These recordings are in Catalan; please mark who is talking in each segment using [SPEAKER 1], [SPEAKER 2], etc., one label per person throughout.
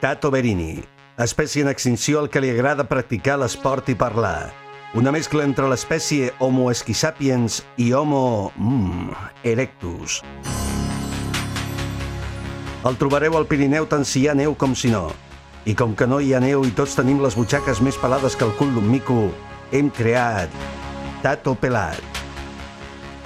[SPEAKER 1] Tato Berini, espècie en extinció al que li agrada practicar l'esport i parlar. Una mescla entre l'espècie Homo esquisapiens i Homo... Mm, erectus. El trobareu al Pirineu tant si hi ha neu com si no. I com que no hi ha neu i tots tenim les butxaques més pelades que el cul d'un mico, hem creat Tato Pelat,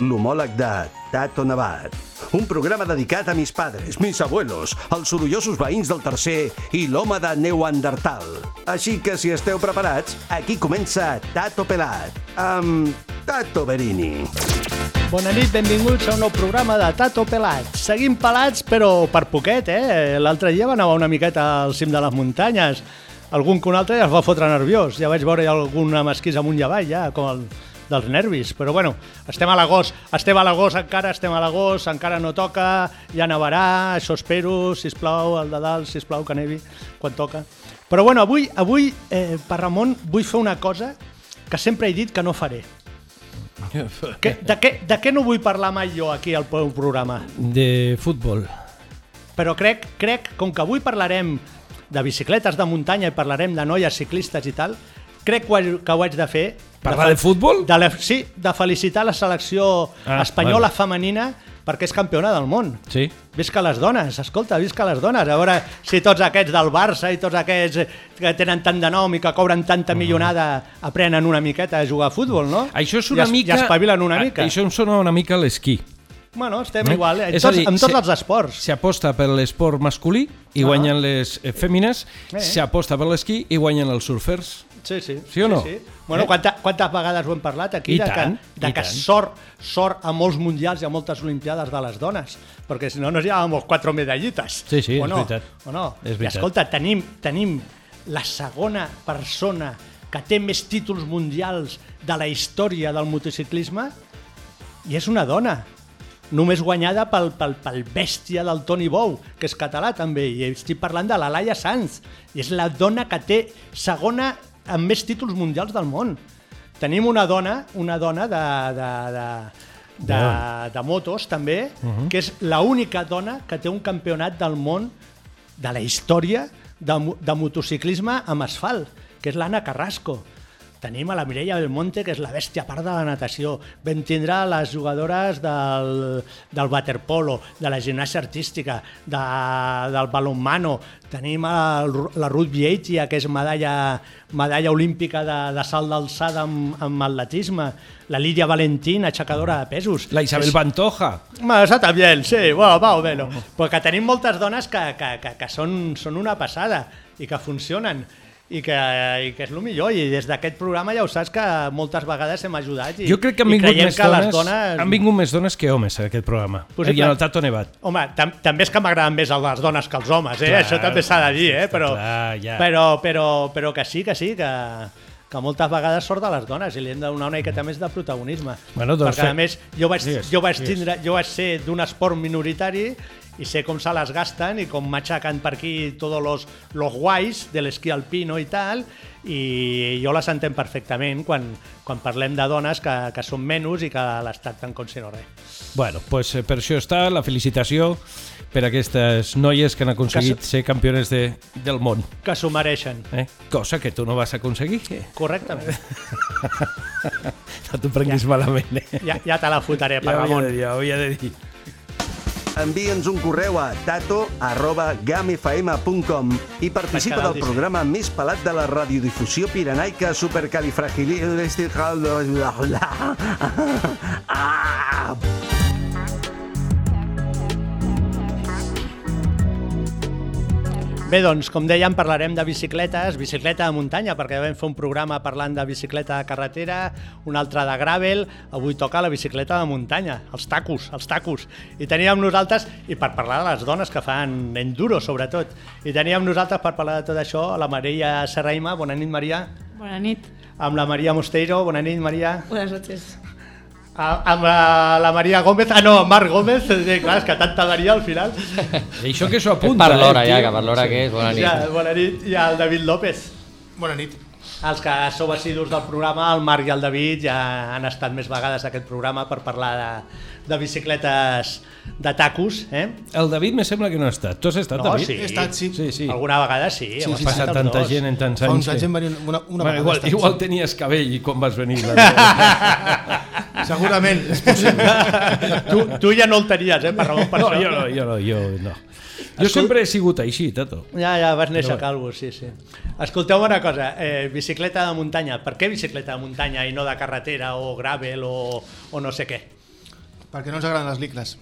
[SPEAKER 1] l'homòleg de Tato Nevat. Un programa dedicat a mis padres, mis abuelos, els sorollosos veïns del tercer i l'home de Neuandertal. Així que, si esteu preparats, aquí comença Tato Pelat, amb Tato Berini.
[SPEAKER 2] Bona nit, benvinguts a un nou programa de Tato Pelats. Seguim pelats, però per poquet, eh? L'altre dia va nevar una miqueta al cim de les muntanyes. Algun que un altre ja es va fotre nerviós. Ja vaig veure alguna mesquisa amunt i avall, ja, com el dels nervis, però bueno, estem a l'agost, estem a l'agost encara, estem a l'agost, encara no toca, ja nevarà, això espero, si plau, el de dalt, si plau que nevi quan toca. Però bueno, avui, avui eh, per Ramon, vull fer una cosa que sempre he dit que no faré. Que, de, què, de què no vull parlar mai jo aquí al meu programa?
[SPEAKER 3] De futbol.
[SPEAKER 2] Però crec, crec, com que avui parlarem de bicicletes de muntanya i parlarem de noies ciclistes i tal, crec que ho- que ho haig de fer.
[SPEAKER 3] Parlar
[SPEAKER 2] fe-
[SPEAKER 3] de futbol?
[SPEAKER 2] De la, sí, de felicitar la selecció
[SPEAKER 3] Ah,
[SPEAKER 2] espanyola
[SPEAKER 3] vale.
[SPEAKER 2] femenina perquè és campiona del món.
[SPEAKER 3] Sí.
[SPEAKER 2] Visca les dones, escolta, visca les dones. A veure si tots aquests del Barça i tots aquests que tenen tant de nom i que cobren tanta millonada aprenen una miqueta a jugar a futbol, no?
[SPEAKER 3] Mm. Això és una
[SPEAKER 2] I es,
[SPEAKER 3] mica...
[SPEAKER 2] I espavilen una mica.
[SPEAKER 3] A- Això em sona una mica l'esquí.
[SPEAKER 2] Bueno, estem
[SPEAKER 3] Eh?
[SPEAKER 2] igual, eh? en
[SPEAKER 3] És a
[SPEAKER 2] tots,
[SPEAKER 3] dir,
[SPEAKER 2] en tots
[SPEAKER 3] se-
[SPEAKER 2] els esports.
[SPEAKER 3] S'aposta per l'esport masculí i
[SPEAKER 2] Ah.
[SPEAKER 3] guanyen les eh, fèmines,
[SPEAKER 2] Eh.
[SPEAKER 3] s'aposta per l'esquí i guanyen els surfers.
[SPEAKER 2] Sí, sí.
[SPEAKER 3] Sí o no?
[SPEAKER 2] Sí, sí. Bueno,
[SPEAKER 3] Eh?
[SPEAKER 2] quanta, quantes vegades ho hem parlat aquí,
[SPEAKER 3] I
[SPEAKER 2] de
[SPEAKER 3] tant,
[SPEAKER 2] que, de
[SPEAKER 3] i
[SPEAKER 2] que
[SPEAKER 3] tant.
[SPEAKER 2] sort, sort a molts mundials i a moltes olimpiades de les dones, perquè si no nos llevàvem quatre medallites.
[SPEAKER 3] Sí, sí,
[SPEAKER 2] o
[SPEAKER 3] és
[SPEAKER 2] no?
[SPEAKER 3] veritat.
[SPEAKER 2] O no?
[SPEAKER 3] És
[SPEAKER 2] I
[SPEAKER 3] veritat.
[SPEAKER 2] escolta, tenim, tenim la segona persona que té més títols mundials de la història del motociclisme i és una dona només guanyada pel, pel, pel bèstia del Toni Bou, que és català també, i estic parlant de la Laia Sanz, i és la dona que té segona amb més títols mundials del món. Tenim una dona, una dona de, de, de, de, de motos també, uh -huh. que és l'única dona que té un campionat del món de la història de, mo- de motociclisme amb asfalt, que és l'Anna Carrasco. Tenim a la Mireia Belmonte, que és la bèstia part de la natació. Vam tindre les jugadores del, del waterpolo, de la gimnàsia artística, de, del balonmano. Tenim el, Ru- la Ruth Vieitia, que és medalla, medalla olímpica de, de salt d'alçada amb, amb atletisme. La Lídia Valentín, aixecadora de pesos.
[SPEAKER 3] La Isabel
[SPEAKER 2] És-
[SPEAKER 3] Pantoja.
[SPEAKER 2] Bueno, Eso también, sí, bueno, va o menos. Perquè tenim moltes dones que, que, que, que són, són una passada i que funcionen i que, i que és el millor. I des d'aquest programa ja ho saps que moltes vegades hem ajudat i,
[SPEAKER 3] Jo crec que han
[SPEAKER 2] i
[SPEAKER 3] vingut,
[SPEAKER 2] creiem
[SPEAKER 3] més
[SPEAKER 2] que
[SPEAKER 3] dones,
[SPEAKER 2] les dones...
[SPEAKER 3] han vingut més dones que homes en aquest programa. Eh,
[SPEAKER 2] Possible.
[SPEAKER 3] I en el Tato Nevat.
[SPEAKER 2] Home, tam també és que m'agraden més les dones que els homes, eh?
[SPEAKER 3] Clar,
[SPEAKER 2] Això també s'ha de dir, eh? Però,
[SPEAKER 3] clar, ja.
[SPEAKER 2] però, però, però que sí, que sí, que, que moltes vegades sort de les dones i li hem de donar una miqueta més de protagonisme.
[SPEAKER 3] Mm. Bueno, doncs
[SPEAKER 2] Perquè,
[SPEAKER 3] fe-
[SPEAKER 2] a més, jo vaig,
[SPEAKER 3] Digues,
[SPEAKER 2] jo vaig, tindre, jo vaig ser d'un esport minoritari i sé com se les gasten i com machacan per aquí tots los, los guais de l'esquí alpino i tal i jo les entenc perfectament quan, quan parlem de dones que, que són menys i que les tracten com si no res.
[SPEAKER 3] Bueno, pues, eh, per això està la felicitació per aquestes noies que han aconseguit
[SPEAKER 2] Que
[SPEAKER 3] ser campiones de, del món.
[SPEAKER 2] Que s'ho mereixen.
[SPEAKER 3] Eh? Cosa que tu no vas aconseguir. Eh?
[SPEAKER 2] Correctament.
[SPEAKER 3] No t'ho prenguis malament. Eh?
[SPEAKER 2] Ja, ja te la fotaré, per
[SPEAKER 3] Ja ho havia
[SPEAKER 2] Ramon.
[SPEAKER 3] de dir, ho havia de dir.
[SPEAKER 1] Envia'ns un correu a tato arroba gamfm.com i participa del
[SPEAKER 2] M'agrada dir-ho.
[SPEAKER 1] programa més pelat de la radiodifusió piranaica supercalifragilístical... Ah!
[SPEAKER 2] Bé, doncs, com dèiem, parlarem de bicicletes, bicicleta de muntanya, perquè vam fer un programa parlant de bicicleta de carretera, un altre de gravel, avui toca la bicicleta de muntanya, els tacos, els tacos. I teníem nosaltres, i per parlar de les dones que fan enduro, sobretot, i teníem nosaltres per parlar de tot això la Maria Serraima, bona nit, Maria,
[SPEAKER 4] Bona nit.
[SPEAKER 2] amb la Maria Mosteiro, bona nit, Maria.
[SPEAKER 4] Buenas noches.
[SPEAKER 2] A, amb la, la Maria Gómez, ah no, Marc Gómez, sí, clar, és que tanta Maria al final.
[SPEAKER 3] I això que s'ho
[SPEAKER 5] Que
[SPEAKER 3] apunta.
[SPEAKER 5] per l'hora
[SPEAKER 3] eh,
[SPEAKER 5] ja,
[SPEAKER 3] tio?
[SPEAKER 5] que per l'hora que és, bona nit.
[SPEAKER 2] Ja, bona nit, i al David López.
[SPEAKER 6] Bona nit.
[SPEAKER 2] Els que sou assidus del programa, el Marc i el David ja han estat més vegades a aquest programa per parlar de, de bicicletes de tacos, eh?
[SPEAKER 3] El David me sembla que no ha estat. Tu has estat,
[SPEAKER 2] No,
[SPEAKER 3] David?
[SPEAKER 2] sí.
[SPEAKER 4] He estat, sí.
[SPEAKER 3] Sí, sí.
[SPEAKER 2] Alguna vegada sí.
[SPEAKER 3] Sí,
[SPEAKER 2] heu
[SPEAKER 3] sí,
[SPEAKER 2] estat
[SPEAKER 3] passa
[SPEAKER 2] els
[SPEAKER 3] tanta
[SPEAKER 2] dos.
[SPEAKER 3] gent en tants
[SPEAKER 4] Fa
[SPEAKER 3] anys.
[SPEAKER 4] uns
[SPEAKER 3] que-
[SPEAKER 4] anys em va venir una, una
[SPEAKER 3] Bueno,
[SPEAKER 4] vegada
[SPEAKER 3] igual,
[SPEAKER 4] estat, sí.
[SPEAKER 3] igual tenies cabell i quan vas venir. La
[SPEAKER 4] Segurament, és possible.
[SPEAKER 2] Tu, tu ja no el tenies, eh? Per raó, per
[SPEAKER 3] no,
[SPEAKER 2] això.
[SPEAKER 3] jo no, jo no, jo no. Jo sempre he sigut així, Tato.
[SPEAKER 2] Ja, ja, vas néixer
[SPEAKER 3] Però bé.
[SPEAKER 2] calvo, sí, sí. Escolteu una cosa, eh, bicicleta de muntanya, per què bicicleta de muntanya i no de carretera o gravel o, o no sé què?
[SPEAKER 4] Perquè no ens agraden les licles.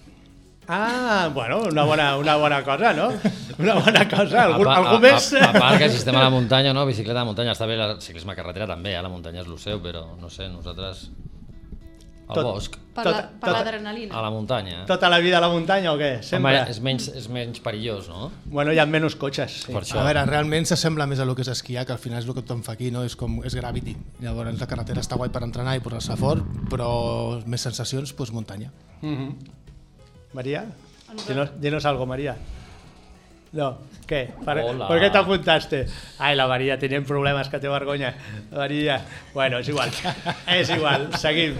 [SPEAKER 2] Ah, bueno, una bona, una bona cosa, no? Una bona cosa, algú,
[SPEAKER 5] pa-
[SPEAKER 2] algú més?
[SPEAKER 5] A, a part que el sistema de la muntanya, no? Bicicleta de muntanya, està bé el ciclisme a carretera també, eh? la muntanya és lo seu, però no sé, nosaltres... Al
[SPEAKER 2] Tot-
[SPEAKER 5] bosc,
[SPEAKER 6] Per
[SPEAKER 2] Tot-
[SPEAKER 6] la- per
[SPEAKER 2] tot-
[SPEAKER 5] a
[SPEAKER 6] l'adrenalina.
[SPEAKER 5] la muntanya. eh.
[SPEAKER 2] Tota la vida a la muntanya o què?
[SPEAKER 5] Home,
[SPEAKER 2] Sempre?
[SPEAKER 5] és, menys, és menys perillós, no?
[SPEAKER 2] Bueno, hi ha menys cotxes. Sí.
[SPEAKER 5] Per
[SPEAKER 4] A
[SPEAKER 5] això.
[SPEAKER 4] veure, realment s'assembla més a lo que és esquiar, que al final és el que tothom fa aquí, no? És com, és gravity. Llavors la carretera està guai per entrenar i posar-se fort, però més sensacions, doncs muntanya.
[SPEAKER 2] Maria? Dinos, dinos algo, María. No, ¿qué? ¿Para-
[SPEAKER 5] Hola.
[SPEAKER 2] ¿Por qué te apuntaste? Ay, la María, tenían problemas, que te vergonya. La María. Bueno, és igual. és igual, seguim.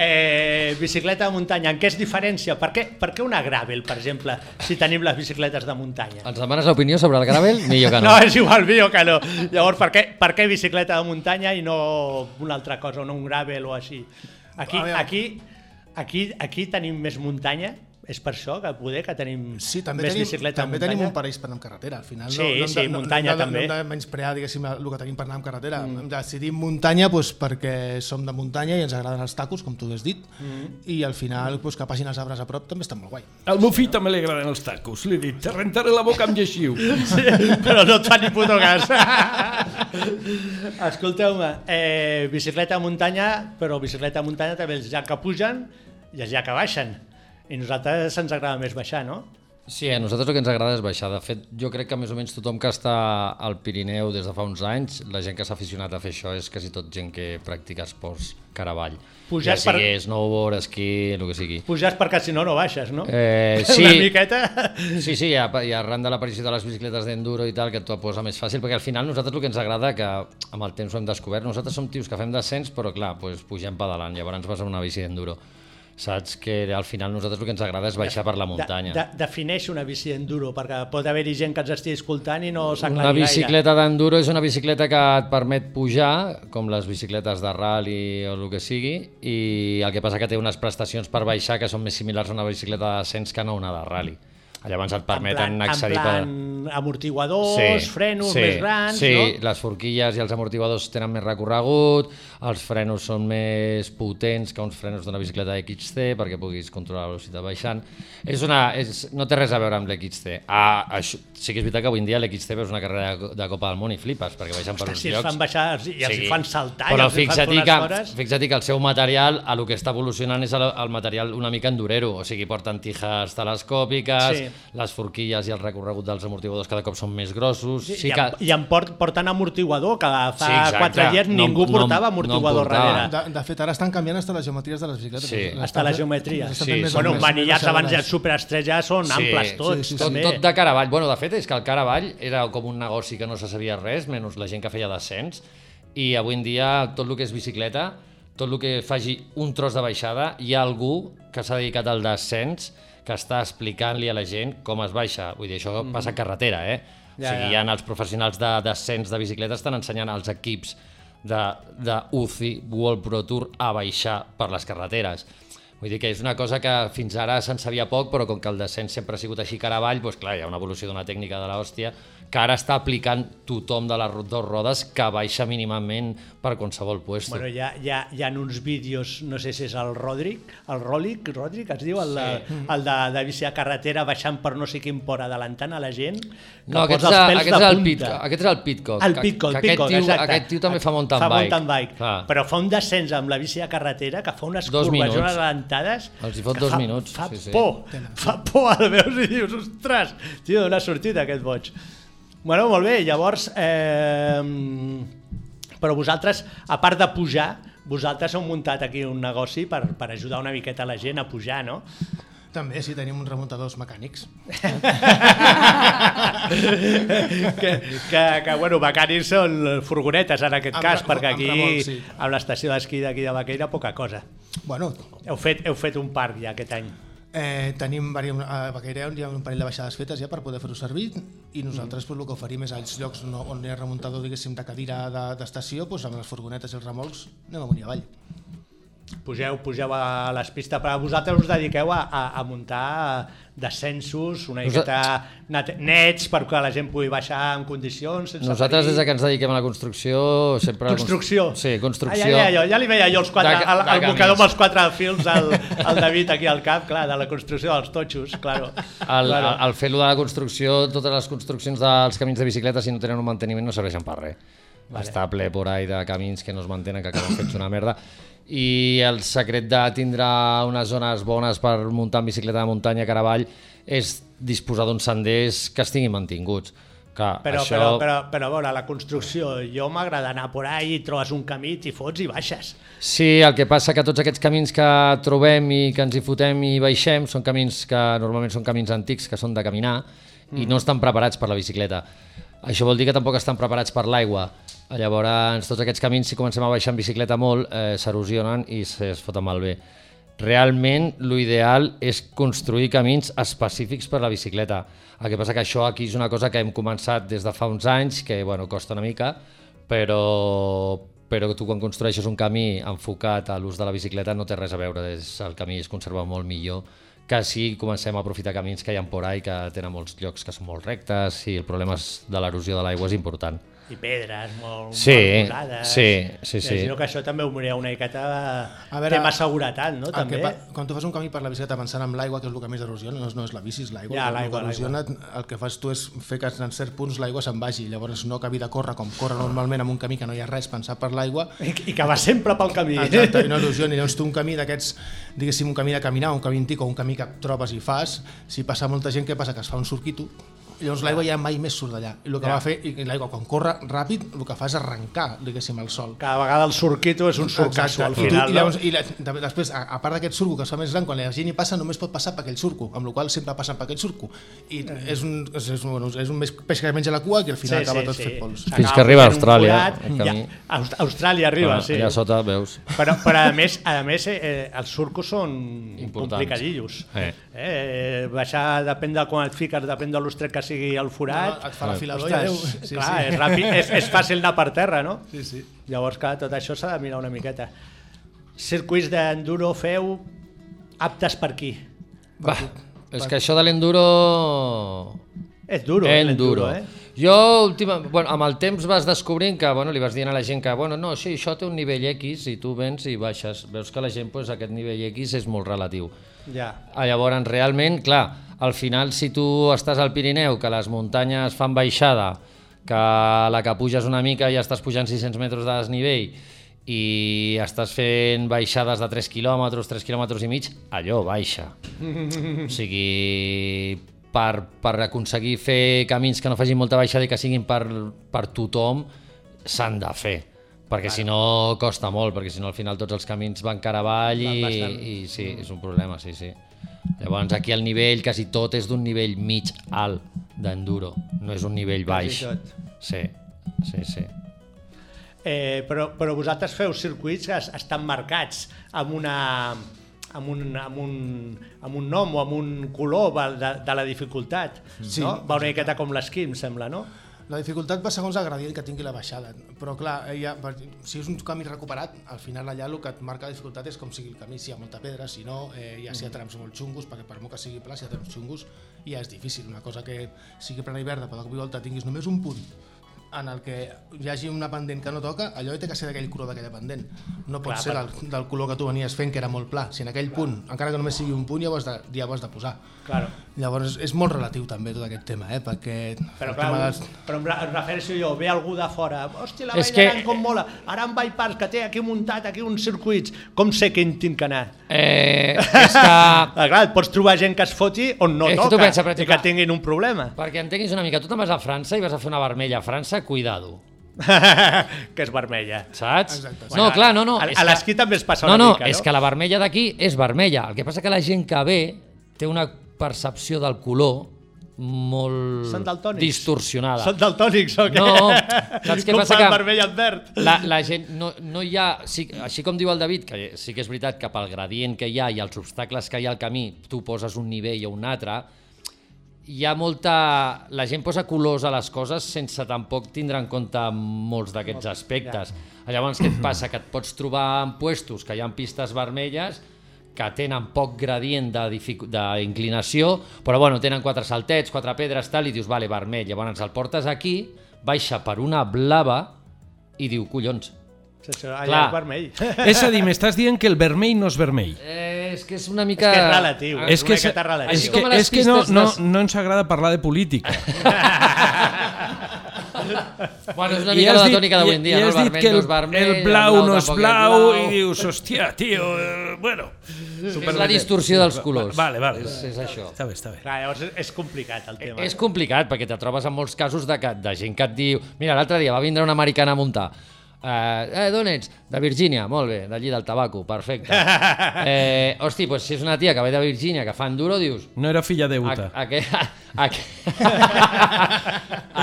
[SPEAKER 2] Eh, bicicleta de muntanya, en què es diferència? Per què, per què una gravel, per exemple, si tenim les bicicletes de muntanya?
[SPEAKER 5] Ens demanes l'opinió sobre el gravel? Millor que no.
[SPEAKER 2] No, és igual, millor que no. Llavors, per què, per què bicicleta de muntanya i no una altra cosa, no un gravel o així? Aquí,
[SPEAKER 4] A veure.
[SPEAKER 2] aquí, aquí, aquí tenim més muntanya, és per això que poder que tenim
[SPEAKER 4] Sí, també
[SPEAKER 2] més
[SPEAKER 4] tenim,
[SPEAKER 2] bicicleta
[SPEAKER 4] també
[SPEAKER 2] de muntanya.
[SPEAKER 4] tenim un pareix per anar amb carretera, al final.
[SPEAKER 2] Sí,
[SPEAKER 4] no, no hem
[SPEAKER 2] sí,
[SPEAKER 4] de, no,
[SPEAKER 2] muntanya,
[SPEAKER 4] no, hem de-
[SPEAKER 2] també.
[SPEAKER 4] No hem de menysprear, diguéssim, el que tenim per anar amb carretera. Mm. Hem de decidir muntanya doncs, perquè som de muntanya i ens agraden els tacos, com tu has dit, mm. i al final doncs, que passin els arbres a prop també està molt guai.
[SPEAKER 3] Al meu fill també li agraden els tacos. Li he dit, te rentaré la boca amb lleixiu.
[SPEAKER 2] Sí, però no et fa ni puto cas. Escolteu-me, eh, bicicleta de muntanya, però bicicleta de muntanya també els ja que pugen i els ja que baixen. I nosaltres ens agrada més baixar, no?
[SPEAKER 5] Sí, a nosaltres el que ens agrada és baixar. De fet, jo crec que més o menys tothom que està al Pirineu des de fa uns anys, la gent que s'ha aficionat a fer això és quasi tot gent que practica esports caravall.
[SPEAKER 2] Pujar
[SPEAKER 5] Pujar ja sigui
[SPEAKER 2] per-
[SPEAKER 5] snowboard, esquí, el que sigui.
[SPEAKER 2] Puges perquè si no, no baixes, no?
[SPEAKER 5] Eh,
[SPEAKER 2] Una
[SPEAKER 5] sí,
[SPEAKER 2] miqueta...
[SPEAKER 5] sí, sí, a- i arran de l'aparició de les bicicletes d'enduro i tal, que t'ho posa més fàcil, perquè al final nosaltres el que ens agrada, que amb el temps ho hem descobert, nosaltres som tios que fem descens, però clar, doncs pugem pedalant, llavors vas amb una bici d'enduro. Saps que al final nosaltres el que ens agrada és baixar per la muntanya.
[SPEAKER 2] De, de, defineix una bici enduro, perquè pot haver-hi gent que ens estigui escoltant i no s'aclarirà.
[SPEAKER 5] Una bicicleta d'enduro és una bicicleta que et permet pujar, com les bicicletes de rally o el que sigui, i el que passa que té unes prestacions per baixar que són més similars a una bicicleta de descens que no una de rally. Llavors et permeten accedir
[SPEAKER 2] en plan, amortiguadors, frenos
[SPEAKER 5] sí,
[SPEAKER 2] més grans,
[SPEAKER 5] sí,
[SPEAKER 2] no?
[SPEAKER 5] les forquilles i els amortiguadors tenen més recorregut, els frenos són més potents que uns frenos d'una bicicleta XC perquè puguis controlar la velocitat baixant. És una, és, no té res a veure amb l'XC. Ah, això, sí que és veritat que avui en dia l'XC veus una carrera de, de Copa del Món i flipes perquè baixen per uns
[SPEAKER 2] Si els
[SPEAKER 5] llocs.
[SPEAKER 2] fan baixar els- i els sí.
[SPEAKER 5] Sí.
[SPEAKER 2] fan saltar
[SPEAKER 5] Però
[SPEAKER 2] i els hi fan
[SPEAKER 5] fixa't
[SPEAKER 2] fer unes
[SPEAKER 5] que,
[SPEAKER 2] hores...
[SPEAKER 5] fixa't que el seu material, a lo que està evolucionant és el, el material una mica endurero, o sigui, porten tiges telescòpiques,
[SPEAKER 2] Sí.
[SPEAKER 5] les forquilles i el recorregut dels amortiguadors cada cop són més grossos. Sí,
[SPEAKER 2] I,
[SPEAKER 5] que...
[SPEAKER 2] en, I en port, porten amortiguador, que fa
[SPEAKER 5] Sí, exacte.
[SPEAKER 2] 4 dies
[SPEAKER 5] No-
[SPEAKER 2] ningú
[SPEAKER 5] no-
[SPEAKER 2] portava
[SPEAKER 5] no
[SPEAKER 2] amortiguador
[SPEAKER 5] em portava.
[SPEAKER 2] darrere.
[SPEAKER 4] De, de fet, ara estan canviant hasta les geometries de les bicicletes.
[SPEAKER 5] Sí.
[SPEAKER 4] Les
[SPEAKER 2] Hasta
[SPEAKER 4] estan
[SPEAKER 2] la
[SPEAKER 4] fent-
[SPEAKER 2] geometria.
[SPEAKER 4] les estan
[SPEAKER 5] Sí,
[SPEAKER 4] fent més
[SPEAKER 2] Bueno,
[SPEAKER 4] ombres,
[SPEAKER 2] manillars
[SPEAKER 4] més
[SPEAKER 2] abans ja
[SPEAKER 4] alçades.
[SPEAKER 2] superestrets ja són amples tots,
[SPEAKER 4] sí, sí,
[SPEAKER 5] tot,
[SPEAKER 2] també.
[SPEAKER 5] tot de caravall. Bueno, de fet, és que el caravall era com un negoci que no se sabia res, menys la gent que feia descens, i avui en dia tot el que és bicicleta, tot el que faci un tros de baixada, hi ha algú que s'ha dedicat al descens que està explicant-li a la gent com es baixa. Vull dir, això passa a carretera, eh?
[SPEAKER 2] Mhm. Ja,
[SPEAKER 5] o sigui,
[SPEAKER 2] ja.
[SPEAKER 5] hi ha els professionals de descens de bicicleta estan ensenyant als equips de, de UCI World Pro Tour a baixar per les carreteres. Vull dir que és una cosa que fins ara se'n sabia poc, però com que el descens sempre ha sigut així cara avall, doncs clar, hi ha una evolució d'una tècnica de l'hòstia que ara està aplicant tothom de les ro- dues rodes que baixa mínimament per qualsevol puesto.
[SPEAKER 2] Bueno, hi ha, hi, ha, hi ha uns vídeos, no sé si és el Rodric, el Ròlic, Rodric es diu, el, de,
[SPEAKER 5] Mm.
[SPEAKER 2] el de, de bici a carretera baixant per no sé quin port adelantant a la gent, que
[SPEAKER 5] no, aquest,
[SPEAKER 2] posa els
[SPEAKER 5] és, el-
[SPEAKER 2] pèls
[SPEAKER 5] aquest, és
[SPEAKER 2] de
[SPEAKER 5] el
[SPEAKER 2] punta.
[SPEAKER 5] Pitcock, aquest és el Pitcock.
[SPEAKER 2] El
[SPEAKER 5] que-
[SPEAKER 2] Pitcock,
[SPEAKER 5] que
[SPEAKER 2] el Pitcock,
[SPEAKER 5] aquest, tio,
[SPEAKER 2] exacte.
[SPEAKER 5] aquest tio també fa mountain
[SPEAKER 2] fa
[SPEAKER 5] bike.
[SPEAKER 2] mountain bike.
[SPEAKER 5] Clar.
[SPEAKER 2] Però fa un descens amb la bici de carretera que fa unes
[SPEAKER 5] Dos
[SPEAKER 2] curves
[SPEAKER 5] minuts.
[SPEAKER 2] i unes alentades...
[SPEAKER 5] Els hi fot
[SPEAKER 2] que
[SPEAKER 5] dos
[SPEAKER 2] fa,
[SPEAKER 5] minuts,
[SPEAKER 2] Fa
[SPEAKER 5] sí, sí.
[SPEAKER 2] por, fa por, el veus i dius, ostres, tio, d'on ha sortit aquest boig? Bueno, molt bé, llavors... Eh, però vosaltres, a part de pujar, vosaltres heu muntat aquí un negoci per, per ajudar una miqueta la gent a pujar, no?
[SPEAKER 4] També, sí, tenim uns remuntadors mecànics.
[SPEAKER 2] que, que, que bueno, becaris són furgonetes en aquest
[SPEAKER 4] Amb
[SPEAKER 2] cas,
[SPEAKER 4] remol-
[SPEAKER 2] perquè
[SPEAKER 4] amb
[SPEAKER 2] aquí,
[SPEAKER 4] remolc, sí.
[SPEAKER 2] amb l'estació d'esquí d'aquí de Baqueira, poca cosa.
[SPEAKER 4] Bueno,
[SPEAKER 2] Heu fet, heu fet un parc ja aquest any.
[SPEAKER 4] eh, tenim vari- a Baqueireu hi ha un parell de baixades fetes ja per poder fer-ho servir i nosaltres
[SPEAKER 2] Mm.
[SPEAKER 4] pues, el que oferim és als llocs no, on hi ha remuntador diguéssim, de cadira de- d'estació pues, amb les furgonetes i els remolcs anem amunt i avall.
[SPEAKER 2] Pugeu, pugeu a les pistes, però vosaltres us dediqueu a, a, a muntar descensos, una
[SPEAKER 5] Nosa-
[SPEAKER 2] miqueta nete- nets perquè la gent pugui baixar en condicions, sense
[SPEAKER 5] Nosaltres,
[SPEAKER 2] perill.
[SPEAKER 5] des de que ens dediquem a la construcció, sempre...
[SPEAKER 2] Construcció.
[SPEAKER 5] Sí, construcció.
[SPEAKER 2] Ah, ja, ja, ja, ja li veia jo els quatre,
[SPEAKER 5] De ca-
[SPEAKER 2] el,
[SPEAKER 5] de
[SPEAKER 2] el mocador
[SPEAKER 5] camins.
[SPEAKER 2] amb els quatre fils al, al David aquí al cap, clar, de la construcció dels totxos, claro.
[SPEAKER 5] El,
[SPEAKER 2] claro.
[SPEAKER 5] el, el fer-lo de la construcció, totes les construccions dels camins de bicicleta, si no tenen un manteniment, no serveixen per res. Vale. Està ple por ahí de camins que no es mantenen, que acaben fets una merda. I el secret de tindre unes zones bones per muntar en bicicleta de muntanya, caravall, és disposar d'uns senders que estiguin mantinguts. Clar,
[SPEAKER 2] Però,
[SPEAKER 5] això...
[SPEAKER 2] però, però, però, a veure, la construcció, jo m'agrada anar por ahí, trobes un camí, t'hi fots i baixes.
[SPEAKER 5] Sí, el que passa que tots aquests camins que trobem i que ens hi fotem i baixem són camins que normalment són camins antics, que són de caminar, i no estan preparats per la bicicleta. Això vol dir que tampoc estan preparats per l'aigua. Llavors, tots aquests camins, si comencem a baixar en bicicleta molt, eh, s'erosionen i se- es foten malbé. Realment, l'ideal és construir camins específics per a la bicicleta. El que passa que això aquí és una cosa que hem començat des de fa uns anys, que bueno, costa una mica, però, però tu quan construeixes un camí enfocat a l'ús de la bicicleta no té res a veure, és, el camí es conserva molt millor que si comencem a aprofitar camins que hi ha por ahí, que tenen molts llocs que són molt rectes i el problema és de l'erosió de l'aigua és important.
[SPEAKER 2] I pedres molt,
[SPEAKER 5] Sí,
[SPEAKER 2] molt posades.
[SPEAKER 5] sí, sí, sí.
[SPEAKER 2] Imagino que això també ho mireu una miqueta a
[SPEAKER 4] A
[SPEAKER 2] veure,
[SPEAKER 4] veure,
[SPEAKER 2] tema seguretat, no?
[SPEAKER 4] El
[SPEAKER 2] També.
[SPEAKER 4] que pa- Quan tu fas un camí per la bicicleta pensant en l'aigua, que és el que més erosiona, no és, no és la bici, és l'aigua.
[SPEAKER 2] Ja,
[SPEAKER 4] El que
[SPEAKER 2] l'aigua,
[SPEAKER 4] erosiona, El que fas tu és fer que en certs punts l'aigua se'n vagi, llavors no acabi de córrer com corre normalment en un camí que no hi ha res pensat per l'aigua,
[SPEAKER 2] I, I que va sempre pel camí.
[SPEAKER 4] Exacte, i no erosioni. Llavors tu un camí d'aquests, diguéssim, un camí de caminar, un camí antic o un camí que trobes i fas, si passa molta gent, què passa? Que es fa un surquito, i llavors l'aigua ja mai més surt d'allà. I el que
[SPEAKER 2] Ja.
[SPEAKER 4] va fer, i l'aigua quan corre ràpid, el que fa és arrencar, diguéssim, el sol.
[SPEAKER 2] Cada vegada el surquito és un surcasso al
[SPEAKER 4] I tu-
[SPEAKER 2] final.
[SPEAKER 4] I, llavors,
[SPEAKER 2] no?
[SPEAKER 4] i la, de- després, a, a part d'aquest surco que es fa més gran, quan la gent hi passa només pot passar per aquell surco, amb la qual cosa sempre passen per aquell surco. I
[SPEAKER 2] Eh.
[SPEAKER 4] és un, és, és, bueno, és un més peix que menja la cua que al final acaba tot fet pols.
[SPEAKER 2] S'acaba
[SPEAKER 5] Fins que arriba a
[SPEAKER 2] fent un
[SPEAKER 5] Austràlia,
[SPEAKER 2] forat,
[SPEAKER 5] el
[SPEAKER 2] Ja,
[SPEAKER 5] camí.
[SPEAKER 2] Aust- Austràlia arriba,
[SPEAKER 5] Ah,
[SPEAKER 2] sí.
[SPEAKER 5] Allà sota, veus?
[SPEAKER 2] Però, però a més, a més eh, eh, els surcos són
[SPEAKER 5] Importants.
[SPEAKER 2] complicadillos. Eh.
[SPEAKER 5] Eh.
[SPEAKER 2] Eh, baixar, depèn de quan et fiques, depèn de l'ostre que sigui el forat.
[SPEAKER 4] Et fa la fila d'oi,
[SPEAKER 2] Ostres,
[SPEAKER 4] adeu.
[SPEAKER 2] sí, clar, sí. és ràpid, és, és fàcil anar per terra, no? Sí, sí. Llavors, clar, tot això s'ha de mirar una miqueta. Circuits d'enduro feu aptes per qui?
[SPEAKER 5] Va, és que això de l'enduro...
[SPEAKER 2] És duro, eh,
[SPEAKER 5] enduro.
[SPEAKER 2] l'enduro, eh?
[SPEAKER 5] Jo, última, bueno, amb el temps vas descobrint que bueno, li vas dient a la gent que bueno, no, sí, això té un nivell X i tu vens i baixes. Veus que la gent, pues, aquest nivell X és molt relatiu.
[SPEAKER 2] Ja.
[SPEAKER 5] Ah, Llavors, realment, clar, al final, si tu estàs al Pirineu, que les muntanyes fan baixada, que la que puges una mica ja estàs pujant 600 metres de desnivell i estàs fent baixades de 3 quilòmetres, 3 quilòmetres i mig, allò baixa. O sigui, per, per aconseguir fer camins que no facin molta baixada i que siguin per, per tothom, s'han de fer. Perquè si no costa molt, perquè si no al final tots els camins van caravall i, i sí, és un problema, sí, sí. Llavors aquí el nivell, quasi tot és d'un nivell mig alt d'enduro, no és un nivell baix.
[SPEAKER 2] tot.
[SPEAKER 5] Sí, sí, sí.
[SPEAKER 2] Eh, però, però vosaltres feu circuits que es- estan marcats amb una amb un, amb, un, amb un nom o amb un color val, de, de la dificultat, sí,
[SPEAKER 4] Sí,
[SPEAKER 2] no? Va una miqueta com l'esquí, em sembla, no?
[SPEAKER 4] La dificultat va segons el gradient que tingui la baixada, però clar, eh, ja, per- si és un camí recuperat, al final allà el que et marca la dificultat és com sigui el camí, si hi ha molta pedra, si no, eh, ja si hi ha trams molt xungos, perquè per molt que sigui pla, si hi ha trams xungos, ja és difícil. Una cosa que sigui plana i verda, però de cop i volta tinguis només un punt en el que hi hagi una pendent que no toca, allò té que ser d'aquell color d'aquella pendent. No pot
[SPEAKER 2] Clar,
[SPEAKER 4] ser del, del color que tu venies fent, que era molt pla. Si en aquell punt, encara que només sigui un punt, ja ho has de, ja ho has de posar.
[SPEAKER 2] Claro.
[SPEAKER 4] Llavors, és molt relatiu també tot aquest tema, eh? perquè...
[SPEAKER 2] Però,
[SPEAKER 4] el
[SPEAKER 2] clar,
[SPEAKER 4] tema
[SPEAKER 2] un, però em, re- em refereixo jo, ve algú de fora, hòstia, la
[SPEAKER 5] És
[SPEAKER 2] vall
[SPEAKER 5] que-
[SPEAKER 2] d'Aran com mola, Aran Vall Park, que té aquí muntat, aquí uns circuits, com sé que en tinc que anar?
[SPEAKER 5] Eh, és que
[SPEAKER 2] Ah, clar, et pots trobar gent que es foti on no
[SPEAKER 5] És que tu
[SPEAKER 2] toca
[SPEAKER 5] pensa, per
[SPEAKER 2] i que
[SPEAKER 5] exemple-
[SPEAKER 2] tinguin un problema,
[SPEAKER 5] Perquè entenguis una mica, tu te'n vas a França i vas a fer una vermella a França, cuidado,
[SPEAKER 2] que és vermella.
[SPEAKER 5] saps?
[SPEAKER 4] Exacte.
[SPEAKER 5] No, clar, no, no.
[SPEAKER 2] A,
[SPEAKER 5] és
[SPEAKER 2] a
[SPEAKER 5] que-
[SPEAKER 2] l'esquí també es passa
[SPEAKER 5] no,
[SPEAKER 2] una
[SPEAKER 5] no,
[SPEAKER 2] mica, no?
[SPEAKER 5] és que la vermella d'aquí és vermella. El que passa que la gent que ve té una percepció del color molt
[SPEAKER 2] Són daltònics.
[SPEAKER 5] distorsionada.
[SPEAKER 2] Són daltònics o què?
[SPEAKER 5] No, saps què
[SPEAKER 2] no
[SPEAKER 5] passa?
[SPEAKER 2] fan
[SPEAKER 5] Que-
[SPEAKER 2] vermell i verd.
[SPEAKER 5] La, la gent no, no hi ha... Sí, així com diu el David, que sí que és veritat que pel gradient que hi ha i els obstacles que hi ha al camí, tu poses un nivell o un altre, hi ha molta... La gent posa colors a les coses sense tampoc tindre en compte molts d'aquests aspectes. Llavors, què et passa? Que et pots trobar en puestos que hi ha pistes vermelles que tenen poc gradient de dificu- d'inclinació, però bueno, tenen quatre saltets, quatre pedres, tal, i dius, vale, vermell. Llavors el portes aquí, baixa per una blava i diu, collons,
[SPEAKER 2] Sí, sí, Allà
[SPEAKER 5] Clar.
[SPEAKER 2] és vermell.
[SPEAKER 3] És a dir, m'estàs dient que el vermell no és vermell.
[SPEAKER 5] Eh, és que és una
[SPEAKER 2] És
[SPEAKER 5] mica... Ah,
[SPEAKER 2] que és relatiu. eh?
[SPEAKER 5] És...
[SPEAKER 2] Ah, És una
[SPEAKER 3] és,
[SPEAKER 2] miqueta relatiu.
[SPEAKER 3] és
[SPEAKER 5] Així
[SPEAKER 3] que,
[SPEAKER 5] com a les
[SPEAKER 3] és que no,
[SPEAKER 5] pistes
[SPEAKER 3] no,
[SPEAKER 5] nas-
[SPEAKER 3] no ens agrada parlar de política.
[SPEAKER 5] Bueno, és una
[SPEAKER 3] I
[SPEAKER 5] mica
[SPEAKER 3] has
[SPEAKER 5] la
[SPEAKER 3] dit-
[SPEAKER 5] tònica d'avui en dia,
[SPEAKER 3] i
[SPEAKER 5] no?
[SPEAKER 3] has
[SPEAKER 5] El
[SPEAKER 3] dit
[SPEAKER 5] vermell
[SPEAKER 3] que
[SPEAKER 5] no és vermell,
[SPEAKER 3] el blau no és
[SPEAKER 5] tampoc
[SPEAKER 3] blau, i
[SPEAKER 5] blau.
[SPEAKER 3] dius, hòstia, tio, eh, bueno...
[SPEAKER 5] És la distorsió dels colors.
[SPEAKER 3] Vale, vale.
[SPEAKER 5] És, és això.
[SPEAKER 3] Està bé, està bé.
[SPEAKER 2] Clar, llavors és, és complicat el tema.
[SPEAKER 5] És complicat, perquè te trobes en molts casos de, que, de gent que et diu... Mira, l'altre dia va vindre una americana a muntar. Eh, eh, d'on ets? De Virgínia, molt bé, d'allí del tabaco, perfecte. Eh, hosti, pues, si és una tia que ve de Virgínia, que fa enduro, dius...
[SPEAKER 3] No era filla de Utah.
[SPEAKER 5] A, aqu aqu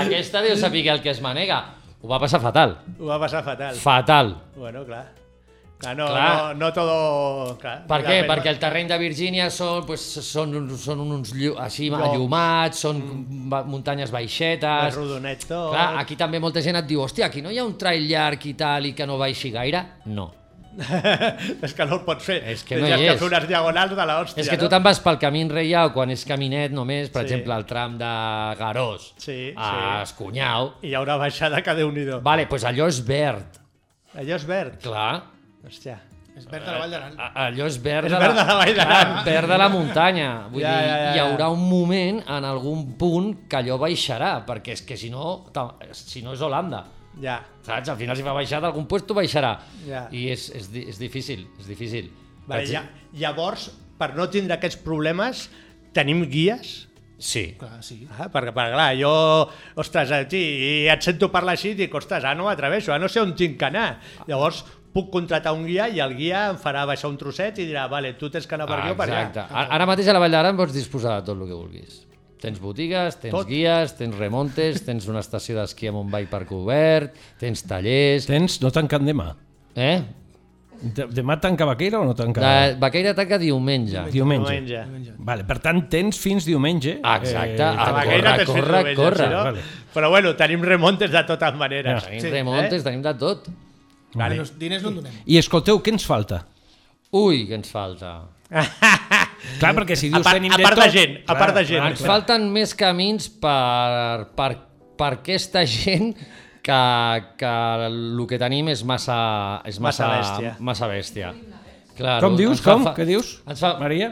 [SPEAKER 5] aquesta deu saber el que es manega. Ho va passar fatal.
[SPEAKER 2] Ho va passar fatal.
[SPEAKER 5] Fatal.
[SPEAKER 2] Bueno, clar. Clar, no,
[SPEAKER 5] Clar.
[SPEAKER 2] no, no todo... Clar,
[SPEAKER 5] Per què?
[SPEAKER 2] depèn-
[SPEAKER 5] Perquè el terreny de Virgínia són, pues, són, uns- són uns llu així allumats, són
[SPEAKER 2] Mm.
[SPEAKER 5] ba- muntanyes
[SPEAKER 2] el
[SPEAKER 5] baixetes...
[SPEAKER 2] rodonet tot.
[SPEAKER 5] Clar, aquí també molta gent et diu, hòstia, aquí no hi ha un trail llarg i tal i que no baixi gaire? No.
[SPEAKER 2] és que no el pots fer.
[SPEAKER 5] És que no
[SPEAKER 2] Tindries
[SPEAKER 5] hi
[SPEAKER 2] que
[SPEAKER 5] és.
[SPEAKER 2] fer unes diagonals de l'hòstia,
[SPEAKER 5] és que
[SPEAKER 2] no?
[SPEAKER 5] tu te'n vas pel camí enreial quan és caminet només, per
[SPEAKER 2] Sí.
[SPEAKER 5] exemple, el tram de Garós
[SPEAKER 2] Sí,
[SPEAKER 5] a
[SPEAKER 2] sí.
[SPEAKER 5] Escunyau.
[SPEAKER 2] I hi ha una baixada que déu-n'hi-do.
[SPEAKER 5] Vale, doncs pues allò és verd,
[SPEAKER 2] Allò és verd.
[SPEAKER 5] clar.
[SPEAKER 2] Hòstia.
[SPEAKER 4] És verd a la Vall d'Aran.
[SPEAKER 5] A- Allò és verd,
[SPEAKER 2] És verd de la Vall d'Aran.
[SPEAKER 5] Clar, verd de la muntanya. Vull
[SPEAKER 2] Ja,
[SPEAKER 5] ja,
[SPEAKER 2] ja,
[SPEAKER 5] dir, ja,
[SPEAKER 2] ja,
[SPEAKER 5] hi
[SPEAKER 2] ja.
[SPEAKER 5] haurà un moment, en algun punt, que allò baixarà, perquè és que si no, ta- si no és Holanda.
[SPEAKER 2] Ja.
[SPEAKER 5] Saps? Al final si fa baixar d'algun lloc, baixarà.
[SPEAKER 2] Ja.
[SPEAKER 5] I és, és, di- és difícil, és difícil.
[SPEAKER 2] Vale,
[SPEAKER 5] Vaig-
[SPEAKER 2] ja. Llavors, per no tindre aquests problemes, tenim guies?
[SPEAKER 5] Sí.
[SPEAKER 4] Clar, sí.
[SPEAKER 2] Ah, perquè, perquè, clar, jo, ostres, aquí, i et sento parlar així i dic, ostres, ah, no m'atreveixo, ah, no sé on tinc que anar. Llavors, puc contratar un guia i el guia em farà baixar un trosset i dirà, vale, tu tens que anar per aquí o per
[SPEAKER 5] Exacte.
[SPEAKER 2] allà. Ah,
[SPEAKER 5] Ara ara mateix a la Vall d'Aran pots disposar de tot el que vulguis. Tens botigues, tens
[SPEAKER 2] Tot.
[SPEAKER 5] guies, tens remontes, tens una estació d'esquí a Montbai per cobert, tens tallers...
[SPEAKER 3] Tens no tancant demà.
[SPEAKER 5] Eh?
[SPEAKER 3] De- Demà tanca Vaquera o no tanca?
[SPEAKER 5] De Vaqueira ataca diumenge.
[SPEAKER 3] Diumenge.
[SPEAKER 2] Diumenge.
[SPEAKER 3] Vale, per tant, tens fins diumenge. Eh,
[SPEAKER 5] Exacte,
[SPEAKER 2] A
[SPEAKER 5] Ah,
[SPEAKER 2] la Guaira
[SPEAKER 5] corre,
[SPEAKER 2] t'has fet
[SPEAKER 5] corre,
[SPEAKER 2] diumenge,
[SPEAKER 5] corre.
[SPEAKER 2] si no?
[SPEAKER 3] Vale.
[SPEAKER 2] Però bueno, tenim remontes de totes maneres.
[SPEAKER 5] Tenim remontes,
[SPEAKER 2] eh?
[SPEAKER 5] tenim de tot.
[SPEAKER 4] Vale. Bueno, diners no en donem.
[SPEAKER 3] I escolteu, què ens falta?
[SPEAKER 5] Ui, que ens falta.
[SPEAKER 3] Clar, perquè si
[SPEAKER 2] A
[SPEAKER 3] dius
[SPEAKER 2] part,
[SPEAKER 3] tenim
[SPEAKER 2] a
[SPEAKER 3] de
[SPEAKER 2] part de
[SPEAKER 3] tot-
[SPEAKER 2] gent, a part de gent.
[SPEAKER 5] Ens falten més camins per, per, per aquesta gent que, que el que tenim és massa... És
[SPEAKER 2] Massa
[SPEAKER 5] massa,
[SPEAKER 2] bèstia.
[SPEAKER 5] Massa bèstia. Claro,
[SPEAKER 3] Com dius?
[SPEAKER 5] ens fa-
[SPEAKER 3] Com?
[SPEAKER 5] fa-
[SPEAKER 3] Què dius?
[SPEAKER 5] Ens fa,
[SPEAKER 3] Maria?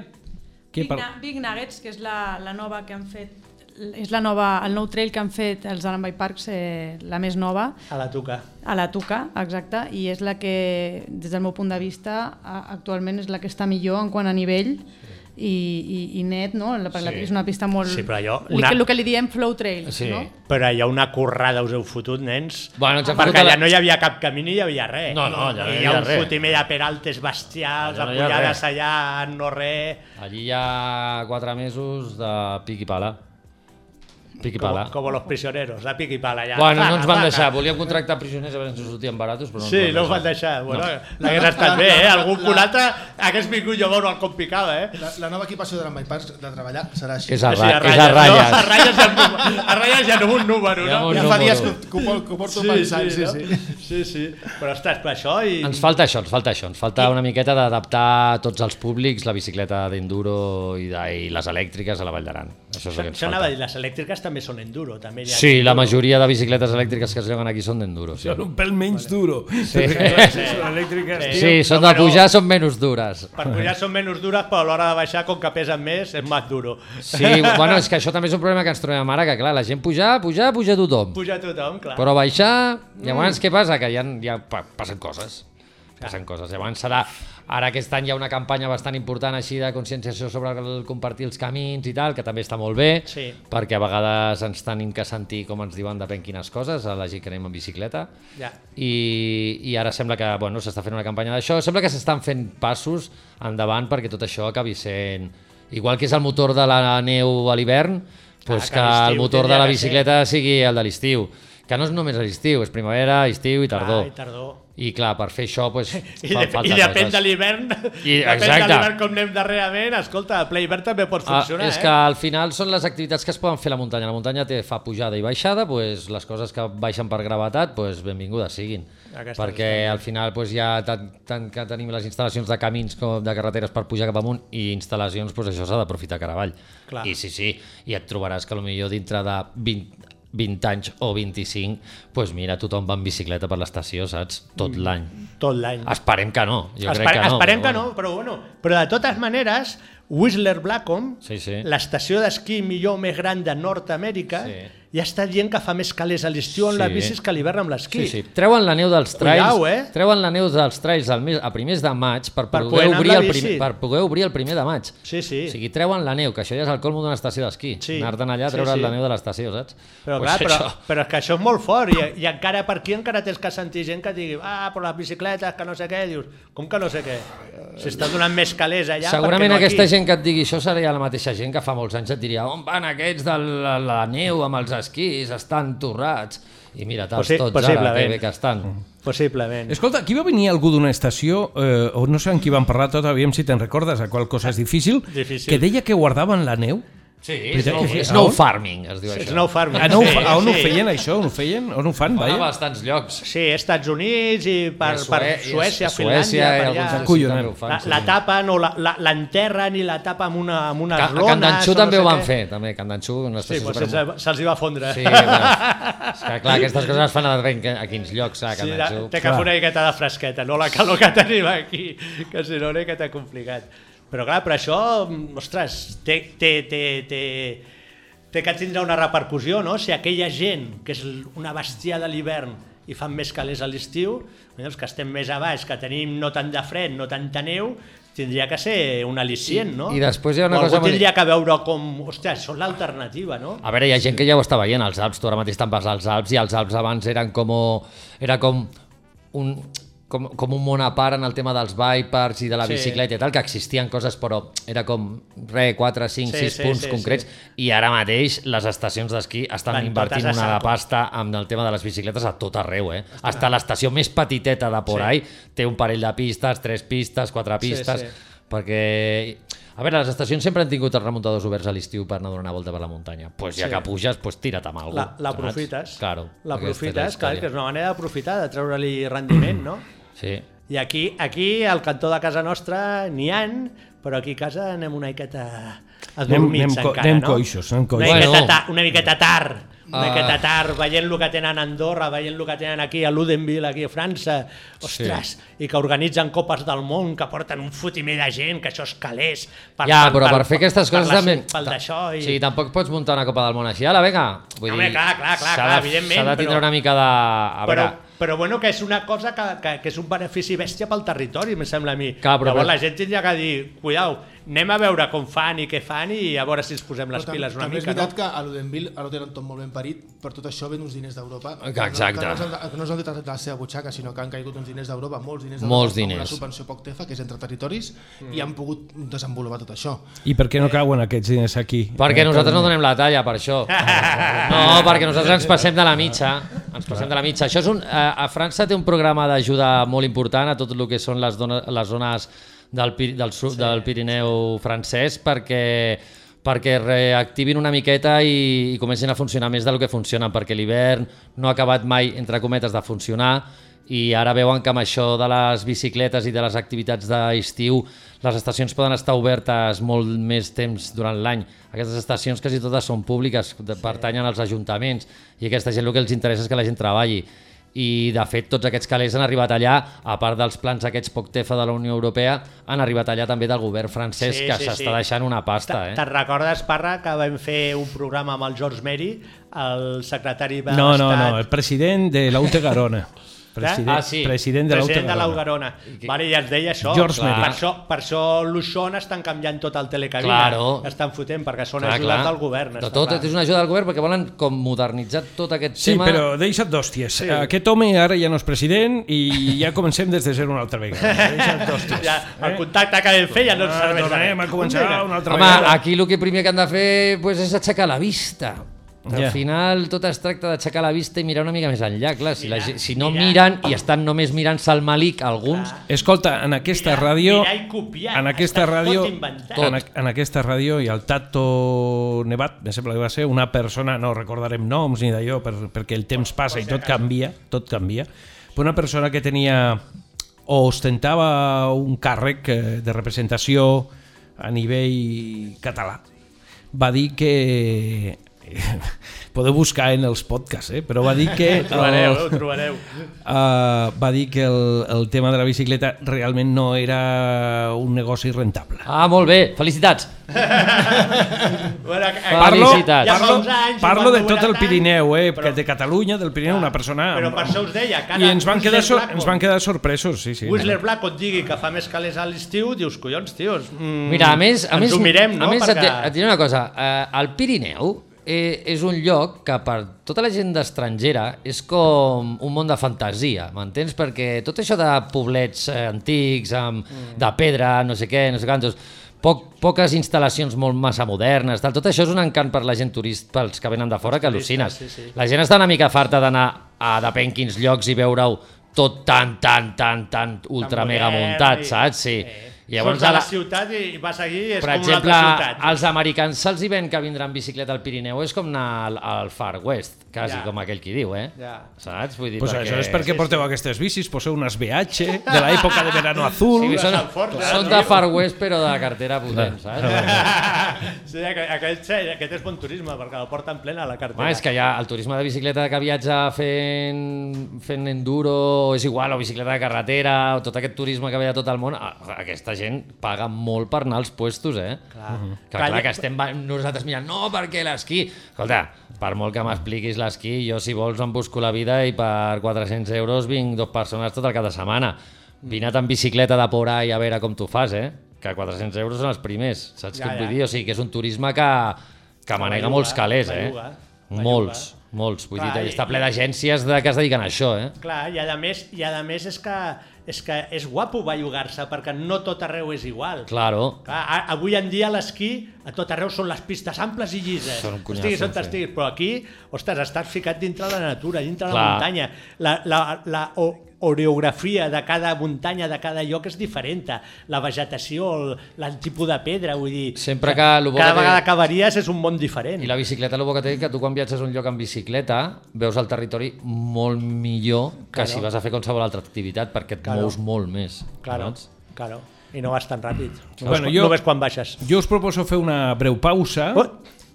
[SPEAKER 3] Què
[SPEAKER 6] Big, Na Big Nuggets, que és la, la nova que han fet és la nova, el nou trail que han fet els Alan Bay Parks, eh, la més nova
[SPEAKER 2] A la tuca.
[SPEAKER 6] a la Tuca, exacte, i és la que des del meu punt de vista a- actualment és la que està millor en quant a nivell i, i, i net, no? La, perquè la-
[SPEAKER 5] Sí.
[SPEAKER 6] és una pista molt...
[SPEAKER 2] Sí, però allò,
[SPEAKER 6] Li,
[SPEAKER 2] una-
[SPEAKER 6] que, el que li diem flow trail,
[SPEAKER 5] Sí.
[SPEAKER 6] no?
[SPEAKER 2] Però hi ha una currada, us heu fotut, nens?
[SPEAKER 5] Bueno, ens hem fotut
[SPEAKER 2] Perquè
[SPEAKER 5] a la-
[SPEAKER 2] allà no hi havia cap camí ni hi havia res.
[SPEAKER 5] No, no, allà no
[SPEAKER 2] I
[SPEAKER 5] hi
[SPEAKER 2] hi ha
[SPEAKER 5] havia
[SPEAKER 2] un
[SPEAKER 5] res.
[SPEAKER 2] fotimer de peraltes bestials,
[SPEAKER 5] Allà no hi ha
[SPEAKER 2] apujades
[SPEAKER 5] res.
[SPEAKER 2] allà, no res...
[SPEAKER 5] allí hi ha quatre mesos de pic i pala. Pic i pala.
[SPEAKER 2] Com, com los prisioneros, la piqui pala allà.
[SPEAKER 5] Bueno, no ens van
[SPEAKER 2] Placa,
[SPEAKER 5] deixar.
[SPEAKER 2] placa.
[SPEAKER 5] Volíem contractar prisioners a veure si ens sortien baratos, però no
[SPEAKER 2] Sí, no
[SPEAKER 5] ens
[SPEAKER 2] ho van deixar. Bueno, no. hagués estat bé, eh? Algun que un altre hagués vingut jo a veure el com picava, eh?
[SPEAKER 4] La, la nova equipació de l'Ambay Parks de treballar serà així.
[SPEAKER 5] Que és a,
[SPEAKER 2] Sí,
[SPEAKER 5] ra és a
[SPEAKER 2] ratlles.
[SPEAKER 5] ratlles.
[SPEAKER 2] No, a ratlles ja amb, a ratlles ja amb un número,
[SPEAKER 5] Ja
[SPEAKER 2] no?
[SPEAKER 5] amb un
[SPEAKER 4] ja fa
[SPEAKER 5] número.
[SPEAKER 4] dies que, que, ho, por- que ho porto pensant, sí, sí. sí.
[SPEAKER 2] no? sí, sí. Però ostres, per això i...
[SPEAKER 5] Ens falta això, ens falta això. Ens falta una miqueta d'adaptar a tots els públics la bicicleta d'enduro i, de, i les elèctriques a la Vall d'Aran. Això és
[SPEAKER 2] Això,
[SPEAKER 5] el que ens
[SPEAKER 2] això anava a
[SPEAKER 5] falta.
[SPEAKER 2] dir, les elèctriques també són enduro. També hi ha
[SPEAKER 5] Sí, la
[SPEAKER 2] enduro.
[SPEAKER 5] majoria de bicicletes elèctriques que es lloguen aquí són d'enduro. Sí.
[SPEAKER 3] Un pèl menys duro. Sí. Elèctriques,
[SPEAKER 2] Sí.
[SPEAKER 3] tio.
[SPEAKER 5] sí, són de
[SPEAKER 2] Però,
[SPEAKER 5] pujar, són menys dures.
[SPEAKER 2] Per pujar són menys dures, però a l'hora de baixar, com que pesen més, és més duro.
[SPEAKER 5] Sí, bueno, és que això també és un problema que ens trobem ara, que clar, la gent pujar, pujar, pujar tothom.
[SPEAKER 2] Puja tothom, clar. Mm.
[SPEAKER 5] Però baixar, llavors què passa? Que ja, ja pa- passen coses. Passen coses. Llavors serà... Ara aquest any hi ha una campanya bastant important així de conscienciació sobre el compartir els camins i tal, que també està molt bé,
[SPEAKER 2] Sí.
[SPEAKER 5] perquè a vegades ens tenim que sentir com ens diuen depèn quines coses, a la gent que anem en bicicleta.
[SPEAKER 2] Ja.
[SPEAKER 5] I, i ara sembla que bueno, s'està fent una campanya d'això, sembla que s'estan fent passos endavant perquè tot això acabi sent Igual que és el motor de la neu a l'hivern, doncs
[SPEAKER 2] Ah, que
[SPEAKER 5] que,
[SPEAKER 2] a
[SPEAKER 5] el
[SPEAKER 2] l'estiu
[SPEAKER 5] motor de
[SPEAKER 2] tindria
[SPEAKER 5] la
[SPEAKER 2] que
[SPEAKER 5] bicicleta sigui el de l'estiu. Que no és només a l'estiu, és primavera, estiu i tardor.
[SPEAKER 2] Ai, Ah, tardor.
[SPEAKER 5] I clar, per fer això doncs,
[SPEAKER 2] I,
[SPEAKER 5] fan
[SPEAKER 2] de,
[SPEAKER 5] falta
[SPEAKER 2] I depèn
[SPEAKER 5] coses.
[SPEAKER 2] de l'hivern,
[SPEAKER 5] I-
[SPEAKER 2] depèn de
[SPEAKER 5] exacte.
[SPEAKER 2] l'hivern com anem darrerament, escolta, el Play Hivern també pot
[SPEAKER 5] Ah,
[SPEAKER 2] funcionar,
[SPEAKER 5] és
[SPEAKER 2] eh?
[SPEAKER 5] que al final són les activitats que es poden fer a la muntanya. La muntanya té, fa pujada i baixada, doncs les coses que baixen per gravetat, doncs benvingudes siguin.
[SPEAKER 2] Aquestes
[SPEAKER 5] perquè al final doncs, hi ha tant, tant que tenim les instal·lacions de camins com de carreteres per pujar cap amunt i instal·lacions, doncs això s'ha d'aprofitar cara avall.
[SPEAKER 2] Clar.
[SPEAKER 5] I sí, sí, i et trobaràs que millor dintre de 20, 20 anys o 25, doncs mira, tothom va en bicicleta per l'estació, saps? Tot l'any.
[SPEAKER 2] Tot l'any.
[SPEAKER 5] Esperem que no, jo
[SPEAKER 2] Esper-
[SPEAKER 5] crec que
[SPEAKER 2] Mm.
[SPEAKER 5] no.
[SPEAKER 2] Esperem
[SPEAKER 5] però
[SPEAKER 2] que no, però bueno. Però de totes maneres, Whistler Blackcomb,
[SPEAKER 5] Sí, sí.
[SPEAKER 2] l'estació d'esquí millor més gran de Nord-amèrica,
[SPEAKER 5] Sí.
[SPEAKER 2] ja està dient que fa més calés a l'estiu amb
[SPEAKER 5] Sí.
[SPEAKER 2] les bicis que a l'hivern amb l'esquí.
[SPEAKER 5] Sí, sí. Treuen la neu dels trails,
[SPEAKER 2] Cuidao, eh?
[SPEAKER 5] treuen la neu dels trails al mes, a primers de maig
[SPEAKER 2] Per
[SPEAKER 5] per poder,
[SPEAKER 2] poder anar amb
[SPEAKER 5] obrir
[SPEAKER 2] la
[SPEAKER 5] el
[SPEAKER 2] bici.
[SPEAKER 5] primer, per poder obrir el primer de maig.
[SPEAKER 2] Sí, sí.
[SPEAKER 5] O sigui, treuen la neu, que això ja és el colmo d'una estació d'esquí.
[SPEAKER 2] Sí.
[SPEAKER 5] Anar-te'n allà a
[SPEAKER 2] Sí,
[SPEAKER 5] treure't
[SPEAKER 2] sí.
[SPEAKER 5] la neu de l'estació, saps?
[SPEAKER 2] Però,
[SPEAKER 5] Pues
[SPEAKER 2] clar, però,
[SPEAKER 5] això.
[SPEAKER 2] però és que això és molt fort i, i encara per aquí encara tens que sentir gent que digui ah, però les bicicletes, que no sé què, dius, com que no sé què? S'està donant més calés allà
[SPEAKER 5] Segurament
[SPEAKER 2] perquè no
[SPEAKER 5] aquesta
[SPEAKER 2] aquí.
[SPEAKER 5] gent que et digui això seria la mateixa gent que fa molts anys et diria on van aquests de la, la neu amb els esquís, estan torrats. I mira, tals
[SPEAKER 2] Possi-
[SPEAKER 5] tots ara, que
[SPEAKER 2] possiblement.
[SPEAKER 5] bé que estan.
[SPEAKER 2] Mm. Possiblement.
[SPEAKER 3] Escolta, aquí va venir algú d'una estació, eh, o no sé amb qui van parlar tot, aviam si te'n recordes, a qual cosa és difícil,
[SPEAKER 2] Difícil.
[SPEAKER 3] que deia que guardaven la neu.
[SPEAKER 5] Sí,
[SPEAKER 3] Veritat
[SPEAKER 5] snow,
[SPEAKER 3] que sí?
[SPEAKER 5] snow
[SPEAKER 3] Ah, on?
[SPEAKER 5] farming, es diu
[SPEAKER 2] És
[SPEAKER 5] això.
[SPEAKER 2] nou farming.
[SPEAKER 3] A, Ah, no,
[SPEAKER 2] Sí,
[SPEAKER 3] a on ho
[SPEAKER 2] sí.
[SPEAKER 3] feien això? On ho feien? On ho fan?
[SPEAKER 5] Fan a
[SPEAKER 3] Vaja.
[SPEAKER 5] bastants llocs.
[SPEAKER 2] Sí, Estats Units i per,
[SPEAKER 5] I a Sue-
[SPEAKER 2] per
[SPEAKER 5] i a
[SPEAKER 2] Suècia,
[SPEAKER 5] Suècia
[SPEAKER 2] Finlàndia,
[SPEAKER 5] i
[SPEAKER 2] per
[SPEAKER 5] alguns
[SPEAKER 2] allà.
[SPEAKER 5] llocs
[SPEAKER 3] Collons.
[SPEAKER 5] també ho fan,
[SPEAKER 2] La,
[SPEAKER 5] sí.
[SPEAKER 2] la tapen o la- la- l'enterren i la tapen amb, una, amb unes
[SPEAKER 5] Ca-
[SPEAKER 2] rones.
[SPEAKER 5] A Candanxú
[SPEAKER 2] o
[SPEAKER 5] també
[SPEAKER 2] no
[SPEAKER 5] ho
[SPEAKER 2] sé
[SPEAKER 5] van
[SPEAKER 2] què.
[SPEAKER 5] fer, també, Candanxú. Una
[SPEAKER 2] Sí,
[SPEAKER 5] estació
[SPEAKER 2] doncs
[SPEAKER 5] super...
[SPEAKER 2] se'ls se'ls hi va fondre.
[SPEAKER 5] Sí, clar. és que clar, aquestes coses es fan a, ben, a quins llocs, a
[SPEAKER 2] Sí, la,
[SPEAKER 5] Candanxú.
[SPEAKER 2] té que fer una miqueta de fresqueta, no la calor que tenim aquí, que si no una miqueta complicat. Però clar, però això, mm, ostres, té, té, té, té, té que tindre una repercussió, no? Si aquella gent, que és l- una bestia de l'hivern, i fan més calés a l'estiu, doncs que estem més a baix, que tenim no tant de fred, no tanta neu, tindria que ser un al·licient, no?
[SPEAKER 5] i després hi ha una
[SPEAKER 2] o algú
[SPEAKER 5] cosa molt-
[SPEAKER 2] tindria que veure com, ostres, són l'alternativa, no?
[SPEAKER 5] A veure, hi ha gent que ja ho està veient, als Alps, tu ara mateix te'n vas als Alps, i els Alps abans eren com... o- Era com un, com, com un món a part en el tema dels bipers i de la
[SPEAKER 2] Sí.
[SPEAKER 5] sí. bicicleta i tal, que existien coses però era com re, 4, 5,
[SPEAKER 2] Sí,
[SPEAKER 5] 6
[SPEAKER 2] sí,
[SPEAKER 5] punts
[SPEAKER 2] sí,
[SPEAKER 5] concrets i ara mateix les estacions d'esquí estan
[SPEAKER 2] Van
[SPEAKER 5] invertint
[SPEAKER 2] totes a
[SPEAKER 5] una de
[SPEAKER 2] saco.
[SPEAKER 5] pasta amb el tema de les bicicletes a tot arreu, eh? Hasta l'estació més petiteta de por
[SPEAKER 2] Sí.
[SPEAKER 5] ahí té un parell de pistes, tres pistes, quatre
[SPEAKER 2] Sí,
[SPEAKER 5] pistes,
[SPEAKER 2] sí.
[SPEAKER 5] perquè... A veure, les estacions sempre han tingut els remuntadors oberts a l'estiu per anar a donar una volta per la muntanya. pues ja
[SPEAKER 2] Sí.
[SPEAKER 5] que puges, pues tira't amb alguna
[SPEAKER 2] La-
[SPEAKER 5] cosa.
[SPEAKER 2] L'aprofites.
[SPEAKER 5] Claro. aquesta
[SPEAKER 2] L'aprofites,
[SPEAKER 5] és la
[SPEAKER 2] clar,
[SPEAKER 5] història.
[SPEAKER 2] que és una manera d'aprofitar, de treure-li rendiment, no?
[SPEAKER 5] Sí.
[SPEAKER 2] I aquí, aquí al cantó de casa nostra, n'hi han, però aquí a casa anem una miqueta adormits
[SPEAKER 3] anem co-
[SPEAKER 2] encara,
[SPEAKER 3] anem
[SPEAKER 2] no?
[SPEAKER 3] coixos, anem coixos.
[SPEAKER 2] Una miqueta,
[SPEAKER 5] Bueno.
[SPEAKER 2] ta, una miqueta tard, una
[SPEAKER 5] Ah.
[SPEAKER 2] miqueta tard, veient el que tenen a Andorra, veient el que tenen aquí a Ludenville, aquí a França, ostres, i que organitzen copes del món, que porten un fotimer de gent, que això és calés. Per,
[SPEAKER 5] ja, però per, fer aquestes coses
[SPEAKER 2] la-
[SPEAKER 5] també...
[SPEAKER 2] Pel d'això i...
[SPEAKER 5] Sí, tampoc pots muntar una Copa del Món així. Ala, vinga!
[SPEAKER 2] Home, clar, clar, clar,
[SPEAKER 5] s'ha
[SPEAKER 2] clar,
[SPEAKER 5] de-
[SPEAKER 2] evidentment,
[SPEAKER 5] S'ha de tindre
[SPEAKER 2] però-
[SPEAKER 5] una mica de... A veure,
[SPEAKER 2] però, però bueno, que és una cosa que, que, que és un benefici bèstia pel territori, em sembla a mi.
[SPEAKER 5] Clar, però-
[SPEAKER 2] Llavors la gent tindria que dir, cuidao, anem a veure com fan i què fan i a veure si ens posem les
[SPEAKER 4] Però tam-
[SPEAKER 2] piles una
[SPEAKER 4] també
[SPEAKER 2] mica,
[SPEAKER 4] és veritat
[SPEAKER 2] no?
[SPEAKER 4] que a l'Udenville ara ho tenen tot molt ben parit, per tot això ven uns diners d'Europa.
[SPEAKER 5] Que exacte.
[SPEAKER 4] Que no, que no, s'han- que no s'han tret de la seva butxaca, sinó que han caigut uns diners d'Europa, molts diners d'Europa,
[SPEAKER 5] Molts
[SPEAKER 4] amb
[SPEAKER 5] diners.
[SPEAKER 4] una subvenció poc tefa, que és entre territoris, i han pogut desenvolupar tot això.
[SPEAKER 3] I per què no cauen aquests diners aquí? Eh,
[SPEAKER 5] Perquè nosaltres no donem la talla per això. No, perquè nosaltres ens passem de la mitja. Ens passem de la mitja. Això és un, a, a França té un programa d'ajuda molt important a tot el que són les, dones, les zones del, Pi- del, sud, del Pirineu francès perquè perquè reactivin una miqueta i, i comencin a funcionar més del que funcionen, perquè l'hivern no ha acabat mai, entre cometes, de funcionar i ara veuen que amb això de les bicicletes i de les activitats d'estiu les estacions poden estar obertes molt més temps durant l'any. Aquestes estacions quasi totes són públiques, de- pertanyen als ajuntaments i aquesta gent el que els interessa és que la gent treballi. I de fet tots aquests calés han arribat allà, a part dels plans aquests poc tefa de la Unió Europea, han arribat allà també del govern francès
[SPEAKER 2] Sí,
[SPEAKER 5] que
[SPEAKER 2] sí,
[SPEAKER 5] s'està
[SPEAKER 2] sí.
[SPEAKER 5] deixant una pasta. Eh?
[SPEAKER 2] Te'n recordes, Parra, que vam fer un programa amb el George Mary, el secretari de
[SPEAKER 3] No, no,
[SPEAKER 2] l'Estat? eh?
[SPEAKER 3] no, el president de la UT Garona. President,
[SPEAKER 5] Ah, sí.
[SPEAKER 3] president de
[SPEAKER 2] president de
[SPEAKER 3] l'Autogarona.
[SPEAKER 2] l'Augarona. Vale, ja es deia això.
[SPEAKER 3] George
[SPEAKER 2] per,
[SPEAKER 3] Merrick.
[SPEAKER 2] això per això l'Uixón estan canviant tot el telecabina.
[SPEAKER 5] Claro.
[SPEAKER 2] Estan fotent perquè són
[SPEAKER 5] Clar,
[SPEAKER 2] ajudat
[SPEAKER 5] clar.
[SPEAKER 2] al govern.
[SPEAKER 5] De
[SPEAKER 2] està
[SPEAKER 5] tot,
[SPEAKER 2] clar.
[SPEAKER 5] és una ajuda al govern perquè volen com modernitzar tot aquest
[SPEAKER 3] Sí,
[SPEAKER 5] tema.
[SPEAKER 3] però deixa't d'hòsties. Sí. Aquest home ara ja no és president i ja comencem des de zero una altra vegada. Deixa't d'hòsties.
[SPEAKER 2] Ja, el contacte que vam fer ja no ens
[SPEAKER 3] Ah,
[SPEAKER 2] serveix. de res.
[SPEAKER 3] tornem a començar una altra
[SPEAKER 5] Home,
[SPEAKER 3] vegada.
[SPEAKER 5] aquí el que primer que han de fer pues, és aixecar la vista. Al
[SPEAKER 3] Ja.
[SPEAKER 5] final tot es tracta d'aixecar la vista i mirar una mica més enllà, clar, si, la,
[SPEAKER 2] Mirar,
[SPEAKER 5] gent- si no
[SPEAKER 2] mirar.
[SPEAKER 5] miren i estan només mirant-se al malic alguns,
[SPEAKER 3] Escolta, en aquesta
[SPEAKER 2] Mirar-
[SPEAKER 3] ràdio...
[SPEAKER 2] mirar i copiar.
[SPEAKER 3] En
[SPEAKER 2] Està
[SPEAKER 3] aquesta
[SPEAKER 2] tot
[SPEAKER 3] ràdio...
[SPEAKER 2] inventat.
[SPEAKER 3] En, a- en aquesta ràdio i el Tato Nevat, me sembla que va ser una persona, no recordarem noms ni d'allò, per, perquè el temps passa i tot canvia, tot canvia, però una persona que tenia o ostentava un càrrec eh, de representació a nivell català, va dir que... eh, Podeu buscar en els podcasts, eh? però va dir que...
[SPEAKER 2] Ho trobareu, ho trobareu.
[SPEAKER 3] Uh, va dir que el, el tema de la bicicleta realment no era un negoci rentable.
[SPEAKER 5] Ah, molt bé, felicitats.
[SPEAKER 2] Bueno, eh,
[SPEAKER 3] Parlo,
[SPEAKER 5] felicitats.
[SPEAKER 2] Ja fa
[SPEAKER 3] parlo,
[SPEAKER 2] uns anys,
[SPEAKER 3] parlo
[SPEAKER 2] quan
[SPEAKER 3] de
[SPEAKER 2] no
[SPEAKER 3] tot
[SPEAKER 2] era
[SPEAKER 3] el
[SPEAKER 2] tant,
[SPEAKER 3] Pirineu, eh?
[SPEAKER 2] però-
[SPEAKER 3] Però, de Catalunya, del Pirineu, una persona...
[SPEAKER 2] Però per això us deia, cada
[SPEAKER 3] I ens van,
[SPEAKER 2] Whistler
[SPEAKER 3] quedar sor,
[SPEAKER 2] Blackmore-
[SPEAKER 3] ens van quedar sorpresos, sí, sí.
[SPEAKER 2] Whistler Black et digui que fa més calés a l'estiu, dius, collons, tios. Mm,
[SPEAKER 5] Mira, a més, a
[SPEAKER 2] ens
[SPEAKER 5] més,
[SPEAKER 2] ho mirem, no?
[SPEAKER 5] a més et,
[SPEAKER 2] Perquè...
[SPEAKER 5] di- et diré una cosa, eh, el Pirineu eh, és un lloc que per tota la gent estrangera és com un món de fantasia, m'entens? Perquè tot això de poblets eh, antics, amb,
[SPEAKER 2] Mm.
[SPEAKER 5] de pedra, no sé què, no sé quantos, poc, poques instal·lacions molt massa modernes, tal, tot això és un encant per la gent turista, pels que venen de fora, que al·lucines.
[SPEAKER 2] sí, sí.
[SPEAKER 5] La gent està una mica farta d'anar a depèn quins llocs i veure-ho tot tan, tan, tan, tan ultra mega
[SPEAKER 2] modern
[SPEAKER 5] muntat,
[SPEAKER 2] i-
[SPEAKER 5] saps? Sí.
[SPEAKER 2] Llavors, eh, Surts a
[SPEAKER 5] a
[SPEAKER 2] la ciutat i vas aquí i és com
[SPEAKER 5] per exemple,
[SPEAKER 2] una altra ciutat.
[SPEAKER 5] als americans se'ls hi ven que vindrà en bicicleta al Pirineu és com anar al, al Far West, quasi
[SPEAKER 2] Ja.
[SPEAKER 5] com aquell qui diu, eh?
[SPEAKER 2] Ja.
[SPEAKER 5] Saps? Vull dir,
[SPEAKER 3] Pues
[SPEAKER 5] perquè...
[SPEAKER 3] això és perquè porteu aquestes bicis, poseu unes BH de l'època de verano azul...
[SPEAKER 5] Sí, són,
[SPEAKER 2] al Ford, eh,
[SPEAKER 5] són
[SPEAKER 2] no?
[SPEAKER 5] de Far West, però de cartera potent, saps?
[SPEAKER 2] sí, aqu- aquest, sí, aquest és bon turisme, perquè el porten plena a la cartera.
[SPEAKER 5] Home, és que ja el turisme de bicicleta que viatja fent, fent enduro, o és igual, o bicicleta de carretera, o tot aquest turisme que ve de tot el món, a- aquesta gent paga molt per anar als puestos, eh? Clar. Que, clar, que estem va- nosaltres mirant, no, perquè l'esquí... Escolta, per molt que m'expliquis l'esquí, jo si vols em busco la vida i per 400 euros vinc dos persones tot el cap de setmana. Vina't en bicicleta de por ahí a veure com tu fas, eh? Que 400 euros són els primers, saps
[SPEAKER 2] Ja,
[SPEAKER 5] ja, què et
[SPEAKER 2] ja.
[SPEAKER 5] vull dir? O sigui, que és un turisme que, que manega
[SPEAKER 2] belluga,
[SPEAKER 5] molts calés, eh?
[SPEAKER 2] belluga, belluga.
[SPEAKER 5] Molts, molts. Vull
[SPEAKER 2] Clar,
[SPEAKER 5] dir,
[SPEAKER 2] i-
[SPEAKER 5] està ple d'agències de, que es dediquen a això, eh?
[SPEAKER 2] Clar, i a més, i a més és, que, és que és guapo bellugar-se, perquè no tot arreu és igual.
[SPEAKER 5] Claro.
[SPEAKER 2] Clar, a- avui en dia l'esquí a tot arreu són les pistes amples i llises.
[SPEAKER 5] Són un
[SPEAKER 2] Són
[SPEAKER 5] conyazo,
[SPEAKER 2] estiguis on
[SPEAKER 5] sí.
[SPEAKER 2] estiguis, però aquí, ostres, estàs ficat dintre la natura, dintre la
[SPEAKER 5] Clar.
[SPEAKER 2] muntanya. La, la, la o- oreografia de cada muntanya, de cada lloc és diferent. La vegetació, el, el tipus de pedra, vull dir...
[SPEAKER 5] Sempre que lo bo
[SPEAKER 2] Cada
[SPEAKER 5] que té-
[SPEAKER 2] vegada que varies és un món diferent.
[SPEAKER 5] I la bicicleta, el bo que té, que tu quan viatges a un lloc en bicicleta, veus el territori molt millor que si vas a fer qualsevol altra activitat, perquè et
[SPEAKER 2] Claro.
[SPEAKER 5] mous molt més.
[SPEAKER 2] Claro,
[SPEAKER 5] saps?
[SPEAKER 2] claro. I no vas tan ràpid. No
[SPEAKER 3] Bueno,
[SPEAKER 2] ves,
[SPEAKER 3] jo-
[SPEAKER 2] no ves quan baixes.
[SPEAKER 3] Jo us proposo fer una breu pausa
[SPEAKER 2] Oh.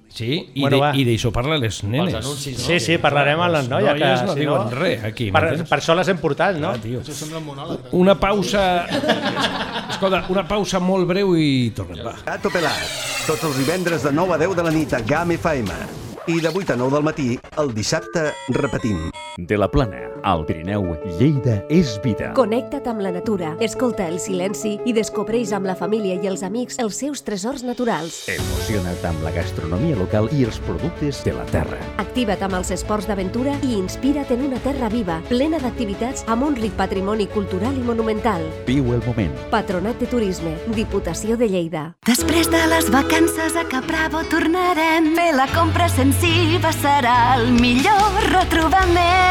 [SPEAKER 3] sí, i,
[SPEAKER 2] Bueno,
[SPEAKER 3] bueno,
[SPEAKER 2] va.
[SPEAKER 3] de, i d'això parla les nenes.
[SPEAKER 5] Els anuncis, no?
[SPEAKER 2] Sí, sí, parlarem amb les
[SPEAKER 3] Les
[SPEAKER 2] noies.
[SPEAKER 3] noies
[SPEAKER 2] que,
[SPEAKER 3] no diuen res, aquí,
[SPEAKER 2] Per,
[SPEAKER 3] m'entens?
[SPEAKER 2] per això les hem portat, no?
[SPEAKER 3] Ah, tio.
[SPEAKER 4] Això sembla un monòleg.
[SPEAKER 3] Una pausa... Escolta, una pausa molt breu i tornem, va.
[SPEAKER 1] Tato Pelat, tots els divendres de 9 a 10 de la nit a GAM FM. I de 8 a 9 del matí, el dissabte, repetim.
[SPEAKER 7] De la Plana, al Pirineu, Lleida és vida.
[SPEAKER 8] Connecta't amb la natura, escolta el silenci i descobreix amb la família i els amics els seus tresors naturals.
[SPEAKER 7] Emociona't amb la gastronomia local i els productes de la terra.
[SPEAKER 8] Activa't amb els esports d'aventura i inspira't en una terra viva, plena d'activitats amb un ric patrimoni cultural i monumental.
[SPEAKER 7] Viu el moment.
[SPEAKER 8] Patronat de Turisme, Diputació de Lleida.
[SPEAKER 9] Després de les vacances a Caprabo tornarem. Fer la compra sensiva serà el millor retrobament.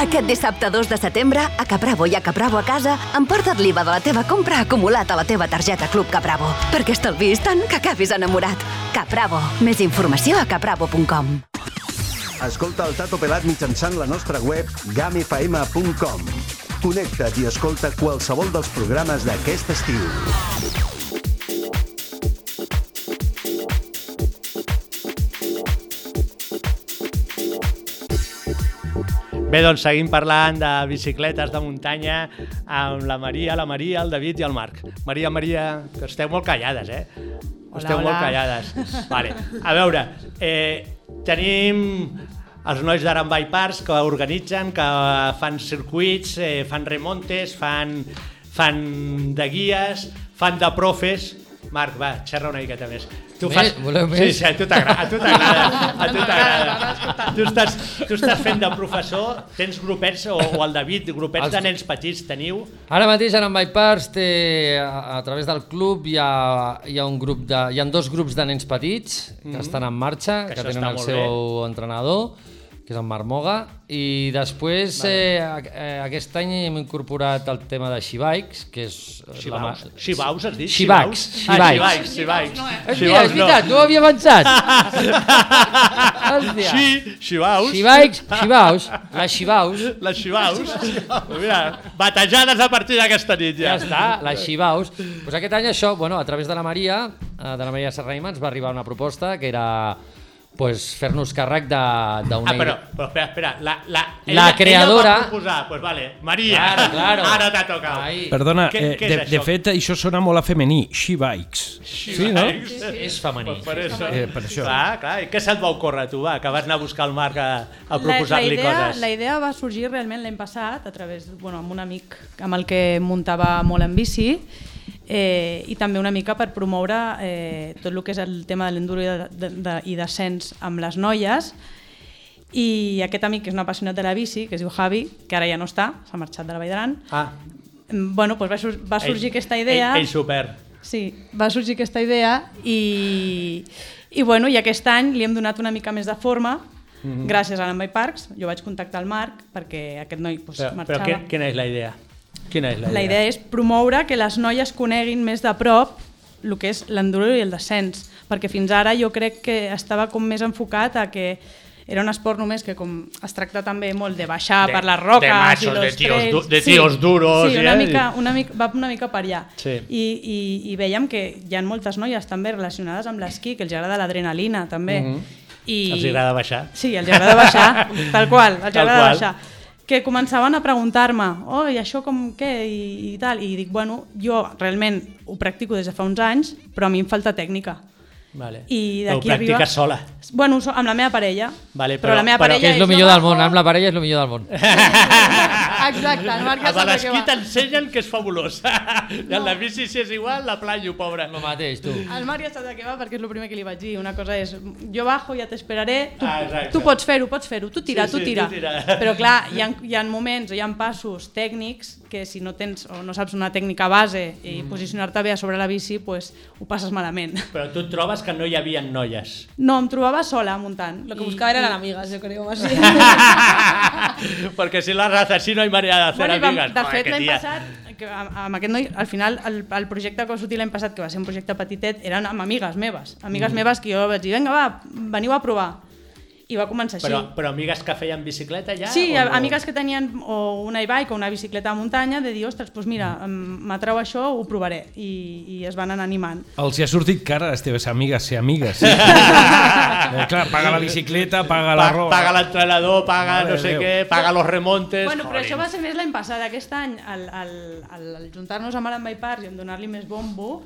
[SPEAKER 8] Aquest dissabte 2 de setembre, a Capravo i a Capravo a casa, emporta't l'IVA de la teva compra acumulat a la teva targeta Club Capravo, perquè estalvis tant que acabis enamorat. Capravo.
[SPEAKER 9] Més informació a caprabo.com.
[SPEAKER 1] Escolta el Tato Pelat mitjançant la nostra web gamfm.com. Connecta't i escolta qualsevol dels programes d'aquest estiu.
[SPEAKER 2] Bé, doncs seguim parlant de bicicletes de muntanya amb la Maria, la Maria, el David i el Marc. Maria, Maria, que esteu molt callades, eh? Hola, esteu
[SPEAKER 6] hola.
[SPEAKER 2] molt callades. Vale. A veure, eh, tenim els nois d'Arambay Parks que organitzen, que fan circuits, eh, fan remontes, fan, fan de guies, fan de profes. Marc, va, xerra una miqueta més. Tu
[SPEAKER 5] Més? Voleu més?
[SPEAKER 2] Sí, sí, a tu t'agrada, a tu t'agrada, a tu t'agrada. Tu estàs, tu estàs fent de professor, tens grupets, o, o el David, grupets
[SPEAKER 5] Els-
[SPEAKER 2] de nens petits teniu,
[SPEAKER 5] Ara mateix en My Parts té, a, a través del club hi ha, hi, ha un grup de, hi ha dos grups de nens petits que estan en marxa,
[SPEAKER 2] Mhm. Que
[SPEAKER 5] que,
[SPEAKER 2] això
[SPEAKER 5] tenen
[SPEAKER 2] està
[SPEAKER 5] el
[SPEAKER 2] molt
[SPEAKER 5] seu entrenador, que és en Marmoga, i després vale. eh, a- eh, aquest any hem incorporat el tema de Shibikes, que és... eh, ma-
[SPEAKER 2] Xivaus, xivaus es diu?
[SPEAKER 5] Xivacs,
[SPEAKER 2] Ah,
[SPEAKER 5] xivacs.
[SPEAKER 2] xivacs, xivacs.
[SPEAKER 5] És, mira, és veritat, no ho havia pensat. Hòstia.
[SPEAKER 2] Sí, xivaus.
[SPEAKER 5] Shibikes, Shibaus, les Shibaus,
[SPEAKER 2] Les xivaus. Mira, batejades a partir d'aquesta nit ja.
[SPEAKER 5] ja està, les Xivaus. Pues aquest any això, bueno, a través de la Maria, eh, de la Maria Serraima, ens va arribar una proposta que era pues, fer-nos càrrec de- d'una...
[SPEAKER 2] Ah, però, però espera, espera. La, la,
[SPEAKER 5] La creadora-
[SPEAKER 2] Ella va proposar, pues vale, Maria,
[SPEAKER 5] Claro, claro.
[SPEAKER 2] ara t'ha tocat.
[SPEAKER 5] Ai.
[SPEAKER 3] Perdona,
[SPEAKER 2] Què-
[SPEAKER 3] eh,
[SPEAKER 2] què
[SPEAKER 3] de,
[SPEAKER 2] és
[SPEAKER 3] de
[SPEAKER 2] això?
[SPEAKER 3] fet, això sona molt a femení. She bikes. Sí, no?
[SPEAKER 5] És femení.
[SPEAKER 2] Pues per això.
[SPEAKER 3] Eh, per això.
[SPEAKER 2] Clar, clar. I què se't va ocórrer, tu, va? Que vas anar a buscar el Marc a, a proposar-li
[SPEAKER 6] la, la idea,
[SPEAKER 2] coses.
[SPEAKER 6] La idea va sorgir realment l'any passat a través bueno, amb un amic amb el que muntava molt en bici eh, i també una mica per promoure eh, tot el que és el tema de l'enduro i, de, de, de, i descens amb les noies i aquest amic que és un apassionat de la bici, que es diu Javi, que ara ja no està, s'ha marxat de la Vall d'Aran,
[SPEAKER 2] Ah,
[SPEAKER 6] bueno, doncs va, sur va sorgir
[SPEAKER 2] ell-
[SPEAKER 6] aquesta idea...
[SPEAKER 2] Ell, ell super.
[SPEAKER 6] Sí, va sorgir aquesta idea i, i, bueno, i aquest any li hem donat una mica més de forma mm -hmm. gràcies a l'Ambay Parks. Jo vaig contactar el Marc perquè aquest noi pues,
[SPEAKER 2] Però, però
[SPEAKER 6] marxava.
[SPEAKER 2] què, quina és la idea? Quina és la idea?
[SPEAKER 6] La idea és promoure que les noies coneguin més de prop el que és l'enduro i el descens, perquè fins ara jo crec que estava com més enfocat a que era un esport només que com es tracta també molt de baixar
[SPEAKER 2] De-
[SPEAKER 6] per les roques
[SPEAKER 2] de machos,
[SPEAKER 6] i los
[SPEAKER 2] de tios
[SPEAKER 6] trails.
[SPEAKER 2] du- de tios duros,
[SPEAKER 6] Sí, una,
[SPEAKER 2] eh?
[SPEAKER 6] mica, una mica, va una mica per allà.
[SPEAKER 2] Sí.
[SPEAKER 6] I, i, I vèiem que hi ha moltes noies també relacionades amb l'esquí, que els agrada l'adrenalina també. Mm -hmm. I...
[SPEAKER 2] Mhm. Els agrada baixar?
[SPEAKER 6] Sí, els agrada baixar, tal qual, els
[SPEAKER 2] Tal
[SPEAKER 6] agrada
[SPEAKER 2] qual.
[SPEAKER 6] baixar. Que començaven a preguntar-me, oh, i això com què, i, i tal. I dic, bueno, jo realment ho practico des de fa uns anys, però a mi em falta tècnica.
[SPEAKER 2] Vale.
[SPEAKER 6] I
[SPEAKER 2] Ho
[SPEAKER 6] d'aquí
[SPEAKER 2] practiques
[SPEAKER 6] arriba-
[SPEAKER 2] sola.
[SPEAKER 6] Bueno, so, amb la meva parella.
[SPEAKER 2] Vale,
[SPEAKER 6] però,
[SPEAKER 2] però-
[SPEAKER 6] la meva
[SPEAKER 2] però-
[SPEAKER 6] parella
[SPEAKER 5] Que és el
[SPEAKER 6] la
[SPEAKER 5] millor del món, amb la parella és el millor del món.
[SPEAKER 6] Exacte, el Marc
[SPEAKER 2] A
[SPEAKER 6] ja sap de què
[SPEAKER 2] Balasquí
[SPEAKER 6] va.
[SPEAKER 2] t'ensenyen que és fabulós. I en la bici, si és igual, la planyo, pobra.
[SPEAKER 5] El mateix, tu.
[SPEAKER 6] El Marc ja sap de què va perquè és el primer que li vaig dir. Una cosa és, jo bajo, ja t'esperaré, tu,
[SPEAKER 2] Ah, exacte.
[SPEAKER 6] tu pots fer-ho, pots fer-ho, tu tira,
[SPEAKER 2] Sí,
[SPEAKER 6] tu
[SPEAKER 2] sí,
[SPEAKER 6] tira.
[SPEAKER 2] tu tira.
[SPEAKER 6] Però clar, hi ha, hi ha moments o hi ha passos tècnics que si no tens o no saps una tècnica base i
[SPEAKER 2] Mm.
[SPEAKER 6] posicionar-te bé a sobre la bici, pues, ho passes malament.
[SPEAKER 2] Però tu et trobes que no hi havia noies.
[SPEAKER 6] No, em trobava sola muntant. Lo que buscaba eran amigas, yo creo, más bien.
[SPEAKER 2] Perquè si la raza sí no hi manera de fer
[SPEAKER 6] Bueno, i vam,
[SPEAKER 2] amigues.
[SPEAKER 6] de
[SPEAKER 2] Joder,
[SPEAKER 6] fet,
[SPEAKER 2] que
[SPEAKER 6] l'any
[SPEAKER 2] tia.
[SPEAKER 6] passat, que amb, amb aquest noi, al final, el, el projecte que va sortir l'any passat, que va ser un projecte petitet, eren amb amigues meves. Amigues mm. meves que jo vaig dir, vinga, va, veniu a provar. I va començar
[SPEAKER 2] Però,
[SPEAKER 6] així.
[SPEAKER 2] però amigues que feien bicicleta ja?
[SPEAKER 6] Sí,
[SPEAKER 2] o
[SPEAKER 6] a-
[SPEAKER 2] no?
[SPEAKER 6] amigues que tenien o una e-bike o una bicicleta de muntanya, de dir, ostres, doncs mira, em- m'atrau això, ho provaré. I, I es van anar animant.
[SPEAKER 3] Els hi ha sortit cara a les teves amigues ser amigues. Sí. eh, clar, paga la bicicleta, paga la
[SPEAKER 2] Pa
[SPEAKER 3] roba.
[SPEAKER 2] paga l'entrenador, paga
[SPEAKER 3] Mare
[SPEAKER 2] no
[SPEAKER 3] de
[SPEAKER 2] sé
[SPEAKER 3] Déu.
[SPEAKER 2] què, paga los remontes...
[SPEAKER 6] Bueno, però
[SPEAKER 2] Jolín.
[SPEAKER 6] això va ser més l'any passat. Aquest any, al, al, al, al juntar-nos amb l'Ambay Park i en donar-li més bombo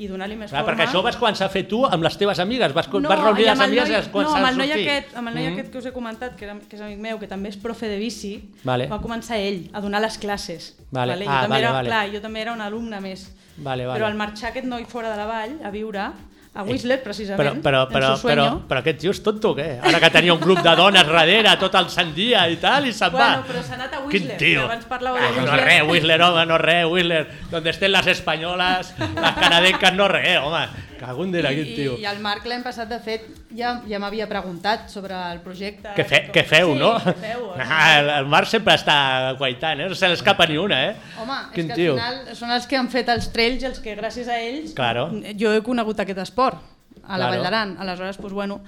[SPEAKER 6] i donar-li més
[SPEAKER 2] Clar,
[SPEAKER 6] forma...
[SPEAKER 2] perquè això ho vas començar a fer tu amb les teves amigues, vas, no, vas
[SPEAKER 6] i
[SPEAKER 2] reunir les
[SPEAKER 6] amb el
[SPEAKER 2] amigues
[SPEAKER 6] noi-
[SPEAKER 2] i es començar
[SPEAKER 6] no, amb
[SPEAKER 2] a
[SPEAKER 6] el noi
[SPEAKER 2] sortir. Mm.
[SPEAKER 6] aquest, amb el noi aquest que us he comentat, que, era, que és amic meu, que també és profe de bici,
[SPEAKER 2] Vale.
[SPEAKER 6] va començar ell a donar les classes.
[SPEAKER 2] Vale.
[SPEAKER 6] Jo,
[SPEAKER 2] Ah,
[SPEAKER 6] també
[SPEAKER 2] vale,
[SPEAKER 6] era,
[SPEAKER 2] vale.
[SPEAKER 6] Clar, jo també era un alumne més.
[SPEAKER 2] Vale, vale.
[SPEAKER 6] Però al marxar aquest noi fora de la vall, a viure, a Whistler,
[SPEAKER 2] Però,
[SPEAKER 6] precisament,
[SPEAKER 2] Eh, però, però,
[SPEAKER 6] en su
[SPEAKER 2] però,
[SPEAKER 6] sueño,
[SPEAKER 2] però aquest tio és tonto, o què? Ara que tenia un grup de dones darrere tot el sant dia i tal, i se'n
[SPEAKER 6] Bueno,
[SPEAKER 2] va.
[SPEAKER 6] però s'ha anat a
[SPEAKER 2] Quin
[SPEAKER 6] Whistler,
[SPEAKER 2] tio.
[SPEAKER 6] que abans parlàveu de
[SPEAKER 2] Ah, no
[SPEAKER 6] Whistler.
[SPEAKER 2] res, Whistler, home, no res, Whistler. Donde estén las españolas, las canadenques, no res, home. Cago en dir, quin
[SPEAKER 6] I,
[SPEAKER 2] tio.
[SPEAKER 6] i el Marc l'any passat, de fet, ja, ja m'havia preguntat sobre el projecte.
[SPEAKER 2] Que, fe, que feu,
[SPEAKER 6] sí,
[SPEAKER 2] no?
[SPEAKER 6] Què feu? eh? o sigui,
[SPEAKER 2] Ah, el, el Marc sempre està guaitant, eh? No se l'escapa ni una, eh?
[SPEAKER 6] Home, és
[SPEAKER 2] Quin
[SPEAKER 6] que
[SPEAKER 2] tio.
[SPEAKER 6] al final són els que han fet els trails i els que gràcies a ells
[SPEAKER 2] Claro.
[SPEAKER 6] jo he conegut aquest esport a la
[SPEAKER 2] Claro.
[SPEAKER 6] Vall d'Aran. Aleshores, doncs, bueno,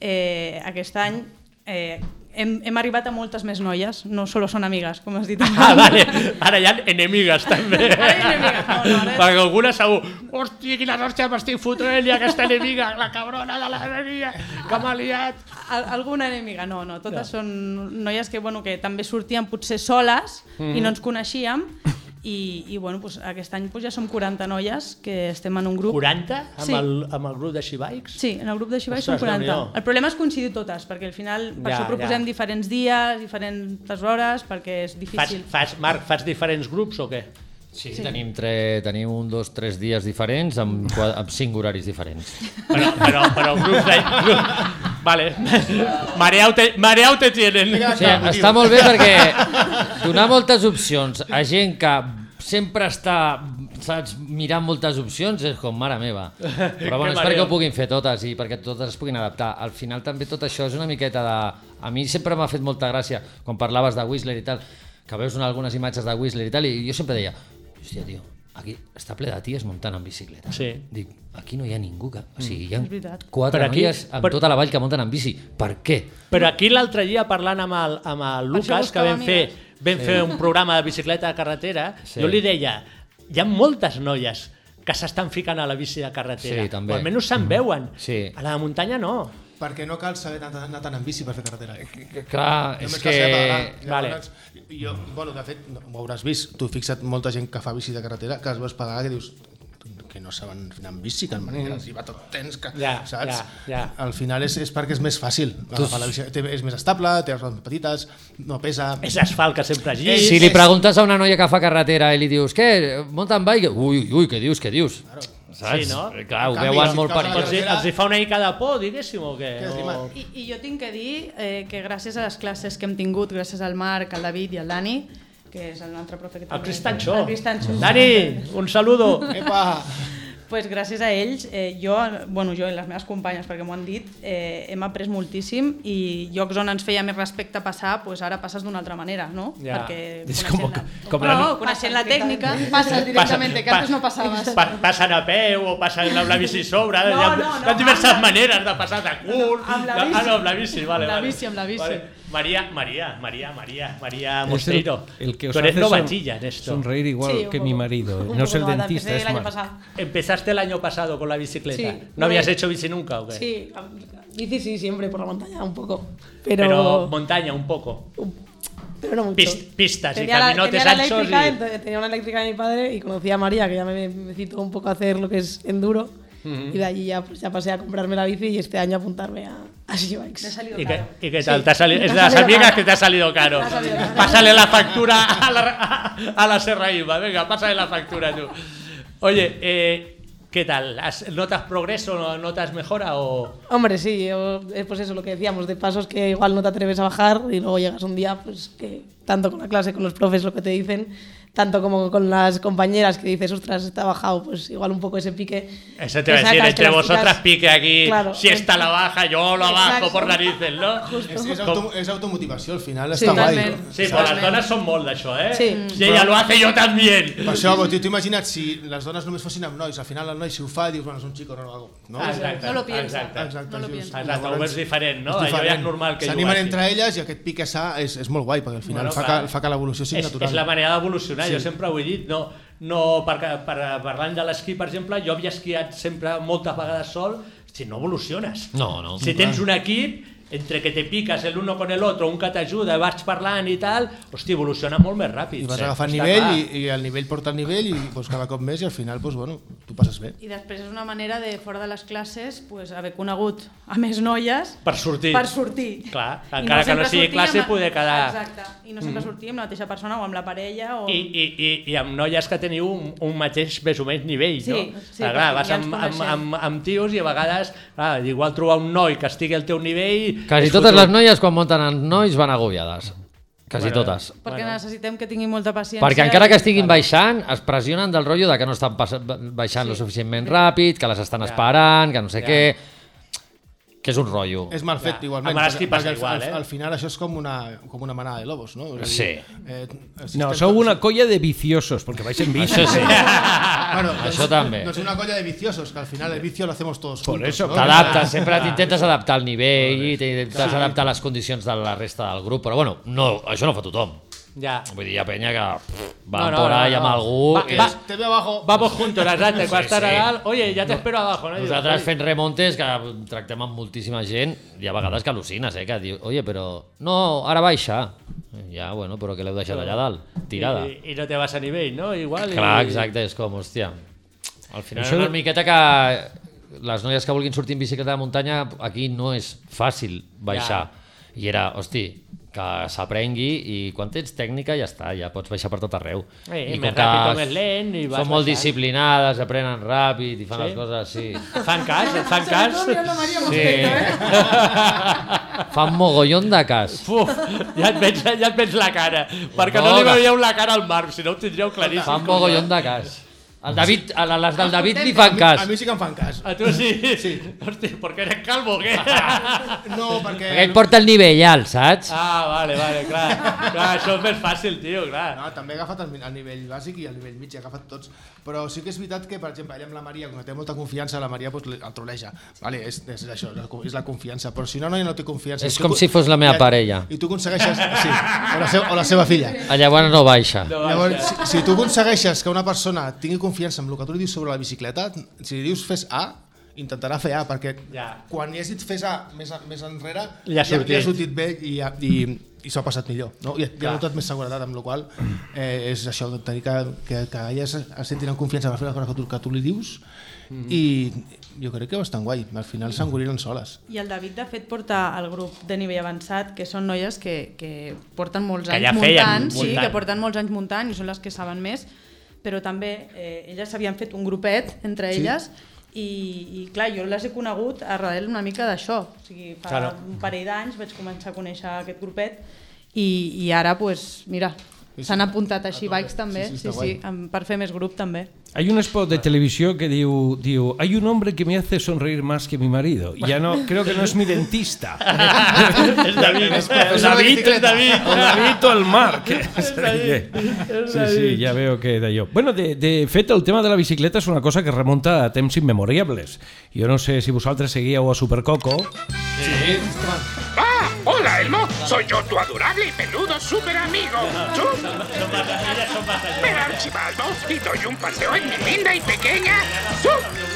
[SPEAKER 6] eh, aquest any eh, hem, hem arribat a moltes més noies, no solo són amigues, com has dit abans.
[SPEAKER 2] Ah, vale. Ara hi ha enemigues, també.
[SPEAKER 6] Ara hi ha enemigues, no, no, ara-
[SPEAKER 2] Perquè alguna segur... Hòstia, quina hòstia m'estic fotent, i aquesta enemiga, la cabrona de la enemiga, que m'ha liat.
[SPEAKER 6] Al- Alguna enemiga, no, no,
[SPEAKER 2] Mhm.
[SPEAKER 6] totes no. són noies que, bueno, que també sortien potser soles mm. i no ens coneixíem I, i bueno, doncs, aquest any doncs, ja som 40 noies que estem en un grup.
[SPEAKER 2] 40 amb,
[SPEAKER 6] Sí.
[SPEAKER 2] el, amb el grup de Xibikes?
[SPEAKER 6] Sí, en el grup de Xibai són
[SPEAKER 2] Ostres,
[SPEAKER 6] 40.
[SPEAKER 2] Déu-n'hi-do.
[SPEAKER 6] El problema és coincidir totes, perquè al final
[SPEAKER 2] Ja,
[SPEAKER 6] per ja, això
[SPEAKER 2] ja.
[SPEAKER 6] proposem ja. diferents dies, diferents hores, perquè és
[SPEAKER 2] Fas,
[SPEAKER 6] difícil.
[SPEAKER 2] fas, Marc, fas diferents grups o què?
[SPEAKER 5] Sí,
[SPEAKER 6] Sí.
[SPEAKER 5] Tenim, tre, tenim un, dos, tres dies diferents amb, qua- amb cinc horaris diferents.
[SPEAKER 2] Però, però, però grups de... Vale. Mareau te, mareau te tienen.
[SPEAKER 5] O sigui, està molt bé perquè donar moltes opcions a gent que sempre està saps, mirant moltes opcions és com mare meva però
[SPEAKER 2] Que
[SPEAKER 5] bueno, és
[SPEAKER 2] mareo.
[SPEAKER 5] perquè ho puguin fer totes i perquè totes es puguin adaptar al final també tot això és una miqueta de... a mi sempre m'ha fet molta gràcia quan parlaves de Whistler i tal que veus en algunes imatges de Whistler i tal i jo sempre deia hòstia tio aquí està ple de ties muntant en bicicleta.
[SPEAKER 2] Sí.
[SPEAKER 5] Dic, aquí no hi ha ningú que... O sigui, hi ha
[SPEAKER 6] Mm. És veritat.
[SPEAKER 5] quatre
[SPEAKER 2] Però aquí-
[SPEAKER 5] noies amb
[SPEAKER 2] però-
[SPEAKER 5] tota la vall que munten en bici. Per què?
[SPEAKER 2] Però aquí l'altre dia parlant amb el, amb el
[SPEAKER 6] Per
[SPEAKER 2] Lucas,
[SPEAKER 6] això
[SPEAKER 2] que
[SPEAKER 6] buscava
[SPEAKER 2] vam fer,
[SPEAKER 6] amigues.
[SPEAKER 2] vam sí. fer un programa de bicicleta de carretera,
[SPEAKER 5] Sí.
[SPEAKER 2] sí. jo li deia, hi ha moltes noies que s'estan ficant a la bici de carretera,
[SPEAKER 5] Sí, també. Mm.
[SPEAKER 2] o almenys se'n veuen.
[SPEAKER 5] Sí.
[SPEAKER 2] A la de muntanya no.
[SPEAKER 4] Perquè no cal saber anar, anar tant en bici per fer carretera.
[SPEAKER 5] Clar, és
[SPEAKER 4] Només
[SPEAKER 5] que...
[SPEAKER 4] cal saber pedalar.
[SPEAKER 2] Vale.
[SPEAKER 4] Llavors, Jo, bueno, de fet, no, ho hauràs vist. Tu fixa't molta gent que fa bici de carretera, que es veus pedalar, que dius que no saben anar amb bici, que maneres, i va tot tens, que,
[SPEAKER 2] Mm. Ja,
[SPEAKER 4] saps?
[SPEAKER 2] ja, ja.
[SPEAKER 4] Al final és, és perquè és més fàcil. Agafar la bici, té- és més estable, té les rodes petites, no pesa...
[SPEAKER 2] És asfalt que sempre allí.
[SPEAKER 5] Si li preguntes a una noia que fa carretera i li dius, què, mountain bike? Ui, ui, ui, què dius, què dius? Saps?
[SPEAKER 2] Sí, no?
[SPEAKER 5] Clar, ho
[SPEAKER 4] En canvi,
[SPEAKER 5] veuen
[SPEAKER 4] si
[SPEAKER 5] molt per
[SPEAKER 4] causa
[SPEAKER 2] Els,
[SPEAKER 5] aquí.
[SPEAKER 2] hi- els hi fa una mica de por, diguéssim, o què?
[SPEAKER 4] Què has dit,
[SPEAKER 2] O...
[SPEAKER 4] Marc?
[SPEAKER 6] I, I jo tinc que dir eh, que gràcies a les classes que hem tingut, gràcies al Marc, al David i al Dani, que és el nostre profe que
[SPEAKER 2] El
[SPEAKER 6] també-
[SPEAKER 2] Cristanxó.
[SPEAKER 6] El Cristanxó.
[SPEAKER 2] Dani, un saludo.
[SPEAKER 4] Epa!
[SPEAKER 6] pues gràcies a ells, eh, jo, bueno, jo i les meves companyes, perquè m'ho han dit, eh, hem après moltíssim i llocs on ens feia més respecte passar, pues ara passes d'una altra manera, no?
[SPEAKER 2] Ja.
[SPEAKER 6] Perquè
[SPEAKER 3] És
[SPEAKER 6] coneixent
[SPEAKER 3] com-
[SPEAKER 6] la-
[SPEAKER 3] com la-
[SPEAKER 6] no, coneixent la tècnica...
[SPEAKER 10] Ah, Passes directament,
[SPEAKER 2] Passa-
[SPEAKER 10] que antes
[SPEAKER 2] pa-
[SPEAKER 10] no passaves.
[SPEAKER 2] Pa, passen a peu o passen amb la bici a sobre.
[SPEAKER 6] No,
[SPEAKER 2] hi ha,
[SPEAKER 6] no, no,
[SPEAKER 2] hi ha diverses
[SPEAKER 6] amb la-
[SPEAKER 2] maneres de passar de cul.
[SPEAKER 6] No, amb la
[SPEAKER 2] de- Ah,
[SPEAKER 6] bici.
[SPEAKER 2] no, amb la bici, vale,
[SPEAKER 6] Amb la
[SPEAKER 2] vale.
[SPEAKER 6] bici, amb la bici.
[SPEAKER 2] Vale. María, María, María, María, María
[SPEAKER 3] Es
[SPEAKER 2] Mosteiro.
[SPEAKER 3] el, el que os
[SPEAKER 2] Tú eres
[SPEAKER 3] hace son-
[SPEAKER 2] novatilla en esto.
[SPEAKER 3] Sonreír igual
[SPEAKER 6] Sí, un
[SPEAKER 3] que
[SPEAKER 6] poco.
[SPEAKER 3] mi marido. eh.
[SPEAKER 6] Un
[SPEAKER 3] No
[SPEAKER 6] poco
[SPEAKER 3] es el
[SPEAKER 6] novata,
[SPEAKER 3] dentista,
[SPEAKER 6] empecé
[SPEAKER 3] es
[SPEAKER 6] el año
[SPEAKER 3] Marc.
[SPEAKER 6] pasado.
[SPEAKER 2] Empezaste el año pasado con la bicicleta.
[SPEAKER 10] Sí,
[SPEAKER 2] ¿No
[SPEAKER 10] no
[SPEAKER 2] habías
[SPEAKER 10] es-
[SPEAKER 2] hecho bici nunca o qué?
[SPEAKER 10] Sí, bici sí, siempre por la montaña, un poco.
[SPEAKER 2] Pero...
[SPEAKER 10] Pero,
[SPEAKER 2] montaña un poco.
[SPEAKER 10] pero no mucho.
[SPEAKER 2] Pis- pistas y
[SPEAKER 10] Tenía la-
[SPEAKER 2] caminotes
[SPEAKER 10] tenía la
[SPEAKER 2] anchos
[SPEAKER 10] eléctrica,
[SPEAKER 2] y-
[SPEAKER 10] entonces Tenía una eléctrica de mi padre y conocí a María, que ya me, me citó un poco a hacer lo que es enduro. Y de allí ya, pues, ya pasé a comprarme la bici y este año apuntarme a, a Shibikes.
[SPEAKER 6] Me ha salido
[SPEAKER 2] ¿Y qué,
[SPEAKER 6] caro.
[SPEAKER 2] y qué tal? ¿Te ha salido-
[SPEAKER 10] me
[SPEAKER 2] es
[SPEAKER 10] ha
[SPEAKER 2] de las
[SPEAKER 10] salido
[SPEAKER 2] amigas
[SPEAKER 10] caro.
[SPEAKER 2] que te ha salido caro.
[SPEAKER 10] Me ha salido caro.
[SPEAKER 2] Pásale la factura a la, a, la Serraíba. Venga, pásale la factura tú. Oye, eh, ¿qué tal? ¿Has- ¿Notas progreso? ¿Notas mejora? O...
[SPEAKER 10] Hombre, sí, yo- eh, pues eso, lo que decíamos, de pasos que igual no te atreves a bajar y luego llegas un día, pues que tanto con la clase, con los profes, lo que te dicen, tanto como con las compañeras que dices, ostras, está bajado, pues igual un poco ese pique.
[SPEAKER 2] Eso te
[SPEAKER 10] que
[SPEAKER 2] va a decir,
[SPEAKER 10] sacas, que
[SPEAKER 2] entre
[SPEAKER 10] las
[SPEAKER 2] vosotras
[SPEAKER 10] chicas-
[SPEAKER 2] pique aquí.
[SPEAKER 10] Claro,
[SPEAKER 2] si esta la baja, yo lo abajo
[SPEAKER 10] Exacto.
[SPEAKER 2] por narices, ¿no?
[SPEAKER 4] És, és, auto, és automotivació, al final
[SPEAKER 10] Sí,
[SPEAKER 4] està guai.
[SPEAKER 10] totalment.
[SPEAKER 2] Sí, pues las donas son molde eso, ¿eh?
[SPEAKER 10] Sí.
[SPEAKER 2] Si ella lo hace, yo también.
[SPEAKER 4] Per això, tio, tu imagina't si les dones només fossin amb nois, al final el noi si ho fa dius, bueno, és un xico, no, no, no.
[SPEAKER 2] Ah, Exacte,
[SPEAKER 6] No lo piensa.
[SPEAKER 2] Exacte.
[SPEAKER 4] Exacte,
[SPEAKER 6] No lo
[SPEAKER 4] just.
[SPEAKER 6] pienso.
[SPEAKER 2] Exacte, ho
[SPEAKER 4] Llavors,
[SPEAKER 2] veus diferent, no?
[SPEAKER 4] és
[SPEAKER 2] Allò ja és
[SPEAKER 4] diferent.
[SPEAKER 2] normal que
[SPEAKER 4] S'animen
[SPEAKER 2] juguessin.
[SPEAKER 4] entre elles i aquest pic que s'ha és, és molt guai, perquè al final
[SPEAKER 2] Bueno,
[SPEAKER 4] bueno, fa,
[SPEAKER 2] clar.
[SPEAKER 4] que, fa que l'evolució sigui
[SPEAKER 2] és,
[SPEAKER 4] natural.
[SPEAKER 2] És la manera d'evolucionar, sí. jo
[SPEAKER 4] Sí.
[SPEAKER 2] sempre ho he dit. No, no, per, per, parlant de l'esquí, per exemple, jo havia esquiat sempre moltes vegades sol, si no evoluciones.
[SPEAKER 5] No, no.
[SPEAKER 2] Si tens un equip, entre que te piques el uno con el otro, un que t'ajuda, vas parlant i tal, hosti, evoluciona molt més ràpid.
[SPEAKER 4] I vas
[SPEAKER 2] Sí,
[SPEAKER 4] agafant
[SPEAKER 2] està
[SPEAKER 4] nivell
[SPEAKER 2] clar.
[SPEAKER 4] i, i el nivell porta el nivell i pues, cada cop més i al final pues, bueno, tu passes bé.
[SPEAKER 6] I després és una manera de, fora de les classes, pues, haver conegut a més noies
[SPEAKER 2] Per sortir.
[SPEAKER 6] per sortir.
[SPEAKER 2] Clar,
[SPEAKER 6] I
[SPEAKER 2] encara que no
[SPEAKER 6] sempre
[SPEAKER 2] sigui
[SPEAKER 6] sortir
[SPEAKER 2] classe,
[SPEAKER 6] amb la-
[SPEAKER 2] poder quedar- Mm.
[SPEAKER 6] Exacte, i no sempre sortir amb la mateixa persona o amb la parella o...
[SPEAKER 2] I, i, i, i amb noies que teniu un, un mateix més o menys nivell,
[SPEAKER 6] Sí,
[SPEAKER 2] no?
[SPEAKER 6] sí,
[SPEAKER 2] clar,
[SPEAKER 6] perquè
[SPEAKER 2] vas
[SPEAKER 6] ja ens
[SPEAKER 2] amb, amb,
[SPEAKER 6] coneixem.
[SPEAKER 2] amb, amb tios i a vegades clar, igual trobar un noi que estigui al teu nivell...
[SPEAKER 5] Quasi
[SPEAKER 2] és
[SPEAKER 5] totes
[SPEAKER 2] fotut.
[SPEAKER 5] les noies quan munten en nois van agobiades. Quasi
[SPEAKER 2] Bueno.
[SPEAKER 5] totes.
[SPEAKER 6] Perquè
[SPEAKER 2] Bueno.
[SPEAKER 6] necessitem que tinguin molta paciència.
[SPEAKER 5] Perquè encara que
[SPEAKER 6] i-
[SPEAKER 5] estiguin baixant, es pressionen del rotllo de que no estan passa- baixant lo suficientment ràpid, que les estan esperant, que no sé què... Que és un rotllo.
[SPEAKER 4] És mal fet,
[SPEAKER 2] Clar,
[SPEAKER 4] igualment.
[SPEAKER 2] amb l'esquí
[SPEAKER 4] perquè-
[SPEAKER 2] passa
[SPEAKER 4] perquè al-
[SPEAKER 2] igual,
[SPEAKER 4] al,
[SPEAKER 2] eh?
[SPEAKER 4] Al final això és com una, com una manada de lobos, no? És a
[SPEAKER 5] Sí.
[SPEAKER 4] eh, si
[SPEAKER 3] No,
[SPEAKER 4] estem
[SPEAKER 3] sou
[SPEAKER 4] tots-
[SPEAKER 3] una colla de viciosos, porque vais en bici.
[SPEAKER 5] Això sí.
[SPEAKER 4] Bueno,
[SPEAKER 5] Això també.
[SPEAKER 4] Doncs una colla de viciosos, que al final el vicio lo hacemos todos juntos.
[SPEAKER 3] eso,
[SPEAKER 4] no?
[SPEAKER 5] T'adaptes, sempre t'intentes adaptar al nivell i t'intentes adaptar a les condicions de la resta del grup, però bueno, no, això no ho fa tothom.
[SPEAKER 2] Ja.
[SPEAKER 5] Vull dir, hi ha penya que pff, va
[SPEAKER 2] No, no,
[SPEAKER 5] no, por
[SPEAKER 2] no,
[SPEAKER 5] ahí
[SPEAKER 2] no.
[SPEAKER 5] amb algú...
[SPEAKER 2] Va,
[SPEAKER 5] que
[SPEAKER 2] va.
[SPEAKER 5] és-
[SPEAKER 4] Te veo abajo.
[SPEAKER 2] Vamos juntos, Arrate, quan
[SPEAKER 5] Sí,
[SPEAKER 2] estàs a
[SPEAKER 5] sí.
[SPEAKER 2] dalt, oye, ja t'espero abajo. No?
[SPEAKER 5] Nosaltres fent remontes que tractem amb moltíssima gent i a vegades que al·lucines, eh? Que diu, oye, però... No, ara baixa. Ja, bueno, però que l'heu deixat allà dalt, tirada.
[SPEAKER 2] I, I no te vas a nivell, no? Igual.
[SPEAKER 5] Clar,
[SPEAKER 2] i...
[SPEAKER 5] exacte, és com, hòstia. Al final
[SPEAKER 2] Això
[SPEAKER 5] Això... una
[SPEAKER 2] de-
[SPEAKER 5] miqueta que les noies que vulguin sortir en bicicleta de muntanya, aquí no és fàcil baixar. Ja. I era, hosti, que s'aprengui i quan tens tècnica ja està, ja pots baixar per tot arreu.
[SPEAKER 2] Eh,
[SPEAKER 5] I
[SPEAKER 2] més
[SPEAKER 5] com que
[SPEAKER 2] ràpid o més lent i vas
[SPEAKER 5] Són molt
[SPEAKER 2] baixant.
[SPEAKER 5] disciplinades, aprenen ràpid i fan
[SPEAKER 2] Sí?
[SPEAKER 5] les coses, sí.
[SPEAKER 2] Fan cas, et fan cas.
[SPEAKER 5] fan mogollón de cas.
[SPEAKER 2] Uf, ja et veig, ja et veig la cara. Perquè no,
[SPEAKER 5] No,
[SPEAKER 2] li
[SPEAKER 5] que-
[SPEAKER 2] veieu la cara al Marc, si no ho tindríeu claríssim.
[SPEAKER 5] Fan mogollón de cas. El David, a la- les del David li fan cas.
[SPEAKER 4] A mi sí que em fan cas.
[SPEAKER 2] A tu sí? Sí. Hosti, perquè eres calvo, què?
[SPEAKER 4] No, perquè...
[SPEAKER 5] Perquè ell porta el nivell alt, saps?
[SPEAKER 2] Ah, vale, vale, clar. clar això és més fàcil, tio, clar.
[SPEAKER 4] No, també ha agafat el, el nivell bàsic i el nivell mig, ha agafat tots. Però sí que és veritat que, per exemple, ell amb la Maria, com que té molta confiança, la Maria doncs, el troleja. Vale, és, és això, la co- és la confiança. Però si una noia no té confiança...
[SPEAKER 5] És
[SPEAKER 4] i tu
[SPEAKER 5] com
[SPEAKER 4] co-
[SPEAKER 5] si fos la meva
[SPEAKER 4] i-
[SPEAKER 5] parella.
[SPEAKER 4] I tu aconsegueixes... Sí, o la, seu, o la seva filla.
[SPEAKER 5] Llavors no baixa.
[SPEAKER 4] Llavors, si, si tu aconsegueixes que una persona tingui confiança en el que tu li dius sobre la bicicleta, si li dius fes A, intentarà fer A, perquè
[SPEAKER 2] Ja.
[SPEAKER 4] quan li has dit fes A més, a, més enrere,
[SPEAKER 2] Li ha sortit.
[SPEAKER 4] li ha sortit bé i, ha- i, i s'ho ha passat millor. No? I, i ha
[SPEAKER 2] Clar.
[SPEAKER 4] notat més seguretat, amb la qual eh, és això, tenir que, que, que ella es, es senti en confiança per fer les coses que tu, que tu li dius mm -hmm. i jo crec que bastant guai. Al final s'engoliren soles.
[SPEAKER 6] I el David, de fet, porta el grup de nivell avançat, que són noies que, que porten molts
[SPEAKER 2] Que
[SPEAKER 6] anys
[SPEAKER 2] ja feien
[SPEAKER 6] muntant, sí,
[SPEAKER 2] muntant.
[SPEAKER 6] que porten molts anys muntant i són les que saben més, però també eh, elles s'havien fet un grupet entre
[SPEAKER 4] Sí.
[SPEAKER 6] elles i, i clar, jo les he conegut arrel una mica d'això. O sigui, fa
[SPEAKER 2] Claro.
[SPEAKER 6] un parell d'anys vaig començar a conèixer aquest grupet i, i ara, pues, mira,
[SPEAKER 4] Sí, sí.
[SPEAKER 6] s'han apuntat així bikes també,
[SPEAKER 4] sí,
[SPEAKER 6] sí,
[SPEAKER 4] està
[SPEAKER 6] sí,
[SPEAKER 4] guai.
[SPEAKER 6] em- per fer més grup també.
[SPEAKER 3] Hay un spot de televisión que digo, digo, hay un hombre que me hace sonreír más que mi marido. Y Ya no, creo que no es mi dentista.
[SPEAKER 2] És David, és David, és David.
[SPEAKER 3] O David o el Marc.
[SPEAKER 2] És
[SPEAKER 3] Sí, sí, ja veo que d'allò. Bueno, de, de fet, el tema de la bicicleta és una cosa que remunta a temps immemoriables. Jo no sé si vosaltres seguíeu a Supercoco.
[SPEAKER 11] ¡Ah! ¡Hola, Elmo! Soy yo, tu adorable y peludo super amigo. ¿Tú? Me archivaldo y doy un paseo en mi linda y pequeña super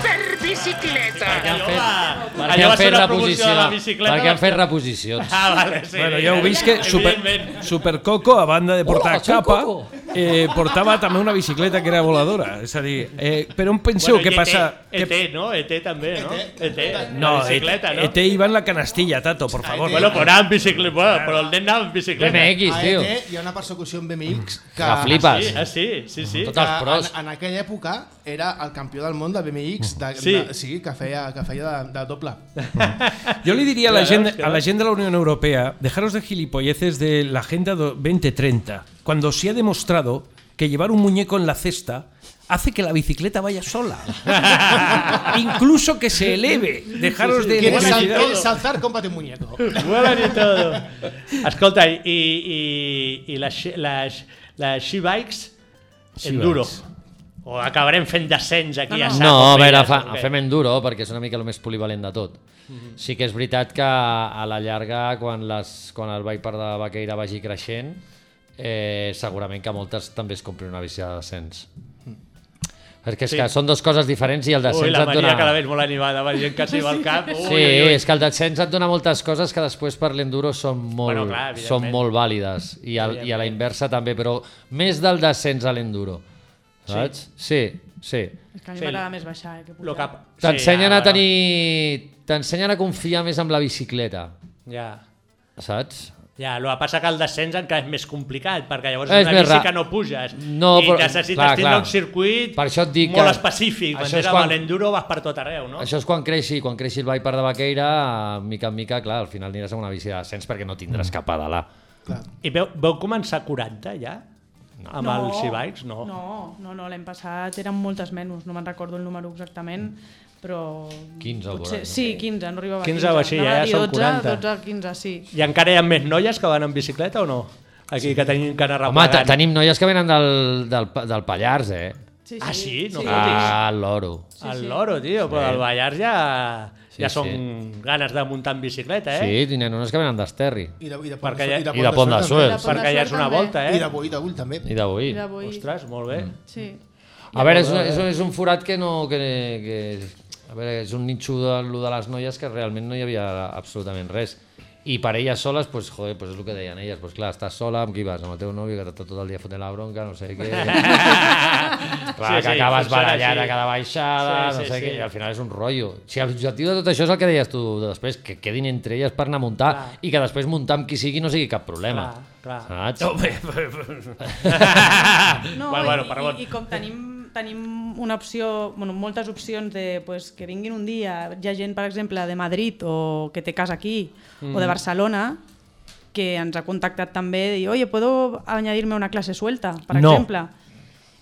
[SPEAKER 5] Perquè
[SPEAKER 11] bicicleta.
[SPEAKER 5] han fet, perquè
[SPEAKER 2] Allò va
[SPEAKER 5] han
[SPEAKER 2] ser
[SPEAKER 5] fet
[SPEAKER 2] una promoció
[SPEAKER 5] reposició.
[SPEAKER 2] de la bicicleta.
[SPEAKER 5] Perquè han fet reposicions.
[SPEAKER 2] Ah, vale, sí.
[SPEAKER 3] Bueno, ja heu vist que Super,
[SPEAKER 2] Evidentment. Oh,
[SPEAKER 3] Supercoco, a banda de portar
[SPEAKER 5] Hola, soy
[SPEAKER 3] capa,
[SPEAKER 5] Coco.
[SPEAKER 3] eh, portava també una bicicleta que era voladora. És a dir, eh, però on penseu
[SPEAKER 2] i
[SPEAKER 3] que
[SPEAKER 2] ET,
[SPEAKER 3] passa...
[SPEAKER 2] ET,
[SPEAKER 3] que-
[SPEAKER 2] E no? ET també, no?
[SPEAKER 5] E
[SPEAKER 2] ET, no,
[SPEAKER 3] No, E
[SPEAKER 2] la bicicleta, no?
[SPEAKER 3] ET iba en la canastilla, Tato, por favor.
[SPEAKER 2] Bueno, però anava en bicicleta, bueno, però el nen anava en bicicleta.
[SPEAKER 5] BMX,
[SPEAKER 4] A
[SPEAKER 5] tio.
[SPEAKER 4] ET hi ha una persecució en BMX que...
[SPEAKER 5] Que
[SPEAKER 2] Sí,
[SPEAKER 5] flipes.
[SPEAKER 2] ah, sí, sí, sí.
[SPEAKER 5] Tot
[SPEAKER 4] que
[SPEAKER 5] els pros.
[SPEAKER 4] En, en aquella època era el campió del món de BMX, de,
[SPEAKER 2] Sí.
[SPEAKER 4] sí. De, sí, que feia, que feia de, de doble.
[SPEAKER 3] Yo le diría a la,
[SPEAKER 2] Claro,
[SPEAKER 3] gente,
[SPEAKER 2] claro.
[SPEAKER 3] a la gente de la Unión Europea, dejaros de gilipolleces de la Agenda do- 2030, cuando se ha demostrado que llevar un muñeco en la cesta hace que la bicicleta vaya sola. Incluso que se eleve. Dejaros de...
[SPEAKER 4] ¿Quieres, sal,
[SPEAKER 3] necesidad-
[SPEAKER 4] ¿Quieres saltar? Cómprate un muñeco.
[SPEAKER 2] Vuelan i todo. Escolta, i, i, i les, xe- les, les she-bikes, enduro. O acabarem fent descens aquí a saco.
[SPEAKER 5] No, a veure,
[SPEAKER 2] feines,
[SPEAKER 5] fa,
[SPEAKER 2] o què?
[SPEAKER 5] fem enduro perquè és una mica el més polivalent de tot.
[SPEAKER 2] Mhm.
[SPEAKER 5] Sí que és veritat que a la llarga, quan, les, quan el Viper de Baqueira vagi creixent, eh, segurament que moltes també es comprin una bici de descens. Perquè és
[SPEAKER 2] Mhm. Sí.
[SPEAKER 5] sí. que són dues coses diferents i el descens
[SPEAKER 2] Ui, la
[SPEAKER 5] et
[SPEAKER 2] Maria
[SPEAKER 5] dona...
[SPEAKER 2] cada vegada molt animada, va dient que sí, va al cap. Ui,
[SPEAKER 5] Sí,
[SPEAKER 2] ui, ui.
[SPEAKER 5] és que el descens et dona moltes coses que després per l'enduro són molt,
[SPEAKER 2] Bueno, clar, evidentment.
[SPEAKER 5] són molt vàlides i, al, i a la inversa també, però més del descens a l'enduro. Saps? Sí, sí.
[SPEAKER 6] És que a mi
[SPEAKER 2] Sí,
[SPEAKER 6] m'agrada més baixar eh, que pujar.
[SPEAKER 2] Lo que...
[SPEAKER 5] T'ensenyen
[SPEAKER 2] ja,
[SPEAKER 5] a tenir... T'ensenyen a confiar més amb la bicicleta,
[SPEAKER 2] Ja.
[SPEAKER 5] saps?
[SPEAKER 2] Ja, el que passa que el descens encara és més complicat, perquè llavors
[SPEAKER 5] És
[SPEAKER 2] és una
[SPEAKER 5] més
[SPEAKER 2] bici
[SPEAKER 5] ra-
[SPEAKER 2] que no puges.
[SPEAKER 5] No,
[SPEAKER 2] I
[SPEAKER 5] però-
[SPEAKER 2] necessites
[SPEAKER 5] clar,
[SPEAKER 2] tindre
[SPEAKER 5] clar.
[SPEAKER 2] un circuit
[SPEAKER 5] Per això et dic
[SPEAKER 2] molt
[SPEAKER 5] que-
[SPEAKER 2] específic.
[SPEAKER 5] això és
[SPEAKER 2] Això
[SPEAKER 5] quan-
[SPEAKER 2] quan... l'enduro vas per tot arreu, no?
[SPEAKER 5] Això és quan creixi, quan creixi el Viper de Baqueira, eh, mica en mica, clar, al final aniràs amb una bici de descens perquè no
[SPEAKER 2] Mm.
[SPEAKER 5] tindràs cap pedalar.
[SPEAKER 4] Clar.
[SPEAKER 2] I veu, veu començar a 40 ja? No. Amb
[SPEAKER 6] No.
[SPEAKER 2] els e-bikes? No.
[SPEAKER 6] No, no, no l'any passat eren moltes menys, no me'n recordo el número exactament, però...
[SPEAKER 5] 15 al voltant, no?
[SPEAKER 6] Sí, 15, no arribava a
[SPEAKER 2] 15 o així,
[SPEAKER 6] Anava
[SPEAKER 2] ja
[SPEAKER 6] a dir
[SPEAKER 2] són 40.
[SPEAKER 6] 12, 12, 15, sí.
[SPEAKER 2] I encara hi ha més noies que van en bicicleta o no? Aquí sí. que tenim que anar
[SPEAKER 5] Home, te-
[SPEAKER 2] replegant.
[SPEAKER 5] tenim noies que venen del, del, pa- del Pallars, eh?
[SPEAKER 6] sí, sí.
[SPEAKER 2] Ah, sí? No
[SPEAKER 6] sí.
[SPEAKER 2] fotis.
[SPEAKER 5] Ah, l'oro.
[SPEAKER 2] El loro, tio, però al Ballars ja,
[SPEAKER 5] Sí,
[SPEAKER 2] ja són
[SPEAKER 5] sí.
[SPEAKER 2] ganes de muntar en bicicleta, eh?
[SPEAKER 5] Sí, tenen unes que venen d'Esterri.
[SPEAKER 4] I de, i de,
[SPEAKER 2] Perquè hi ha-
[SPEAKER 5] I de Pont de
[SPEAKER 4] Suert
[SPEAKER 5] Suert.
[SPEAKER 2] Perquè ja és una
[SPEAKER 6] També.
[SPEAKER 2] volta,
[SPEAKER 4] també. I de
[SPEAKER 2] eh?
[SPEAKER 4] Boí de Bull, també.
[SPEAKER 5] I d'avui.
[SPEAKER 6] Era avui.
[SPEAKER 2] Ostres, molt bé.
[SPEAKER 5] Mm.
[SPEAKER 6] Sí.
[SPEAKER 5] A veure, és, una- és, un-
[SPEAKER 12] eh,
[SPEAKER 5] és un forat que no... Que, que, a veure, és un nitxo de, lo de les noies que realment no hi havia absolutament res. I per elles soles, pues, joder, pues és el que deien elles. Pues, clar, estàs sola, amb qui vas? Amb el teu nòvio, que t'està tot el dia fotent la bronca, no sé què... clar,
[SPEAKER 12] Sí,
[SPEAKER 5] que
[SPEAKER 12] sí,
[SPEAKER 5] acabes
[SPEAKER 12] funciona
[SPEAKER 5] barallant
[SPEAKER 12] així.
[SPEAKER 5] a cada baixada,
[SPEAKER 12] Sí,
[SPEAKER 5] no
[SPEAKER 12] sí,
[SPEAKER 5] sé
[SPEAKER 12] sí.
[SPEAKER 5] què, i al final és un rotllo. Si el objectiu de tot això és el que deies tu després, que quedin entre elles per anar a muntar i que després muntar amb qui sigui no sigui cap problema.
[SPEAKER 2] Clar,
[SPEAKER 5] clar. Saps?
[SPEAKER 6] No,
[SPEAKER 5] Bueno, bueno,
[SPEAKER 6] i,
[SPEAKER 5] perdó.
[SPEAKER 6] i, i com tenim, tenim una opció, bueno, moltes opcions de pues, que vinguin un dia, hi ha gent, per exemple, de Madrid o que té casa aquí, mm.
[SPEAKER 13] Mm.
[SPEAKER 6] o de Barcelona, que ens ha contactat també i oye, ¿puedo añadirme una clase suelta, per
[SPEAKER 3] No.
[SPEAKER 6] exemple?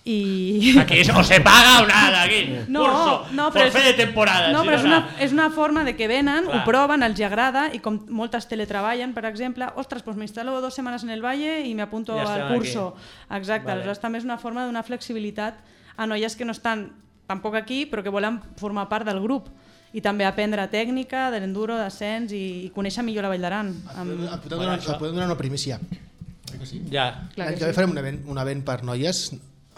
[SPEAKER 6] I...
[SPEAKER 12] Aquí es- o se paga o nada, aquí.
[SPEAKER 6] No,
[SPEAKER 12] Curso,
[SPEAKER 6] no, però
[SPEAKER 12] forfait
[SPEAKER 6] és-
[SPEAKER 12] de temporada,
[SPEAKER 6] No,
[SPEAKER 12] sí,
[SPEAKER 6] però
[SPEAKER 12] no,
[SPEAKER 6] és una,
[SPEAKER 12] no.
[SPEAKER 6] és una forma de que venen,
[SPEAKER 12] Clar.
[SPEAKER 6] ho proven, els hi agrada, i com moltes teletreballen, per exemple, ostres, doncs m'instal·lo dues setmanes en el Valle i m'apunto
[SPEAKER 12] Ja
[SPEAKER 6] al
[SPEAKER 12] estem
[SPEAKER 6] curso. Aquí.
[SPEAKER 12] Vale.
[SPEAKER 6] Exacte, vale. aleshores també és una forma d'una flexibilitat a noies que no estan tampoc aquí, però que volen formar part del grup i també aprendre tècnica, de l'enduro, d'ascens i, i conèixer millor la Vall d'Aran. Amb...
[SPEAKER 4] Et podem, donar, et podem donar una primícia. Eh que sí?
[SPEAKER 12] Ja.
[SPEAKER 6] Clar
[SPEAKER 4] L'any
[SPEAKER 6] que
[SPEAKER 4] que ve
[SPEAKER 6] sí.
[SPEAKER 4] farem un event, un event per noies,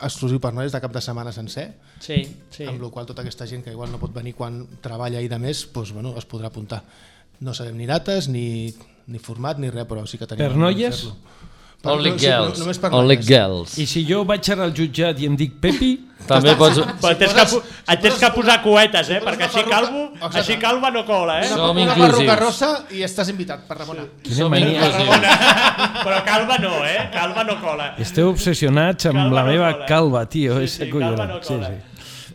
[SPEAKER 4] exclusiu per noies de cap de setmana sencer.
[SPEAKER 12] Sí, sí.
[SPEAKER 4] Amb la qual cosa tota aquesta gent que igual no pot venir quan treballa i de més, doncs, bueno, es podrà apuntar. No sabem ni dates, ni, ni format, ni res, però sí que tenim...
[SPEAKER 3] Per noies?
[SPEAKER 4] Per,
[SPEAKER 5] Only
[SPEAKER 4] no, sí,
[SPEAKER 5] girls.
[SPEAKER 4] No, només per
[SPEAKER 5] Only
[SPEAKER 4] noies.
[SPEAKER 5] girls.
[SPEAKER 3] I si jo vaig anar al jutjat i em dic Pepi...
[SPEAKER 5] També pots-
[SPEAKER 2] Però tens que, pu- et tens que posar cuetes, eh? Perquè així calvo,
[SPEAKER 4] Exacte.
[SPEAKER 2] així calva no cola, eh?
[SPEAKER 4] Una, Som una perruca rossa i estàs invitat per Ramona. Sí.
[SPEAKER 3] Quina mania.
[SPEAKER 2] Però calva no, eh? Calva no cola.
[SPEAKER 3] Esteu obsessionats amb la meva calva, tio. Sí, sí,
[SPEAKER 2] calva no cola.
[SPEAKER 3] sí.
[SPEAKER 2] Vale.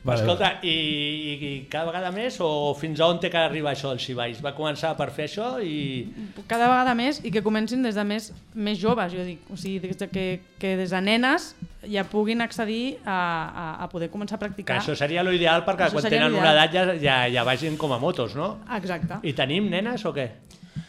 [SPEAKER 3] Vale.
[SPEAKER 2] Escolta, i, i, i cada vegada més o fins a on té que arribar això dels xivalls? Va començar per fer això i...
[SPEAKER 6] cada vegada més i que comencin des de més, més joves, jo dic. O sigui, des de que, que des de nenes ja puguin accedir a, a, a poder començar a
[SPEAKER 2] Que
[SPEAKER 6] practicar.
[SPEAKER 2] això seria l'ideal perquè
[SPEAKER 6] Això
[SPEAKER 2] quan
[SPEAKER 6] seria
[SPEAKER 2] tenen una
[SPEAKER 6] l'ideal.
[SPEAKER 2] edat ja, ja, ja vagin com a motos, no?
[SPEAKER 6] Exacte.
[SPEAKER 2] I tenim nenes o què?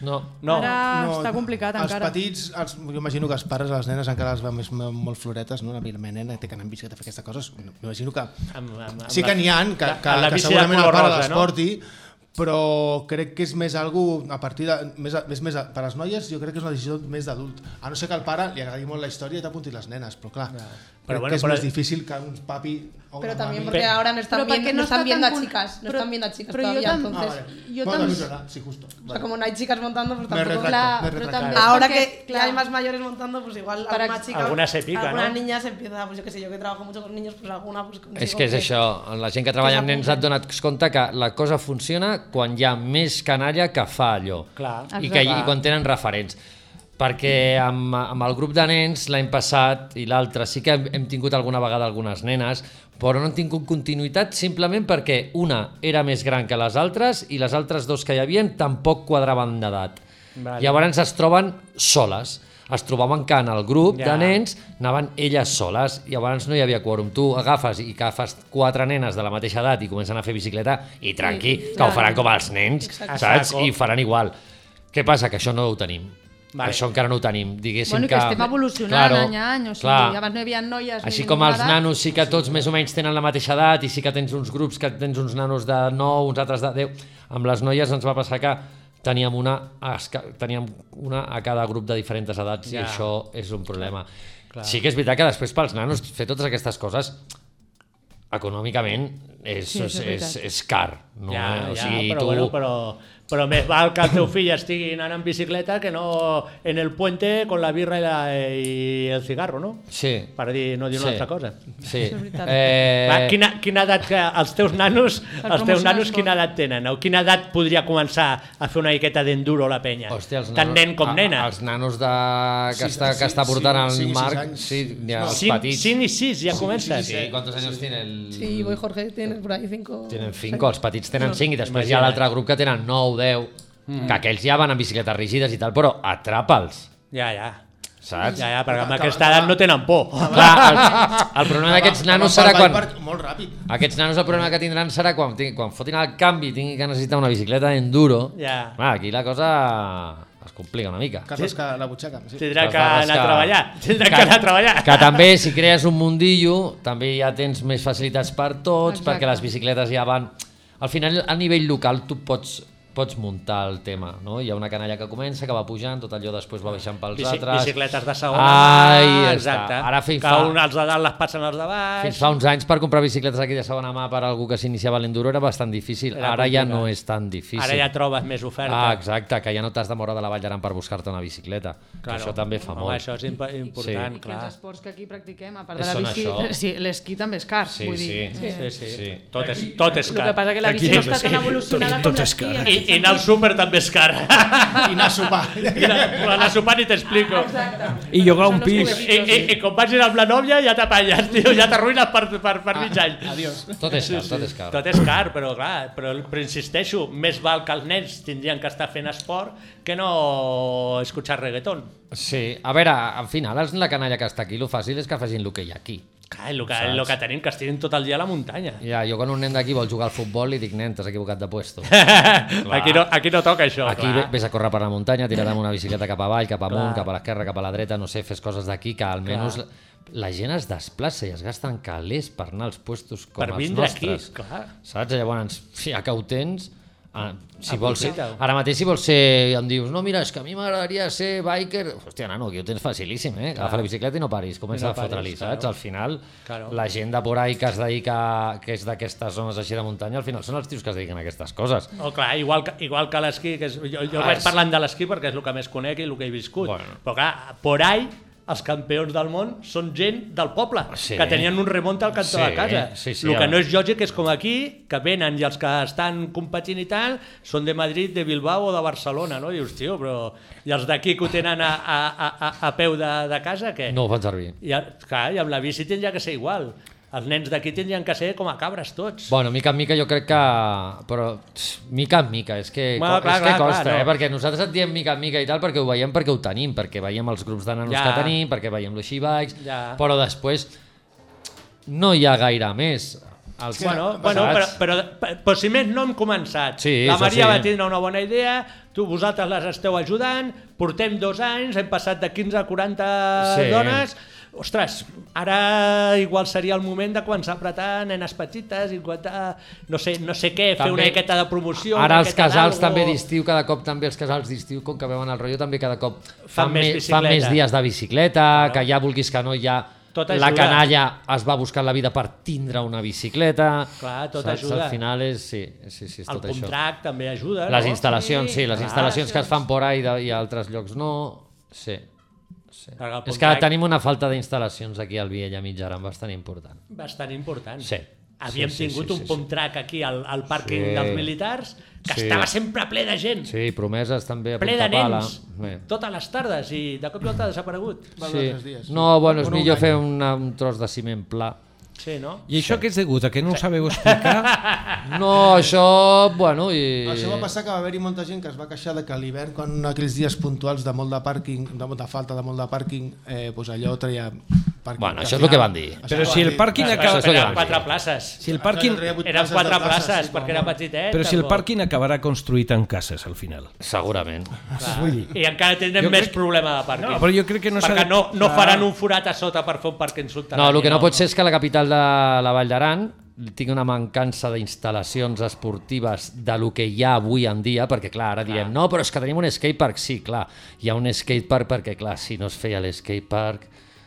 [SPEAKER 5] No.
[SPEAKER 2] No.
[SPEAKER 6] Ara Ah, està complicat
[SPEAKER 4] els
[SPEAKER 6] encara.
[SPEAKER 4] petits, els, jo imagino que els pares, les nenes encara les van més molt floretes, no? La meva nena té que anar amb bicicleta a fer aquestes coses. M'imagino que...
[SPEAKER 2] Amb, amb, amb
[SPEAKER 4] sí que
[SPEAKER 2] la-
[SPEAKER 4] n'hi ha, que,
[SPEAKER 2] la-
[SPEAKER 4] que,
[SPEAKER 2] amb la
[SPEAKER 4] que
[SPEAKER 2] bici de
[SPEAKER 4] segurament el
[SPEAKER 2] color
[SPEAKER 4] pare
[SPEAKER 2] rosa,
[SPEAKER 4] les porti, però crec que és més algo a partir de, més, a- més, més a, per a les noies jo crec que és una decisió més d'adult a no ser que al pare li agradi molt la història i t'apunti les nenes però clar, però crec
[SPEAKER 2] bueno,
[SPEAKER 4] que és
[SPEAKER 2] però-
[SPEAKER 4] més difícil que un papi o
[SPEAKER 13] Pero
[SPEAKER 4] una
[SPEAKER 13] también
[SPEAKER 4] mami-
[SPEAKER 13] porque ahora no están,
[SPEAKER 10] Pero
[SPEAKER 13] viendo,
[SPEAKER 10] porque
[SPEAKER 13] no
[SPEAKER 10] no
[SPEAKER 13] están
[SPEAKER 10] está tan
[SPEAKER 13] viendo a
[SPEAKER 10] cul-
[SPEAKER 13] chicas, no
[SPEAKER 10] pero-
[SPEAKER 13] están viendo a chicas
[SPEAKER 10] pero yo
[SPEAKER 13] todavía,
[SPEAKER 10] tam-
[SPEAKER 13] entonces...
[SPEAKER 4] Ah, vale.
[SPEAKER 13] yo
[SPEAKER 4] Bueno,
[SPEAKER 13] tam-
[SPEAKER 4] es verdad, sí, justo.
[SPEAKER 13] O sea, como no hay chicas montando, pues
[SPEAKER 4] Me
[SPEAKER 13] tampoco...
[SPEAKER 4] retracto,
[SPEAKER 13] la-
[SPEAKER 4] me
[SPEAKER 13] pero
[SPEAKER 4] retracto.
[SPEAKER 13] también
[SPEAKER 10] Ahora
[SPEAKER 13] porque,
[SPEAKER 10] que,
[SPEAKER 13] claro,
[SPEAKER 10] hay más mayores montando, pues igual
[SPEAKER 13] Para-
[SPEAKER 10] alguna chica...
[SPEAKER 5] Alguna se pica,
[SPEAKER 10] alguna
[SPEAKER 5] ¿no?
[SPEAKER 10] niña se empieza, pues yo qué sé, yo que trabajo mucho con niños, pues alguna pues consigo
[SPEAKER 5] És que és això, la gent que treballa amb nens et dona compte que la cosa funciona quan hi ha més canalla que fa allò.
[SPEAKER 2] Clar.
[SPEAKER 5] I, que, I
[SPEAKER 2] Exacte.
[SPEAKER 5] quan tenen referents. Perquè amb, amb el grup de nens l'any passat i l'altre sí que hem, hem tingut alguna vegada algunes nenes, però no han tingut continuïtat simplement perquè una era més gran que les altres i les altres dos que hi havien tampoc quadraven d'edat.
[SPEAKER 2] Vale.
[SPEAKER 5] Vale. Llavors es troben soles. Es trobaven que en el grup ja.
[SPEAKER 2] Ja.
[SPEAKER 5] de nens anaven elles soles. Llavors no hi havia quòrum. Tu agafes i agafes quatre nenes de la mateixa edat i comencen a fer bicicleta i tranqui,
[SPEAKER 2] I-
[SPEAKER 5] que ho faran
[SPEAKER 2] Clar.
[SPEAKER 5] com els nens,
[SPEAKER 2] Exacte.
[SPEAKER 5] saps?
[SPEAKER 2] Exacte.
[SPEAKER 5] I faran igual. Què passa? Que això no ho tenim.
[SPEAKER 2] Vale.
[SPEAKER 5] Vale. Això encara no ho tenim. Diguéssim
[SPEAKER 13] Bueno, i que
[SPEAKER 5] que...
[SPEAKER 13] estem evolucionant any a any, o sigui, abans no hi havia noies ni
[SPEAKER 5] Així com els
[SPEAKER 13] nada.
[SPEAKER 5] nanos sí que tots més o menys tenen la mateixa edat i sí que tens uns grups que tens uns nanos de 9, uns altres de 10. Amb les noies ens va passar que teníem una a, esca- teníem una a cada grup de diferents edats ja. i
[SPEAKER 12] Ja.
[SPEAKER 5] això és un problema.
[SPEAKER 12] Clar.
[SPEAKER 5] Sí que és veritat que després pels nanos fer totes aquestes coses econòmicament és,
[SPEAKER 2] Sí,
[SPEAKER 5] sí,
[SPEAKER 2] això
[SPEAKER 5] és,
[SPEAKER 2] és
[SPEAKER 5] és,
[SPEAKER 2] veritat.
[SPEAKER 5] és car. No? eh?
[SPEAKER 2] Ja, ja,
[SPEAKER 5] o sigui,
[SPEAKER 2] però,
[SPEAKER 5] tu...
[SPEAKER 2] bueno, però, però més val que el teu fill estigui anant en bicicleta que no en el puente con la birra i, la, i el cigarro, no?
[SPEAKER 5] Sí.
[SPEAKER 2] Per dir, no dir una
[SPEAKER 5] Sí.
[SPEAKER 2] altra cosa.
[SPEAKER 5] Sí. Això és veritat.
[SPEAKER 2] Eh...
[SPEAKER 5] Eh,
[SPEAKER 2] Va, quina, quina edat que els teus nanos,
[SPEAKER 5] Per
[SPEAKER 2] els teus
[SPEAKER 5] promocionar
[SPEAKER 2] nanos
[SPEAKER 5] esport.
[SPEAKER 2] quina edat tenen? O quina edat podria començar a fer una miqueta d'enduro a la penya? Hòstia,
[SPEAKER 5] els
[SPEAKER 2] Eh? Tant
[SPEAKER 5] nanos-
[SPEAKER 2] nen com
[SPEAKER 5] a-
[SPEAKER 2] nena.
[SPEAKER 5] els nanos de... que,
[SPEAKER 2] Sí,
[SPEAKER 5] està, que
[SPEAKER 2] sí,
[SPEAKER 5] està portant
[SPEAKER 2] sí,
[SPEAKER 5] el
[SPEAKER 2] sí,
[SPEAKER 5] Marc,
[SPEAKER 2] sis anys.
[SPEAKER 5] sí, ja, els
[SPEAKER 2] Cinc-
[SPEAKER 5] petits.
[SPEAKER 2] cinc i sis, ja comences.
[SPEAKER 5] Sí, sí, ¿cuántos años tiene el...?
[SPEAKER 10] Sí, voy Jorge, tienes por ahí cinco...
[SPEAKER 5] Tenen 5, els petits tenen
[SPEAKER 10] No.
[SPEAKER 5] 5 i després hi ha
[SPEAKER 10] Imagina't.
[SPEAKER 5] l'altre grup que tenen 9, 10,
[SPEAKER 2] Mm.
[SPEAKER 5] que aquells ja van amb bicicletes rígides i tal, però atrapa'ls,
[SPEAKER 2] Ja, ja.
[SPEAKER 5] saps?
[SPEAKER 2] Ja, ja, perquè amb aquesta edat no tenen por.
[SPEAKER 5] Clar, el, el problema d'aquests
[SPEAKER 2] Que va-
[SPEAKER 5] nanos
[SPEAKER 2] que va
[SPEAKER 5] serà
[SPEAKER 2] pel
[SPEAKER 5] quan...
[SPEAKER 2] Viper
[SPEAKER 4] molt ràpid.
[SPEAKER 5] Aquests nanos el problema que tindran serà quan, tin- quan fotin el canvi i tinguin que necessitar una bicicleta d'enduro.
[SPEAKER 2] Ja.
[SPEAKER 5] Clar, aquí la cosa es complica una mica.
[SPEAKER 4] Cases que la butxaca. Sí.
[SPEAKER 2] Tindrà que anar a treballar. Tindrà que anar a treballar.
[SPEAKER 5] Que també, si crees un mundillo, també ja tens més facilitats per
[SPEAKER 2] Exacte.
[SPEAKER 5] tots, Exacte. perquè les bicicletes ja van... Al final, a nivell local, tu pots pots muntar el tema, no? Hi ha una canalla que comença, que va pujant, tot allò després va baixant pels
[SPEAKER 2] Bici-
[SPEAKER 5] altres.
[SPEAKER 2] bicicletes de segona.
[SPEAKER 5] Ai, ja
[SPEAKER 2] Exacte.
[SPEAKER 5] està. Ara fins
[SPEAKER 2] que
[SPEAKER 5] fa,
[SPEAKER 2] un als de dalt les passen als de baix.
[SPEAKER 5] fins fa uns anys per comprar bicicletes aquí de segona mà per algú que s'iniciava a l'enduro era bastant difícil.
[SPEAKER 2] Era
[SPEAKER 5] Ara ja
[SPEAKER 2] complicat.
[SPEAKER 5] no és tan difícil.
[SPEAKER 2] Ara ja trobes més oferta.
[SPEAKER 5] Ah, exacte, que ja no t'has de moure de la Vall d'Aran per buscar-te una bicicleta. Claro.
[SPEAKER 2] Claro.
[SPEAKER 5] Això també fa
[SPEAKER 2] Home,
[SPEAKER 5] molt.
[SPEAKER 2] això és impo- important,
[SPEAKER 13] I que els esports que aquí practiquem, a part de la
[SPEAKER 5] Són
[SPEAKER 13] bici,
[SPEAKER 5] això.
[SPEAKER 13] sí, l'esquí també és car,
[SPEAKER 5] Sí,
[SPEAKER 13] vull
[SPEAKER 5] sí.
[SPEAKER 13] dir.
[SPEAKER 5] Sí, sí. Sí.
[SPEAKER 2] Tot és, tot és
[SPEAKER 13] El
[SPEAKER 2] car.
[SPEAKER 13] que passa que la bici no està tan evolucionada com
[SPEAKER 6] eh?
[SPEAKER 13] l'esquí, en
[SPEAKER 2] I,
[SPEAKER 13] aquest
[SPEAKER 2] I anar al súper també és car. I
[SPEAKER 4] anar a sopar.
[SPEAKER 2] I anar, anar a sopar ni t'explico.
[SPEAKER 3] I llogar un
[SPEAKER 2] I,
[SPEAKER 3] pis.
[SPEAKER 2] i, I Eh, com vagis amb la nòvia ja t'apanyes, tio, ja t'arruïnes per, per, per mig any.
[SPEAKER 4] Adiós.
[SPEAKER 5] Tot és car, tot és car.
[SPEAKER 2] Tot és car, però clar, però, però insisteixo, més val que els nens tindrien que estar fent esport que no escoltar reggaeton.
[SPEAKER 5] Sí, a veure, al final és la canalla que està aquí, lo fàcil és que facin lo que hi ha aquí.
[SPEAKER 2] Clar, el que,
[SPEAKER 5] Saps?
[SPEAKER 2] el que tenim, que estiguin tot el dia a la muntanya.
[SPEAKER 5] Ja, jo quan un nen d'aquí vol jugar al futbol li dic, nen, t'has equivocat de puesto.
[SPEAKER 2] Aquí no- aquí no toca això,
[SPEAKER 5] Aquí
[SPEAKER 2] clar.
[SPEAKER 5] vés a córrer per la muntanya, tira't amb una bicicleta cap avall, cap amunt,
[SPEAKER 2] Clar.
[SPEAKER 5] cap a l'esquerra, cap a la dreta, no sé, fes coses d'aquí, que almenys
[SPEAKER 2] Clar.
[SPEAKER 5] la, la gent es desplaça i es gasten calés per anar als puestos com
[SPEAKER 2] Per
[SPEAKER 5] els
[SPEAKER 2] vindre aquí,
[SPEAKER 5] nostres.
[SPEAKER 2] clar.
[SPEAKER 5] Saps? Llavors, ja que ho tens, ah, si vols ser,
[SPEAKER 2] Aprofita-ho.
[SPEAKER 5] ara mateix si vols ser, em dius, no, mira, és que a mi m'agradaria ser biker, hòstia, nano, aquí ho tens facilíssim, eh? Agafa la bicicleta i no paris, comença
[SPEAKER 2] no
[SPEAKER 5] a fotre-li,
[SPEAKER 2] paris,
[SPEAKER 5] saps?
[SPEAKER 2] claro.
[SPEAKER 5] Al final,
[SPEAKER 2] Claro.
[SPEAKER 5] la gent de por ahí que es dedica, que és d'aquestes zones així de muntanya, al final són els tios que es dediquen a aquestes coses.
[SPEAKER 2] No, clar, igual que, igual que l'esquí, que és, jo, jo
[SPEAKER 5] Ah,
[SPEAKER 2] vaig
[SPEAKER 5] és-
[SPEAKER 2] parlant de l'esquí perquè és el que més conec i el que he viscut. Bueno. Però clar, por ahí, els campions del món són gent del poble,
[SPEAKER 5] Sí.
[SPEAKER 2] que tenien un remont al cantó
[SPEAKER 5] Sí,
[SPEAKER 2] de casa.
[SPEAKER 5] sí, sí,
[SPEAKER 2] el que
[SPEAKER 5] ja.
[SPEAKER 2] no és lògic és com aquí, que venen i els que estan competint i tal, són de Madrid, de Bilbao o de Barcelona, no? Dius, tio, però... I els d'aquí que ho tenen a, a, a, a- a peu de, de casa, què?
[SPEAKER 5] No ho fan servir.
[SPEAKER 2] I, a- clar, i amb la bici tindria que ser igual. Els nens d'aquí tindrien que ser com a cabres tots.
[SPEAKER 5] Bueno, mica en mica jo crec que... Però tss, mica en mica, és que,
[SPEAKER 2] Bueno,
[SPEAKER 5] co-
[SPEAKER 2] clar,
[SPEAKER 5] és que
[SPEAKER 2] clar, clar,
[SPEAKER 5] costa,
[SPEAKER 2] no.
[SPEAKER 5] eh? Perquè nosaltres et diem mica en mica i tal perquè ho veiem, perquè ho tenim, perquè veiem els grups de nanos
[SPEAKER 2] Ja.
[SPEAKER 5] que tenim, perquè veiem los xibikes,
[SPEAKER 2] Ja.
[SPEAKER 5] però després no hi ha gaire més. Els,
[SPEAKER 2] Bueno, bueno però, però, però, però si més no hem començat.
[SPEAKER 5] Sí,
[SPEAKER 2] la
[SPEAKER 5] això
[SPEAKER 2] Maria
[SPEAKER 5] sí.
[SPEAKER 2] va tindre una bona idea, tu vosaltres les esteu ajudant, portem dos anys, hem passat de 15 a 40
[SPEAKER 5] Sí.
[SPEAKER 2] sí. dones, ostres, ara igual seria el moment de començar a apretar nenes petites, i apretar no sé, no sé què, fer
[SPEAKER 5] També-
[SPEAKER 2] una miqueta de promoció.
[SPEAKER 5] Ara
[SPEAKER 2] una
[SPEAKER 5] els
[SPEAKER 2] miqueta
[SPEAKER 5] casals
[SPEAKER 2] d'algo.
[SPEAKER 5] també d'estiu, cada cop també els casals d'estiu, com que veuen el rotllo, també cada cop fan,
[SPEAKER 2] més
[SPEAKER 5] més, fan
[SPEAKER 2] bicicleta.
[SPEAKER 5] més dies de bicicleta, que ja vulguis que no, ja
[SPEAKER 2] Tot
[SPEAKER 5] la
[SPEAKER 2] ajuda.
[SPEAKER 5] canalla es va buscar la vida per tindre una bicicleta.
[SPEAKER 2] Clar, tot
[SPEAKER 5] saps?
[SPEAKER 2] ajuda.
[SPEAKER 5] Al final és, sí, sí, sí, és
[SPEAKER 2] El
[SPEAKER 5] tot això.
[SPEAKER 2] contracte també ajuda,
[SPEAKER 5] Les
[SPEAKER 2] no?
[SPEAKER 5] instal·lacions, sí, les
[SPEAKER 2] Clar.
[SPEAKER 5] instal·lacions que es fan por ahí de- i a altres llocs no, sí. sí.
[SPEAKER 2] Perquè el
[SPEAKER 5] És que
[SPEAKER 2] contracte-
[SPEAKER 5] tenim una falta d'instal·lacions aquí al Viella Mitjaran bastant important.
[SPEAKER 2] Bastant important.
[SPEAKER 5] Sí.
[SPEAKER 2] Havíem
[SPEAKER 5] Sí, sí,
[SPEAKER 2] tingut
[SPEAKER 5] sí,
[SPEAKER 2] un
[SPEAKER 5] sí,
[SPEAKER 2] pump track aquí al, al pàrquing
[SPEAKER 5] Sí.
[SPEAKER 2] dels militars que
[SPEAKER 5] Sí.
[SPEAKER 2] estava sempre ple de gent.
[SPEAKER 5] Sí, promeses també a
[SPEAKER 2] ple de
[SPEAKER 5] Puntapala.
[SPEAKER 2] nens,
[SPEAKER 5] Bé.
[SPEAKER 2] totes les tardes, i de cop i volta ha desaparegut.
[SPEAKER 5] No, bueno, és
[SPEAKER 2] Por un
[SPEAKER 5] millor
[SPEAKER 2] any.
[SPEAKER 5] fer una, un tros de ciment pla.
[SPEAKER 2] Sí, no?
[SPEAKER 3] I això que és degut a que no ho sabeu explicar?
[SPEAKER 5] No, això, bueno, i...
[SPEAKER 4] Això va passar que va haver-hi molta gent que es va queixar de que a l'hivern, quan en aquells dies puntuals de molt de pàrquing, de molta falta de molt de pàrquing, eh, doncs allò treia pàrquing.
[SPEAKER 5] Bueno,
[SPEAKER 4] Al
[SPEAKER 5] això és el que
[SPEAKER 4] final-
[SPEAKER 5] van dir.
[SPEAKER 4] Això
[SPEAKER 3] Però
[SPEAKER 4] van
[SPEAKER 3] si el
[SPEAKER 4] dir.
[SPEAKER 3] pàrquing
[SPEAKER 2] Però
[SPEAKER 3] acaba...
[SPEAKER 2] eren quatre places.
[SPEAKER 3] Si el pàrquing-
[SPEAKER 4] Això treia vuit
[SPEAKER 2] Eren
[SPEAKER 4] places de
[SPEAKER 2] quatre
[SPEAKER 4] places,
[SPEAKER 2] places,
[SPEAKER 4] sí,
[SPEAKER 2] perquè era
[SPEAKER 4] com-
[SPEAKER 2] petitet.
[SPEAKER 3] Però si el
[SPEAKER 2] tampoc.
[SPEAKER 3] pàrquing acabarà construït en cases, al final.
[SPEAKER 5] Segurament.
[SPEAKER 3] Vull dir,
[SPEAKER 2] I encara tindrem
[SPEAKER 3] Jo
[SPEAKER 2] més
[SPEAKER 3] crec-
[SPEAKER 2] problema de pàrquing.
[SPEAKER 3] No, però jo crec que no s'ha
[SPEAKER 2] Perquè
[SPEAKER 3] de-
[SPEAKER 2] no, no
[SPEAKER 3] Clar.
[SPEAKER 2] faran un forat a sota per fer un pàrquing
[SPEAKER 5] No,
[SPEAKER 2] subterrani.
[SPEAKER 5] el que no pot ser és que la capital de la Vall d'Aran tingui una mancança d'instal·lacions esportives de lo que hi ha avui en dia, perquè clar, ara diem, no, però és que tenim un skatepark, sí, clar, hi ha un skatepark perquè clar, si no es feia l'skatepark,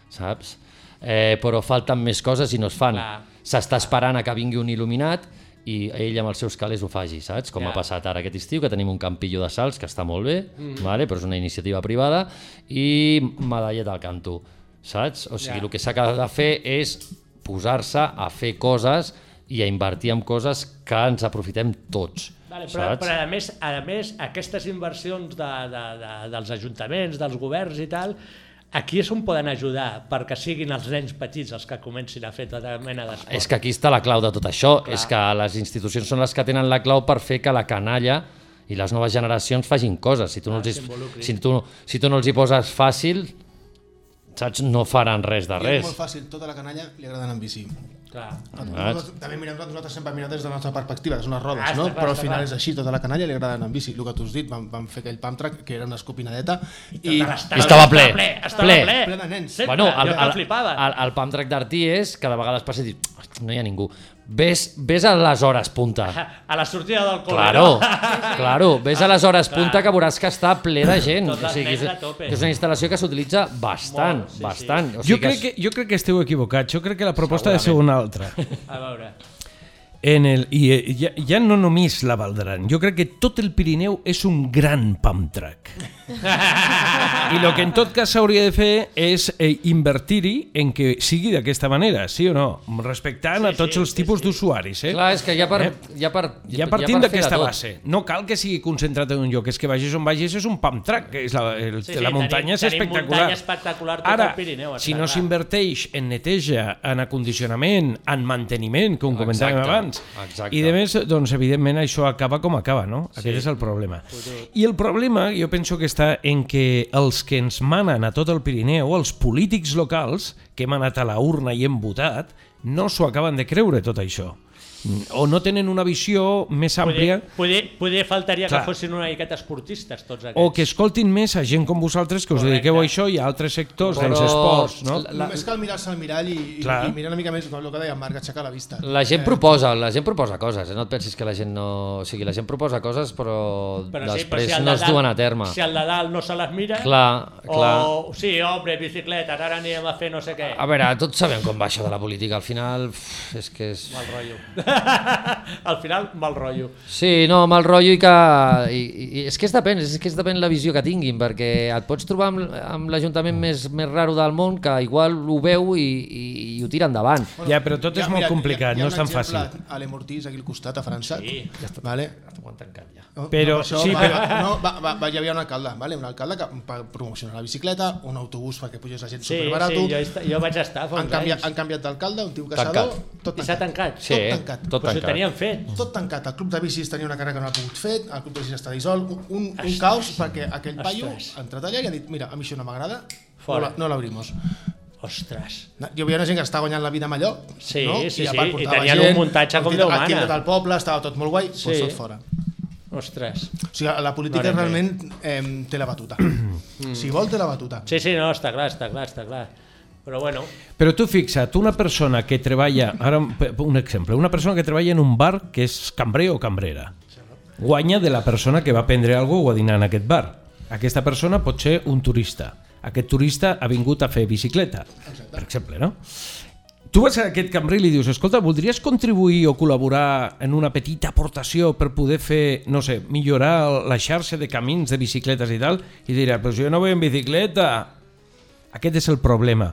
[SPEAKER 5] saps? Eh, però falten més coses i no es fan.
[SPEAKER 2] Clar.
[SPEAKER 5] S'està esperant a que vingui un il·luminat i ell amb els seus calés ho faci, saps? Com
[SPEAKER 2] Ja.
[SPEAKER 5] ha passat ara aquest estiu, que tenim un campillo de salts, que està molt bé,
[SPEAKER 2] Mhm.
[SPEAKER 5] vale? però és una iniciativa privada, i medalleta al canto, saps? O sigui,
[SPEAKER 2] Ja.
[SPEAKER 5] el que s'ha de fer és posar-se a fer coses i a invertir en coses que ens aprofitem tots.
[SPEAKER 2] Vale, però,
[SPEAKER 5] saps?
[SPEAKER 2] però a, més, a més, aquestes inversions de, de, de, dels ajuntaments, dels governs i tal, aquí és on poden ajudar perquè siguin els nens petits els que comencin a fer tota mena d'esport.
[SPEAKER 5] És que aquí està la clau de tot això, Clar. és que les institucions són les que tenen la clau per fer que la canalla i les noves generacions fagin coses. Si tu no, els, hi-
[SPEAKER 2] Ah, s'involucrin.
[SPEAKER 5] si tu, si tu no els hi poses fàcil, saps? No faran res de
[SPEAKER 4] I és
[SPEAKER 5] res.
[SPEAKER 4] molt fàcil, tota la canalla li agrada anar en bici.
[SPEAKER 2] Clar.
[SPEAKER 4] Nosaltres, també mirem, nosaltres sempre mirem des de la nostra perspectiva, que són les rodes,
[SPEAKER 2] Ah,
[SPEAKER 4] no?
[SPEAKER 2] està clar,
[SPEAKER 4] però al
[SPEAKER 2] està
[SPEAKER 4] final
[SPEAKER 2] clar.
[SPEAKER 4] és així, tota la canalla li agrada anar en bici. El que tu has dit, vam, vam fer aquell pump track, que era una escopinadeta, i,
[SPEAKER 2] I tota estava-
[SPEAKER 5] I estava ple.
[SPEAKER 2] ple, estava ple.
[SPEAKER 4] ple de nens.
[SPEAKER 2] Sempre,
[SPEAKER 5] bueno, el,
[SPEAKER 2] jo que
[SPEAKER 5] el,
[SPEAKER 2] flipava.
[SPEAKER 5] el, el pam track d'Artí és que de vegades passa i dius, "Hosti, no hi ha ningú. Ves, ves a les hores punta.
[SPEAKER 2] A la sortida del col·le. no?
[SPEAKER 5] Claro, claro. Ves a les hores
[SPEAKER 2] Clar.
[SPEAKER 5] punta que veuràs que està ple de gent.
[SPEAKER 2] Tot
[SPEAKER 5] O sigui,
[SPEAKER 2] les nens
[SPEAKER 5] que
[SPEAKER 2] a
[SPEAKER 5] és,
[SPEAKER 2] tope.
[SPEAKER 5] que és una instal·lació que s'utilitza bastant, bastant. O sigui
[SPEAKER 3] Jo crec, que, jo crec que esteu equivocats. Jo crec que la proposta ha de ser una
[SPEAKER 5] Segurament.
[SPEAKER 3] altra.
[SPEAKER 2] A veure.
[SPEAKER 3] En el, I eh, ja, ja no només la Valdran. Jo crec que tot el Pirineu és un gran pump track. I el que en tot cas s'hauria de fer és eh, invertir-hi en que sigui d'aquesta manera, sí o no? Respectant sí, a tots sí, els tipus sí, d'usuaris. Eh?
[SPEAKER 5] Clar, és que ja per- ja per,
[SPEAKER 3] ja partim
[SPEAKER 5] ja per fer
[SPEAKER 3] d'aquesta
[SPEAKER 5] de tot.
[SPEAKER 3] base. No cal que sigui concentrat en un lloc, és que vagis on vagis és un pump track, que és la, el,
[SPEAKER 2] Sí,
[SPEAKER 3] sí,
[SPEAKER 2] sí,
[SPEAKER 3] sí, la muntanya
[SPEAKER 2] tenim-
[SPEAKER 3] és
[SPEAKER 2] tenim
[SPEAKER 3] espectacular.
[SPEAKER 2] muntanya espectacular tot
[SPEAKER 3] Ara,
[SPEAKER 2] el Pirineu,
[SPEAKER 3] si
[SPEAKER 2] està
[SPEAKER 3] no
[SPEAKER 2] clar.
[SPEAKER 3] s'inverteix en neteja, en acondicionament, en manteniment, com comentàvem
[SPEAKER 5] Exacte,
[SPEAKER 3] abans,
[SPEAKER 5] exacte.
[SPEAKER 3] i de més, doncs, evidentment, això acaba com acaba, no? Aquest
[SPEAKER 5] Sí.
[SPEAKER 3] és el problema. I el problema, jo penso que està en que els que ens manen a tot el Pirineu, els polítics locals, que hem anat a la urna i hem votat, no s'ho acaben de creure, tot això. Mm, O no tenen una visió més àmplia...
[SPEAKER 2] Poder, poder, poder faltaria
[SPEAKER 3] Clar.
[SPEAKER 2] que fossin una miqueta esportistes
[SPEAKER 5] Oh,
[SPEAKER 2] tots aquests.
[SPEAKER 5] eh,
[SPEAKER 3] O que escoltin més a gent com vosaltres que us dediqueu a això i a altres sectors dels esports, no?
[SPEAKER 4] La, Només cal mirar-se al mirall i, i,
[SPEAKER 3] Clar.
[SPEAKER 4] i mirar una mica més com el que deia en Marc, aixecar la vista.
[SPEAKER 5] La
[SPEAKER 3] Eh?
[SPEAKER 5] gent proposa, la gent proposa coses, eh? no et pensis que la gent no... O sigui, la gent proposa coses
[SPEAKER 2] Però
[SPEAKER 5] però,
[SPEAKER 2] sí, però
[SPEAKER 5] després
[SPEAKER 2] si el
[SPEAKER 5] no
[SPEAKER 2] de
[SPEAKER 5] es
[SPEAKER 2] dalt-
[SPEAKER 5] duen a terme.
[SPEAKER 2] Si el de dalt no se les mira...
[SPEAKER 5] Clar, clar.
[SPEAKER 2] O, sí, hombre, bicicletes, ara anirem a fer no sé què.
[SPEAKER 5] A veure, tots sabem com va això de la política, al final uf, és que és...
[SPEAKER 2] Mal rotllo. Al final, mal rotllo.
[SPEAKER 5] Sí, no, mal rotllo i que... I, i, és que és depèn, és que és depèn la visió que tinguin, perquè et pots trobar amb, amb l'Ajuntament més, més raro del món que igual ho veu i, i, i ho tira endavant.
[SPEAKER 3] Ja, però tot és molt complicat, no és tan fàcil.
[SPEAKER 4] A l'Emortís, aquí al costat, a França. Sí. Ja està. Vale.
[SPEAKER 5] Ho han tancat ja.
[SPEAKER 3] Però- sí,
[SPEAKER 4] va,
[SPEAKER 3] però-
[SPEAKER 4] No, va, va, va, hi havia un alcalde, vale? un alcalde que va promocionar la bicicleta, un autobús perquè pugés la gent
[SPEAKER 2] Sí,
[SPEAKER 4] superbarato.
[SPEAKER 2] sí, jo, esta- jo vaig estar fa
[SPEAKER 4] Han
[SPEAKER 2] uns
[SPEAKER 4] canviat,
[SPEAKER 2] anys.
[SPEAKER 4] han canviat d'alcalde, un tio
[SPEAKER 2] Tancat.
[SPEAKER 4] caçador, tot tancat.
[SPEAKER 2] I s'ha tancat?
[SPEAKER 5] Sí,
[SPEAKER 4] tot tancat.
[SPEAKER 5] tot Però si ho tancat. tenien
[SPEAKER 2] fet.
[SPEAKER 4] Tot tancat. El club de bicis tenia una carrera que no ha pogut fer, el club de bicis està dissolt, un, un, un caos perquè aquell paio ha entrat allà i ha dit mira, a mi això no m'agrada, no
[SPEAKER 2] Fora.
[SPEAKER 4] la- no l'abrimos.
[SPEAKER 2] Ostres.
[SPEAKER 4] No, Jo veia una gent que estava guanyant la vida amb allò,
[SPEAKER 2] Sí,
[SPEAKER 4] no?
[SPEAKER 2] sí,
[SPEAKER 4] a
[SPEAKER 2] sí,
[SPEAKER 4] part
[SPEAKER 2] i
[SPEAKER 4] portava
[SPEAKER 2] tenien
[SPEAKER 4] gent,
[SPEAKER 2] un muntatge com
[SPEAKER 4] activitat-
[SPEAKER 2] Déu mana.
[SPEAKER 4] Activitat al poble, estava tot molt guai, sí.
[SPEAKER 2] Sí.
[SPEAKER 4] tot fora.
[SPEAKER 2] Ostres.
[SPEAKER 4] O sigui, la política
[SPEAKER 2] Mare
[SPEAKER 4] realment eh, té la batuta. Mm. si vol, té la batuta.
[SPEAKER 2] Sí, sí, no, està clar, està clar, està clar. Però bueno,
[SPEAKER 3] Però tu fixa't, una persona que treballa, ara un- un exemple, una persona que treballa en un bar que és cambrer o cambrera, guanya de la persona que va prendre alguna cosa o a dinar en aquest bar. Aquesta persona pot ser un turista. Aquest turista ha vingut a fer bicicleta, per exemple, no? Tu vas a aquest cambrer i li dius, escolta, voldries contribuir o col·laborar en una petita aportació per poder fer, no sé, millorar la xarxa de camins de bicicletes i tal? I dirà, però si jo no vull en bicicleta, aquest és el problema.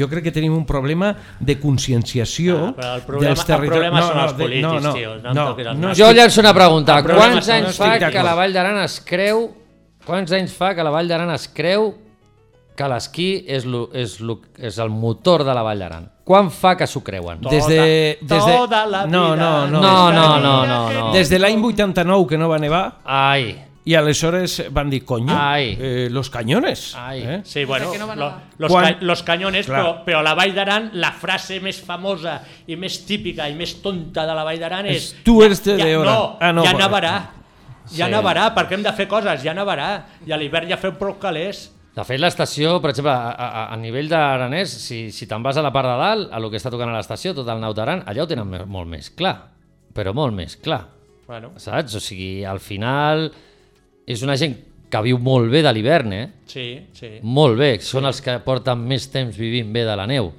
[SPEAKER 3] Jo crec que tenim un problema de conscienciació
[SPEAKER 2] Ah, però el problema- el problema són els
[SPEAKER 3] de-
[SPEAKER 2] polítics, tio, no em toquis el nas.
[SPEAKER 5] Jo
[SPEAKER 3] estic-
[SPEAKER 5] llanço una pregunta.
[SPEAKER 3] El problema
[SPEAKER 5] Quants
[SPEAKER 3] són- no
[SPEAKER 5] anys
[SPEAKER 3] estic
[SPEAKER 5] fa que
[SPEAKER 3] d'acord.
[SPEAKER 5] la Vall d'Aran es creu... Quants anys fa que la Vall d'Aran es creu que l'esquí és, lo, és, lo, és el motor de la Vall d'Aran? Quan fa que s'ho creuen?
[SPEAKER 2] Tota
[SPEAKER 3] Des de, des de, no, no, no,
[SPEAKER 5] No, no, no, no, no.
[SPEAKER 3] Des de l'any 89 que no va nevar.
[SPEAKER 5] Ai.
[SPEAKER 3] I aleshores van dir, coño,
[SPEAKER 5] Ai.
[SPEAKER 3] eh, los cañones.
[SPEAKER 5] Ai.
[SPEAKER 3] Eh?
[SPEAKER 2] sí, bueno,
[SPEAKER 5] que no van
[SPEAKER 2] lo,
[SPEAKER 5] nevar.
[SPEAKER 2] los,
[SPEAKER 3] Quan-
[SPEAKER 2] ca los cañones,
[SPEAKER 3] Clar.
[SPEAKER 2] però, però la Vall d'Aran, la frase més famosa i més típica i més tonta de la Vall d'Aran és...
[SPEAKER 3] És, tu ets de Deora.
[SPEAKER 2] No,
[SPEAKER 3] Ah, no,
[SPEAKER 2] ja
[SPEAKER 3] vale.
[SPEAKER 2] nevarà. Ja
[SPEAKER 5] Sí.
[SPEAKER 2] nevarà, perquè hem de fer coses, ja nevarà. I a l'hivern ja fem prou calés.
[SPEAKER 5] De fet, l'estació, per exemple, a, a, a nivell d'Aranès, si, si te'n vas a la part de dalt, a lo que està tocant a l'estació, tot el nau d'Aran, allà ho tenen me- molt més clar, però molt més clar.
[SPEAKER 2] Bueno,
[SPEAKER 5] Saps? O sigui, al final és una gent que viu molt bé de l'hivern, eh?
[SPEAKER 2] sí, sí.
[SPEAKER 5] Molt bé, són els que porten més temps vivint bé de la neu.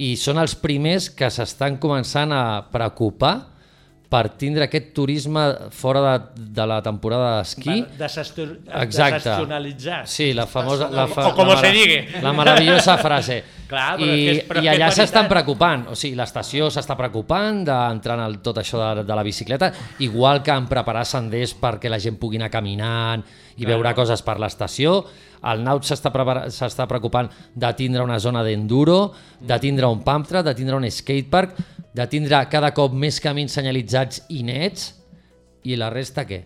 [SPEAKER 5] I són els primers que s'estan començant a preocupar per tindre aquest turisme fora de, de la temporada d'esquí.
[SPEAKER 2] Bueno, desestor-
[SPEAKER 5] Exacte.
[SPEAKER 2] Desestacionalitzar.
[SPEAKER 5] Sí, la famosa... La fa,
[SPEAKER 2] O como
[SPEAKER 5] la mara-
[SPEAKER 2] se digue.
[SPEAKER 5] La meravellosa frase.
[SPEAKER 2] Clar, però
[SPEAKER 5] I,
[SPEAKER 2] és que és- però és
[SPEAKER 5] i
[SPEAKER 2] que
[SPEAKER 5] allà
[SPEAKER 2] és
[SPEAKER 5] s'estan
[SPEAKER 2] veritat.
[SPEAKER 5] preocupant. O sigui, l'estació s'està preocupant d'entrar en el, tot això de, de la bicicleta, igual que en preparar senders perquè la gent pugui anar caminant i
[SPEAKER 2] Clar.
[SPEAKER 5] veure coses per l'estació. El Naut s'està prepara- s'està preocupant de tindre una zona d'enduro,
[SPEAKER 2] Mm.
[SPEAKER 5] de tindre un pump track, de tindre un skatepark, de tindre cada cop més camins senyalitzats i nets. I la resta què?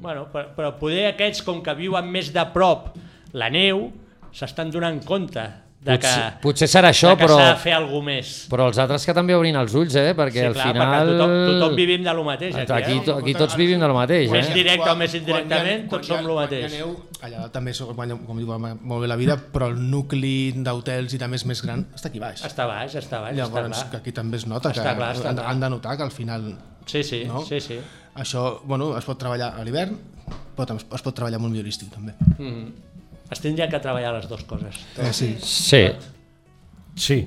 [SPEAKER 2] Bueno, però, però poder aquests, com que viuen més de prop la neu, s'estan donant compte de que...
[SPEAKER 5] potser, potser serà això,
[SPEAKER 2] de que
[SPEAKER 5] però...
[SPEAKER 2] s'ha de fer alguna més.
[SPEAKER 5] Però els altres que també obrin els ulls, eh? Perquè
[SPEAKER 2] Sí,
[SPEAKER 5] al
[SPEAKER 2] clar,
[SPEAKER 5] final...
[SPEAKER 2] perquè tothom- tothom vivim de lo mateix, aquí, eh?
[SPEAKER 5] Aquí, to- aquí tots vivim de lo mateix,
[SPEAKER 2] Més
[SPEAKER 5] eh?
[SPEAKER 2] directe o més
[SPEAKER 4] Quan-
[SPEAKER 2] indirectament,
[SPEAKER 4] quan
[SPEAKER 2] tots
[SPEAKER 4] hi ha-
[SPEAKER 2] som lo
[SPEAKER 4] quan hi
[SPEAKER 2] mateix.
[SPEAKER 4] aneu, allà dalt també, som- guanya- com diu molt bé la vida, però el nucli d'hotels i també és més gran, està aquí baix.
[SPEAKER 2] Està baix, està baix, està
[SPEAKER 4] Llavors,
[SPEAKER 2] clar.
[SPEAKER 4] que aquí també es nota, que
[SPEAKER 2] Està clar, està
[SPEAKER 4] han,
[SPEAKER 2] clar.
[SPEAKER 4] han de notar que al final...
[SPEAKER 2] Sí, sí,
[SPEAKER 4] no?
[SPEAKER 2] sí, sí.
[SPEAKER 4] Això, bueno, es pot treballar a l'hivern, però també es- es pot treballar molt millor a l'estiu, també.
[SPEAKER 2] Mm. Es tindrien que treballar les dues coses.
[SPEAKER 4] Eh, sí.
[SPEAKER 5] Sí.
[SPEAKER 3] Sí.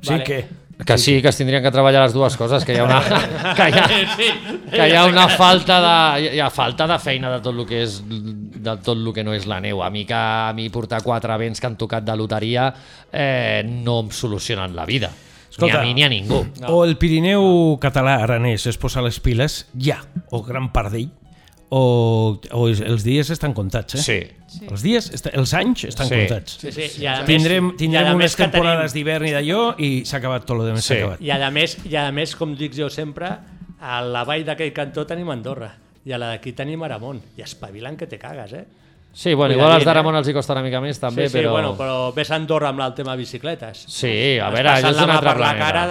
[SPEAKER 3] Sí
[SPEAKER 2] Vale.
[SPEAKER 3] que...
[SPEAKER 5] Que sí, que es tindrien que treballar les dues coses, que hi ha una, que hi ha,
[SPEAKER 3] Sí.
[SPEAKER 5] que hi ha una falta de, hi ha falta de feina de tot el que és de tot el que no és la neu. A mi que a mi portar quatre vents que han tocat de loteria eh, no em solucionen la vida. ni a mi ni a ningú.
[SPEAKER 3] O el Pirineu català aranès es posa les piles, ja, o gran part d'ell, o, o es- els dies estan comptats, eh?
[SPEAKER 5] Sí.
[SPEAKER 3] Els dies, est- els anys estan
[SPEAKER 5] Sí.
[SPEAKER 3] comptats.
[SPEAKER 2] Sí, sí, i a més-
[SPEAKER 3] tindrem
[SPEAKER 2] i
[SPEAKER 3] tindrem
[SPEAKER 2] a més
[SPEAKER 3] unes
[SPEAKER 2] que tenim-
[SPEAKER 3] temporades d'hivern i d'allò i s'ha acabat tot el que més s'ha acabat.
[SPEAKER 2] I a més, i a més, com dic jo sempre, a la vall d'aquell cantó tenim Andorra i a la d'aquí tenim Aramon. I espavilen que te cagues, eh?
[SPEAKER 5] Sí, bueno,
[SPEAKER 2] Cuidadín,
[SPEAKER 5] igual els
[SPEAKER 2] eh?
[SPEAKER 5] d'Aramon els hi costa una mica més també,
[SPEAKER 2] sí, sí,
[SPEAKER 5] però...
[SPEAKER 2] Bueno, però ves a Andorra amb el tema bicicletes.
[SPEAKER 5] Sí, a
[SPEAKER 2] Es
[SPEAKER 5] veure, allò
[SPEAKER 2] passen
[SPEAKER 5] és
[SPEAKER 2] la
[SPEAKER 5] d'un
[SPEAKER 2] mà
[SPEAKER 5] altre
[SPEAKER 2] per la
[SPEAKER 5] planeta.
[SPEAKER 2] cara,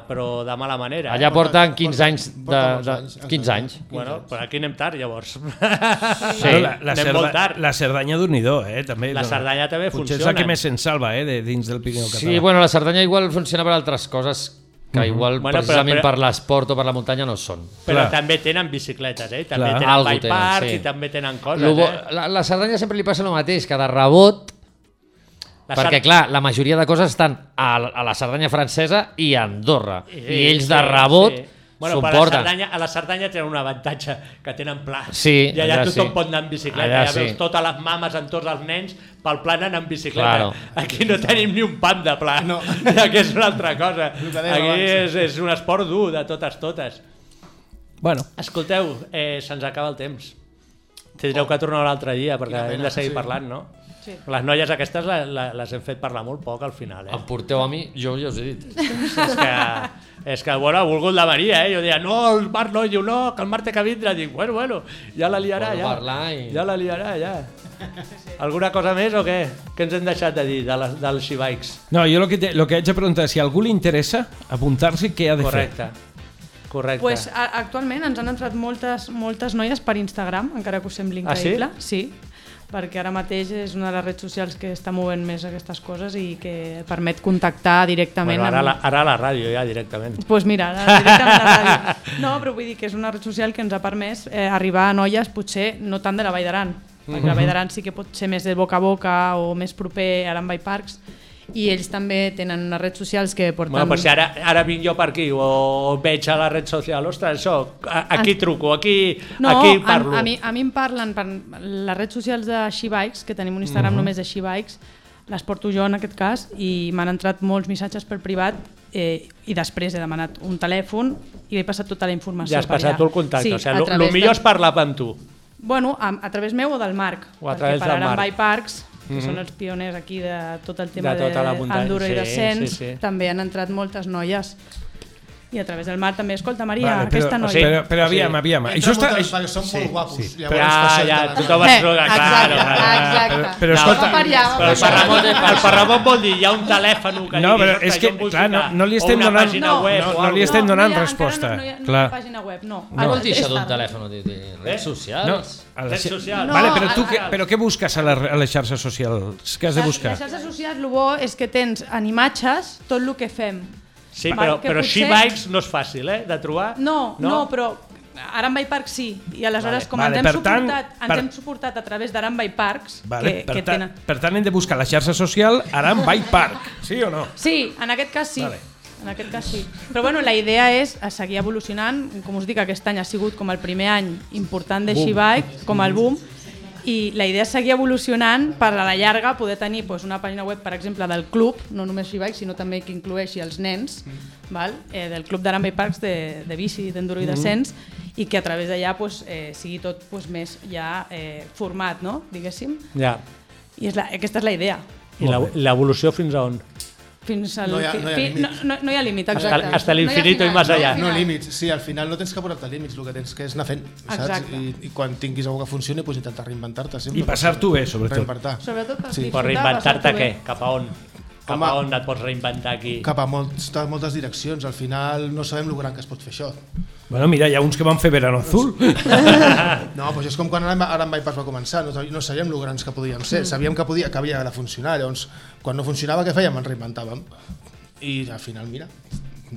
[SPEAKER 2] de, però de mala manera.
[SPEAKER 5] Allà
[SPEAKER 2] eh?
[SPEAKER 5] porten 15 anys de... de 15 anys.
[SPEAKER 2] Bueno, però aquí anem tard, llavors.
[SPEAKER 3] Sí. La, la,
[SPEAKER 2] anem molt
[SPEAKER 3] Cerda,
[SPEAKER 2] tard.
[SPEAKER 3] la Cerdanya d'un eh? També,
[SPEAKER 2] La Cerdanya també
[SPEAKER 3] Potser és la
[SPEAKER 2] funcionen.
[SPEAKER 3] que més se'n salva, eh? De, dins del Pirineu català.
[SPEAKER 5] Sí, bueno, la Cerdanya igual funciona per altres coses que
[SPEAKER 3] Mhm.
[SPEAKER 5] igual
[SPEAKER 2] Bueno, però-
[SPEAKER 5] precisament
[SPEAKER 2] però-
[SPEAKER 5] per l'esport o per la muntanya no són.
[SPEAKER 2] Però també tenen bicicletes, eh? I També
[SPEAKER 5] Clar.
[SPEAKER 2] tenen
[SPEAKER 5] Algo
[SPEAKER 2] bike
[SPEAKER 5] tenen,
[SPEAKER 2] park
[SPEAKER 5] sí.
[SPEAKER 2] i també tenen
[SPEAKER 5] Lo
[SPEAKER 2] coses,
[SPEAKER 5] bo-
[SPEAKER 2] eh?
[SPEAKER 5] la, la Cerdanya sempre li passa el mateix, que de rebot
[SPEAKER 2] La
[SPEAKER 5] perquè,
[SPEAKER 2] Cer-
[SPEAKER 5] clar, la majoria de coses estan a, la- a la Cerdanya francesa i a Andorra. I, ells de
[SPEAKER 2] sí,
[SPEAKER 5] rebot
[SPEAKER 2] sí.
[SPEAKER 5] bueno,
[SPEAKER 2] Bueno, però a la,
[SPEAKER 5] suporten.
[SPEAKER 2] Cerdanya, a la Cerdanya tenen un avantatge, que tenen pla.
[SPEAKER 5] Sí,
[SPEAKER 2] I allà,
[SPEAKER 5] allà
[SPEAKER 2] tothom
[SPEAKER 5] sí.
[SPEAKER 2] pot anar amb bicicleta.
[SPEAKER 5] Allà
[SPEAKER 2] Allà, ja veus
[SPEAKER 5] sí.
[SPEAKER 2] totes les mames amb tots els nens pel pla anant amb bicicleta.
[SPEAKER 5] Claro.
[SPEAKER 2] Aquí no tenim ni un pam de pla. No. Aquí és una altra cosa.
[SPEAKER 4] dèiem
[SPEAKER 2] Aquí
[SPEAKER 4] abans.
[SPEAKER 2] és, és un esport dur de totes totes.
[SPEAKER 3] Bueno.
[SPEAKER 2] Escolteu, eh, se'ns acaba el temps. Tindreu que tornar un altre dia perquè
[SPEAKER 5] Quina
[SPEAKER 2] hem
[SPEAKER 5] pena,
[SPEAKER 2] de seguir
[SPEAKER 5] sí.
[SPEAKER 2] parlant, no?
[SPEAKER 5] Sí.
[SPEAKER 2] Les noies aquestes la- la- les hem fet parlar molt poc al final. Eh?
[SPEAKER 5] Em porteu a mi, jo ja us he dit.
[SPEAKER 2] és que, és que bueno, ha volgut la Maria, eh? Jo deia, no, el Marc no, i diu, no, que el Marc té que vindre. Dic, bueno, bueno, ja la liarà,
[SPEAKER 5] Bueno,
[SPEAKER 2] ja.
[SPEAKER 5] parlar i-
[SPEAKER 2] Ja la liarà, ja. Alguna cosa més o què? Què ens hem deixat de dir de les, dels xivaics?
[SPEAKER 3] No, jo el que, te- lo que haig de preguntar és si a algú li interessa apuntar-s'hi què ha de
[SPEAKER 2] Correcte. Correcte.
[SPEAKER 6] Pues, a- actualment ens han entrat moltes, moltes noies per Instagram, encara que us sembli
[SPEAKER 2] Ah, sí?
[SPEAKER 6] increïble. sí? perquè ara mateix és una de les redes socials que està movent més aquestes coses i que permet contactar directament
[SPEAKER 2] bueno, ara,
[SPEAKER 6] amb...
[SPEAKER 2] la, ara a la ràdio, ja, directament.
[SPEAKER 6] Doncs pues mira, ara directament a la ràdio. No, però vull dir que és una red social que ens ha permès eh, arribar a noies potser no tant de la Vall d'Aran, perquè
[SPEAKER 2] Mhm.
[SPEAKER 6] la Vall d'Aran sí que pot ser més de boca a boca o més proper a l'Ambay Parks, i ells també tenen unes redes socials que porten...
[SPEAKER 2] Bueno, però si ara, ara vinc jo per aquí o veig a la red social, ostres, això, a- aquí truco, aquí,
[SPEAKER 6] No,
[SPEAKER 2] aquí
[SPEAKER 6] a,
[SPEAKER 2] parlo.
[SPEAKER 6] a, mi, a mi em parlen per les redes socials de Shibikes, que tenim un Instagram
[SPEAKER 2] Mhm.
[SPEAKER 6] només de Shibikes, les porto jo en aquest cas, i m'han entrat molts missatges per privat eh, i després he demanat un telèfon i he passat tota la informació
[SPEAKER 2] ja has
[SPEAKER 6] per
[SPEAKER 2] passat
[SPEAKER 6] allà.
[SPEAKER 2] tu el contacte.
[SPEAKER 6] Sí,
[SPEAKER 2] o
[SPEAKER 6] a
[SPEAKER 2] sigui, el
[SPEAKER 6] través
[SPEAKER 2] millor
[SPEAKER 6] de-
[SPEAKER 2] és parlar amb tu.
[SPEAKER 6] Bueno, a, a través meu o del Marc.
[SPEAKER 2] O a
[SPEAKER 6] perquè
[SPEAKER 2] través
[SPEAKER 6] per
[SPEAKER 2] del
[SPEAKER 6] ara en
[SPEAKER 2] Marc.
[SPEAKER 6] Bike Parks, que
[SPEAKER 2] Mhm.
[SPEAKER 6] són els pioners aquí de tot el tema
[SPEAKER 2] De tota la muntanya,
[SPEAKER 6] d'enduro i
[SPEAKER 2] sí,
[SPEAKER 6] descens,
[SPEAKER 2] sí, sí.
[SPEAKER 6] també han entrat moltes noies. I a través del Marc també, escolta Maria, aquesta noia...
[SPEAKER 3] Però, però aviam, aviam.
[SPEAKER 6] Entra
[SPEAKER 3] Això està...
[SPEAKER 6] moltes
[SPEAKER 3] això-
[SPEAKER 4] perquè són molt guapos, llavors
[SPEAKER 3] Però-
[SPEAKER 2] Ah, ja, tothom
[SPEAKER 6] Eh,
[SPEAKER 2] es droga, claro, claro.
[SPEAKER 3] Ah,
[SPEAKER 6] Ah,
[SPEAKER 3] Però, però escolta,
[SPEAKER 2] però el Ferramot, el Ferramot vol dir, hi ha un telèfon que
[SPEAKER 3] No,
[SPEAKER 2] digui,
[SPEAKER 3] però
[SPEAKER 2] "Ostres,
[SPEAKER 3] és que,
[SPEAKER 2] jo em vull
[SPEAKER 3] clar, no,
[SPEAKER 2] ficar",
[SPEAKER 3] no li
[SPEAKER 2] o
[SPEAKER 3] estem
[SPEAKER 2] una
[SPEAKER 3] donant,
[SPEAKER 2] pàgina
[SPEAKER 3] no,
[SPEAKER 2] web o
[SPEAKER 3] no,
[SPEAKER 2] alguna
[SPEAKER 3] li estem
[SPEAKER 2] cosa.
[SPEAKER 3] donant resposta. clar.
[SPEAKER 6] Pàgina web, Ah, no.
[SPEAKER 5] No. Vol
[SPEAKER 6] Ara-
[SPEAKER 5] dir això d'un
[SPEAKER 6] està-
[SPEAKER 5] telèfon? De, de,
[SPEAKER 6] Eh?
[SPEAKER 5] redes socials?
[SPEAKER 3] No, a les-
[SPEAKER 6] socials.
[SPEAKER 3] Vale,
[SPEAKER 6] No,
[SPEAKER 3] però, tu
[SPEAKER 6] a-
[SPEAKER 3] què,
[SPEAKER 6] a-
[SPEAKER 3] però què busques a, la, a les xarxes socials? Què has de
[SPEAKER 6] Les-
[SPEAKER 3] buscar?
[SPEAKER 6] Les xarxes socials, el bo és que tens en imatges tot el que fem.
[SPEAKER 2] Sí,
[SPEAKER 6] Val,
[SPEAKER 2] però,
[SPEAKER 6] que
[SPEAKER 2] però
[SPEAKER 6] potser-
[SPEAKER 2] she-bikes no és fàcil, eh, de trobar.
[SPEAKER 6] No, no, no però Aran by Park sí, i aleshores
[SPEAKER 3] Vale,
[SPEAKER 6] com
[SPEAKER 3] vale,
[SPEAKER 6] ens, hem
[SPEAKER 3] per tant,
[SPEAKER 6] suportat, ens
[SPEAKER 3] per-
[SPEAKER 6] hem suportat a través d'Aran by Parks,
[SPEAKER 3] Vale,
[SPEAKER 6] que,
[SPEAKER 3] per,
[SPEAKER 6] que
[SPEAKER 3] tant,
[SPEAKER 6] tenen...
[SPEAKER 3] per tant, hem de buscar la xarxa social Aram Bay Park, sí o no?
[SPEAKER 6] Sí, en aquest cas sí.
[SPEAKER 3] Vale.
[SPEAKER 6] En aquest cas sí. Però bueno, la idea és a seguir evolucionant. Com us dic, aquest any ha sigut com el primer any important de
[SPEAKER 14] Boom.
[SPEAKER 6] Shibike, com el boom, i la idea és seguir evolucionant per a la llarga poder tenir doncs, una pàgina web, per exemple, del club, no només Shibike, sinó també que inclueixi els nens, val? Eh, del club d'Arambe Parks de, de bici, d'enduro i
[SPEAKER 14] Mhm.
[SPEAKER 6] descens, i que a través d'allà doncs, eh, sigui tot doncs, més ja eh, format, no? diguéssim.
[SPEAKER 2] Ja.
[SPEAKER 6] I és la, aquesta és la idea.
[SPEAKER 2] I la- l'evolució fins a on?
[SPEAKER 6] Fins al
[SPEAKER 4] No hi ha-
[SPEAKER 6] fi-
[SPEAKER 4] no hi ha
[SPEAKER 6] fi-
[SPEAKER 4] límit.
[SPEAKER 6] no, no, no hi ha límit,
[SPEAKER 2] Hasta-
[SPEAKER 6] exacte.
[SPEAKER 2] hasta el
[SPEAKER 6] No hi ha
[SPEAKER 2] infinito i
[SPEAKER 6] final,
[SPEAKER 2] más
[SPEAKER 6] no hi ha
[SPEAKER 2] allá.
[SPEAKER 6] final.
[SPEAKER 4] No límits, sí, al final no tens que posar-te límits, el que tens que és anar fent, saps?
[SPEAKER 6] Exacte.
[SPEAKER 4] I, I quan tinguis algú que funcioni, pues intentar reinventar-te sempre.
[SPEAKER 3] I passar-t'ho bé, sobretot.
[SPEAKER 4] Reinventar.
[SPEAKER 6] Sobretot per
[SPEAKER 2] Per reinventar-te què? Cap a on?
[SPEAKER 4] Home.
[SPEAKER 2] Cap a on et pots reinventar aquí.
[SPEAKER 4] cap a molts, de moltes direccions. Al final no sabem lo gran que es pot fer això.
[SPEAKER 3] Bueno, mira, hi ha uns que van fer Verano Azul.
[SPEAKER 4] No, doncs és com quan ara, ara en Bypass va començar, no, no sabíem lo grans que podíem ser,
[SPEAKER 3] Mm.
[SPEAKER 4] sabíem que, podia, que havia de funcionar, llavors quan no funcionava què fèiem? Ens reinventàvem. I al final, mira,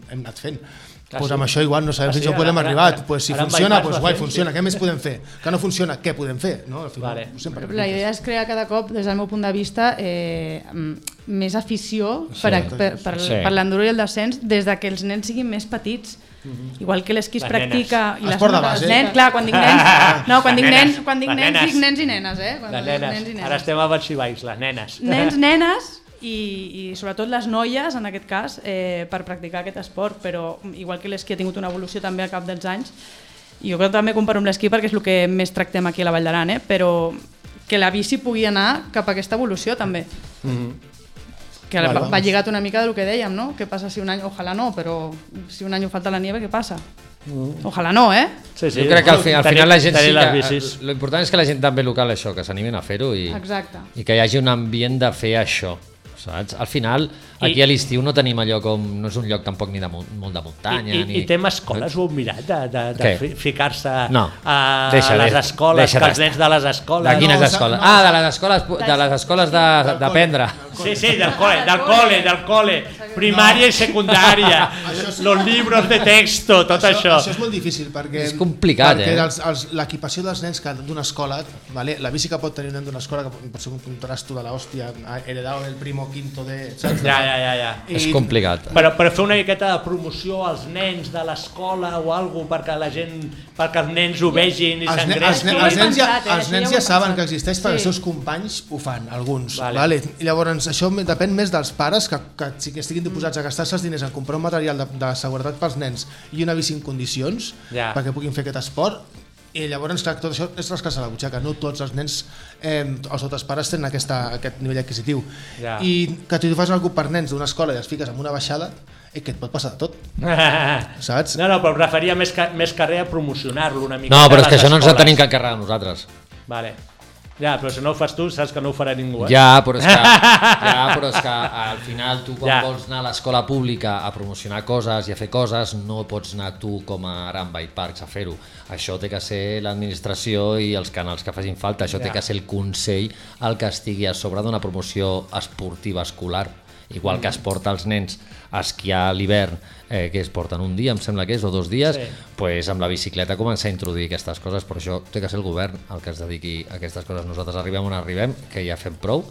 [SPEAKER 4] hem anat fent.
[SPEAKER 2] Ah,
[SPEAKER 4] Doncs pues
[SPEAKER 2] sí?
[SPEAKER 4] amb això igual no sabem
[SPEAKER 2] Ah,
[SPEAKER 4] fins
[SPEAKER 2] sí?
[SPEAKER 4] on podem
[SPEAKER 2] Ara-
[SPEAKER 4] arribar.
[SPEAKER 2] ara-
[SPEAKER 4] pues si
[SPEAKER 2] ara en
[SPEAKER 4] funciona,
[SPEAKER 2] Bypass
[SPEAKER 4] pues
[SPEAKER 2] va
[SPEAKER 4] guai,
[SPEAKER 2] fer,
[SPEAKER 4] funciona.
[SPEAKER 2] sí.
[SPEAKER 4] Què més podem fer? Que no funciona, què podem fer? No? Al final, vale. sempre
[SPEAKER 2] La
[SPEAKER 6] La idea és crear cada cop, des del meu punt de vista, eh, mm, més afició
[SPEAKER 4] Sí.
[SPEAKER 6] per, a- per, per,
[SPEAKER 4] Sí.
[SPEAKER 6] per l'enduro i el descens des de que els nens siguin més petits.
[SPEAKER 4] Mhm.
[SPEAKER 6] Igual que l'esquí es
[SPEAKER 2] Les
[SPEAKER 6] practica...
[SPEAKER 2] nenes.
[SPEAKER 6] I
[SPEAKER 2] Els
[SPEAKER 6] les,
[SPEAKER 2] porta
[SPEAKER 6] nenes,
[SPEAKER 2] base.
[SPEAKER 6] els nens, clar, quan dic nens... No, quan
[SPEAKER 2] Les
[SPEAKER 6] dic
[SPEAKER 2] nenes,
[SPEAKER 6] nens, quan dic
[SPEAKER 2] les
[SPEAKER 6] nens,
[SPEAKER 2] nenes.
[SPEAKER 6] dic nens i nenes, eh? Quan
[SPEAKER 2] Les
[SPEAKER 6] dic
[SPEAKER 2] nenes.
[SPEAKER 6] nens i
[SPEAKER 2] Ara
[SPEAKER 6] nenes.
[SPEAKER 2] estem a Batsibais, les nenes.
[SPEAKER 6] Nens, nenes i, i sobretot les noies, en aquest cas, eh, per practicar aquest esport, però mm, igual que l'esquí ha tingut una evolució també al cap dels anys, jo crec que també comparo amb l'esquí perquè és el que més tractem aquí a la Vall d'Aran, eh? però que la bici pugui anar cap a aquesta evolució també, que
[SPEAKER 2] Mm-hmm. Vale,
[SPEAKER 6] va,
[SPEAKER 2] vamos.
[SPEAKER 6] va lligat una mica del que dèiem, no? Què passa si un any, ojalà no, però si un any falta la nieve, què passa?
[SPEAKER 2] Mm-hmm.
[SPEAKER 6] Ojalà no, eh?
[SPEAKER 2] Sí, sí.
[SPEAKER 5] Jo crec que al, fi, al
[SPEAKER 2] Tenim-
[SPEAKER 5] final la gent
[SPEAKER 2] tenim
[SPEAKER 5] sí
[SPEAKER 2] les
[SPEAKER 5] que... eh,
[SPEAKER 2] bicis.
[SPEAKER 5] L'important és que la gent també local això, que s'animin a fer-ho i,
[SPEAKER 6] Exacte.
[SPEAKER 5] i que hi hagi un ambient de fer això. Saps? Al final, aquí
[SPEAKER 2] I-
[SPEAKER 5] a l'estiu no tenim allò com... No és un lloc tampoc ni de, mu- molt de muntanya.
[SPEAKER 2] I, i,
[SPEAKER 5] ni...
[SPEAKER 2] I tema escoles, ho heu mirat, de, de, de
[SPEAKER 5] Què?
[SPEAKER 2] fi- ficar-se
[SPEAKER 5] No.
[SPEAKER 2] a,
[SPEAKER 5] Deixa,
[SPEAKER 2] a les
[SPEAKER 5] deixa,
[SPEAKER 2] escoles,
[SPEAKER 5] deixa
[SPEAKER 2] que els
[SPEAKER 5] d'estar.
[SPEAKER 2] nens de les escoles...
[SPEAKER 5] De quines escoles? ah, de les escoles, pu- de les escoles de- d'aprendre.
[SPEAKER 2] Sí, sí, del cole, del cole, del cole, primària i secundària, los libros de texto, tot això.
[SPEAKER 4] Això és molt difícil perquè...
[SPEAKER 5] És complicat,
[SPEAKER 4] perquè
[SPEAKER 5] eh?
[SPEAKER 4] els- els- L'equipació dels nens que d'una escola, vale? la bici que pot tenir un nen d'una escola, que pot- pot ser un contrasto de l'hòstia, ha heredado del primo quinto de... Saps?
[SPEAKER 2] Ja, ja, ja, ja.
[SPEAKER 5] És complicat.
[SPEAKER 2] Però, però fer una miqueta de promoció als nens de l'escola o algo perquè la gent, perquè els nens ho vegin i
[SPEAKER 4] els, ne els, ne
[SPEAKER 2] s'engresquin.
[SPEAKER 4] els nens ja, els nens ja saben eh, que existeix perquè els seus companys ho fan, alguns.
[SPEAKER 2] Vale.
[SPEAKER 4] Vale. Vale. I Llavors, això me- depèn més dels pares que, que, sí que estiguin disposats a gastar-se els diners en comprar un material de, de seguretat pels nens i una bici en condicions
[SPEAKER 2] Ja.
[SPEAKER 4] ja. perquè puguin fer aquest esport. I llavors, clar, tot això és rascar-se la butxaca. No tots els nens, eh, els altres pares tenen aquesta, aquest nivell adquisitiu.
[SPEAKER 2] Ja.
[SPEAKER 4] I que tu fas algú per nens d'una escola i els fiques en una baixada, eh, que et pot passar de tot.
[SPEAKER 2] Saps? No, no, però em referia més que, més que res a promocionar-lo una mica.
[SPEAKER 5] No, però és que això no ens en tenim que encarregar nosaltres.
[SPEAKER 2] Vale. Ja, però si no ho fas tu, saps que no ho farà ningú. Eh?
[SPEAKER 5] Ja, però és que, ja, però és que al final tu quan
[SPEAKER 2] Ja.
[SPEAKER 5] ja. vols anar a l'escola pública a promocionar coses i a fer coses, no pots anar tu com a ara en Bike Parks a fer-ho. Això té que ser l'administració i els canals que facin falta. Això ja.
[SPEAKER 2] Ja.
[SPEAKER 5] té que ser el Consell el que estigui a sobre d'una promoció esportiva escolar. Igual que es porta els nens a esquiar a l'hivern, eh, que es porten un dia, em sembla que és, o dos dies,
[SPEAKER 2] Sí.
[SPEAKER 5] sí. pues amb la bicicleta començar a introduir aquestes coses, però això té que ser el govern el que es dediqui a aquestes coses. Nosaltres arribem on arribem, que ja fem prou,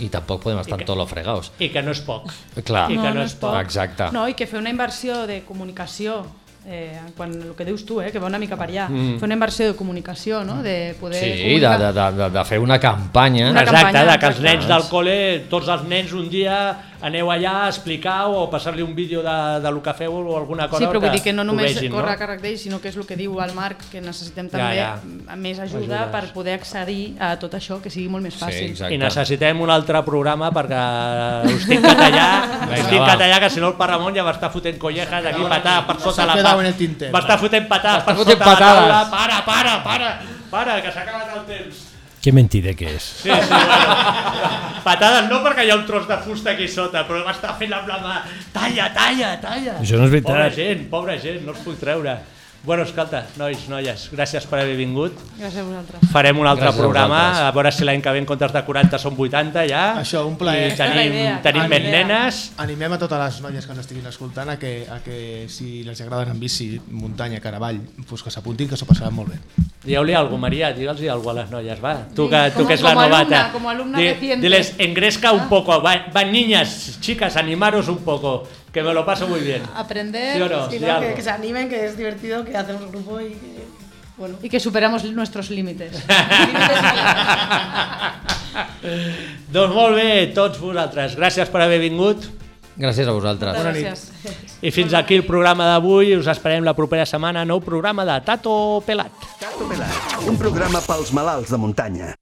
[SPEAKER 5] i tampoc podem estar en tot lo fregaos.
[SPEAKER 2] I que no és poc.
[SPEAKER 5] Clar.
[SPEAKER 2] I que no, és poc.
[SPEAKER 5] Exacte.
[SPEAKER 6] No, i que fer una inversió de comunicació, eh, quan el que dius tu, eh, que va una mica per allà,
[SPEAKER 5] Mm.
[SPEAKER 6] fer una inversió de comunicació, no? de poder
[SPEAKER 5] Sí, de,
[SPEAKER 6] comunicar.
[SPEAKER 5] de, de, de fer una campanya.
[SPEAKER 6] Una
[SPEAKER 2] Exacte,
[SPEAKER 6] campanya,
[SPEAKER 2] de que els
[SPEAKER 6] exacte.
[SPEAKER 2] nens del col·le, tots els nens un dia aneu allà a explicar o passar-li un vídeo de, de lo que feu o alguna cosa
[SPEAKER 6] Sí, però
[SPEAKER 2] que,
[SPEAKER 6] vull dir que no
[SPEAKER 2] ho
[SPEAKER 6] només
[SPEAKER 2] vegin,
[SPEAKER 6] córrer
[SPEAKER 2] no?
[SPEAKER 6] a càrrec d'ell, sinó que és el que diu el Marc, que necessitem
[SPEAKER 2] Ja,
[SPEAKER 6] també
[SPEAKER 2] ja.
[SPEAKER 6] mm, més ajuda
[SPEAKER 2] Ajudes.
[SPEAKER 6] per poder accedir a tot això, que sigui molt més fàcil.
[SPEAKER 2] I necessitem un altre programa perquè us tinc que tallar, us
[SPEAKER 5] Vinga,
[SPEAKER 2] tinc
[SPEAKER 5] va.
[SPEAKER 2] que tallar que si no el Parramon ja va estar fotent collejas aquí patar per sota
[SPEAKER 4] s'ha
[SPEAKER 2] la
[SPEAKER 4] quedat en
[SPEAKER 2] taula.
[SPEAKER 4] el tinter.
[SPEAKER 2] Va estar fotent patades per
[SPEAKER 5] fotent
[SPEAKER 2] sota la taula.
[SPEAKER 5] patades.
[SPEAKER 2] Para, para, para, para, que s'ha acabat el temps.
[SPEAKER 3] Que mentida que és.
[SPEAKER 2] Sí, sí, bueno. Patades no perquè hi ha un tros de fusta aquí sota, però va estar fent amb la mà. Talla, talla, talla.
[SPEAKER 3] Això no és veritat.
[SPEAKER 2] Pobra gent, pobra gent, no els puc treure. Bueno, escolta, nois, noies, gràcies per haver vingut.
[SPEAKER 6] Gràcies a vosaltres.
[SPEAKER 2] Farem un altre
[SPEAKER 5] Gràcies a
[SPEAKER 2] programa, a,
[SPEAKER 5] vosaltres.
[SPEAKER 2] veure si l'any que ve en comptes de 40 són 80 ja.
[SPEAKER 4] Això, un plaer.
[SPEAKER 2] I tenim, tenim més nenes.
[SPEAKER 4] Animem a totes les noies que ens estiguin escoltant a que, a que si les agrada anar en bici, muntanya, caravall, pues que s'apuntin, que s'ho passaran molt bé.
[SPEAKER 2] Dieu-li alguna cosa, Maria, digue'ls alguna cosa a les noies, va. Tu que, tu
[SPEAKER 6] com-
[SPEAKER 2] que és la
[SPEAKER 6] com a alumna,
[SPEAKER 2] novata.
[SPEAKER 6] com a alumna reciente. Ah.
[SPEAKER 2] diles, engresca un poco. Va, va, niñas, chicas, animaros un poco, que me lo paso muy bien.
[SPEAKER 15] Aprender,
[SPEAKER 2] ¿Sí o no?
[SPEAKER 15] si
[SPEAKER 2] Di
[SPEAKER 15] no,
[SPEAKER 2] algo.
[SPEAKER 15] que, que se animen, que es divertido, que hacemos grupo y que... Bueno.
[SPEAKER 6] Y que superamos nuestros límites.
[SPEAKER 2] doncs molt bé, tots vosaltres. Gràcies per haver vingut.
[SPEAKER 5] Gràcies a vosaltres.
[SPEAKER 2] Bona nit. I fins aquí el programa d'avui. Us esperem la propera setmana. Nou programa de Tato Pelat.
[SPEAKER 1] Un programa pels malalts de muntanya.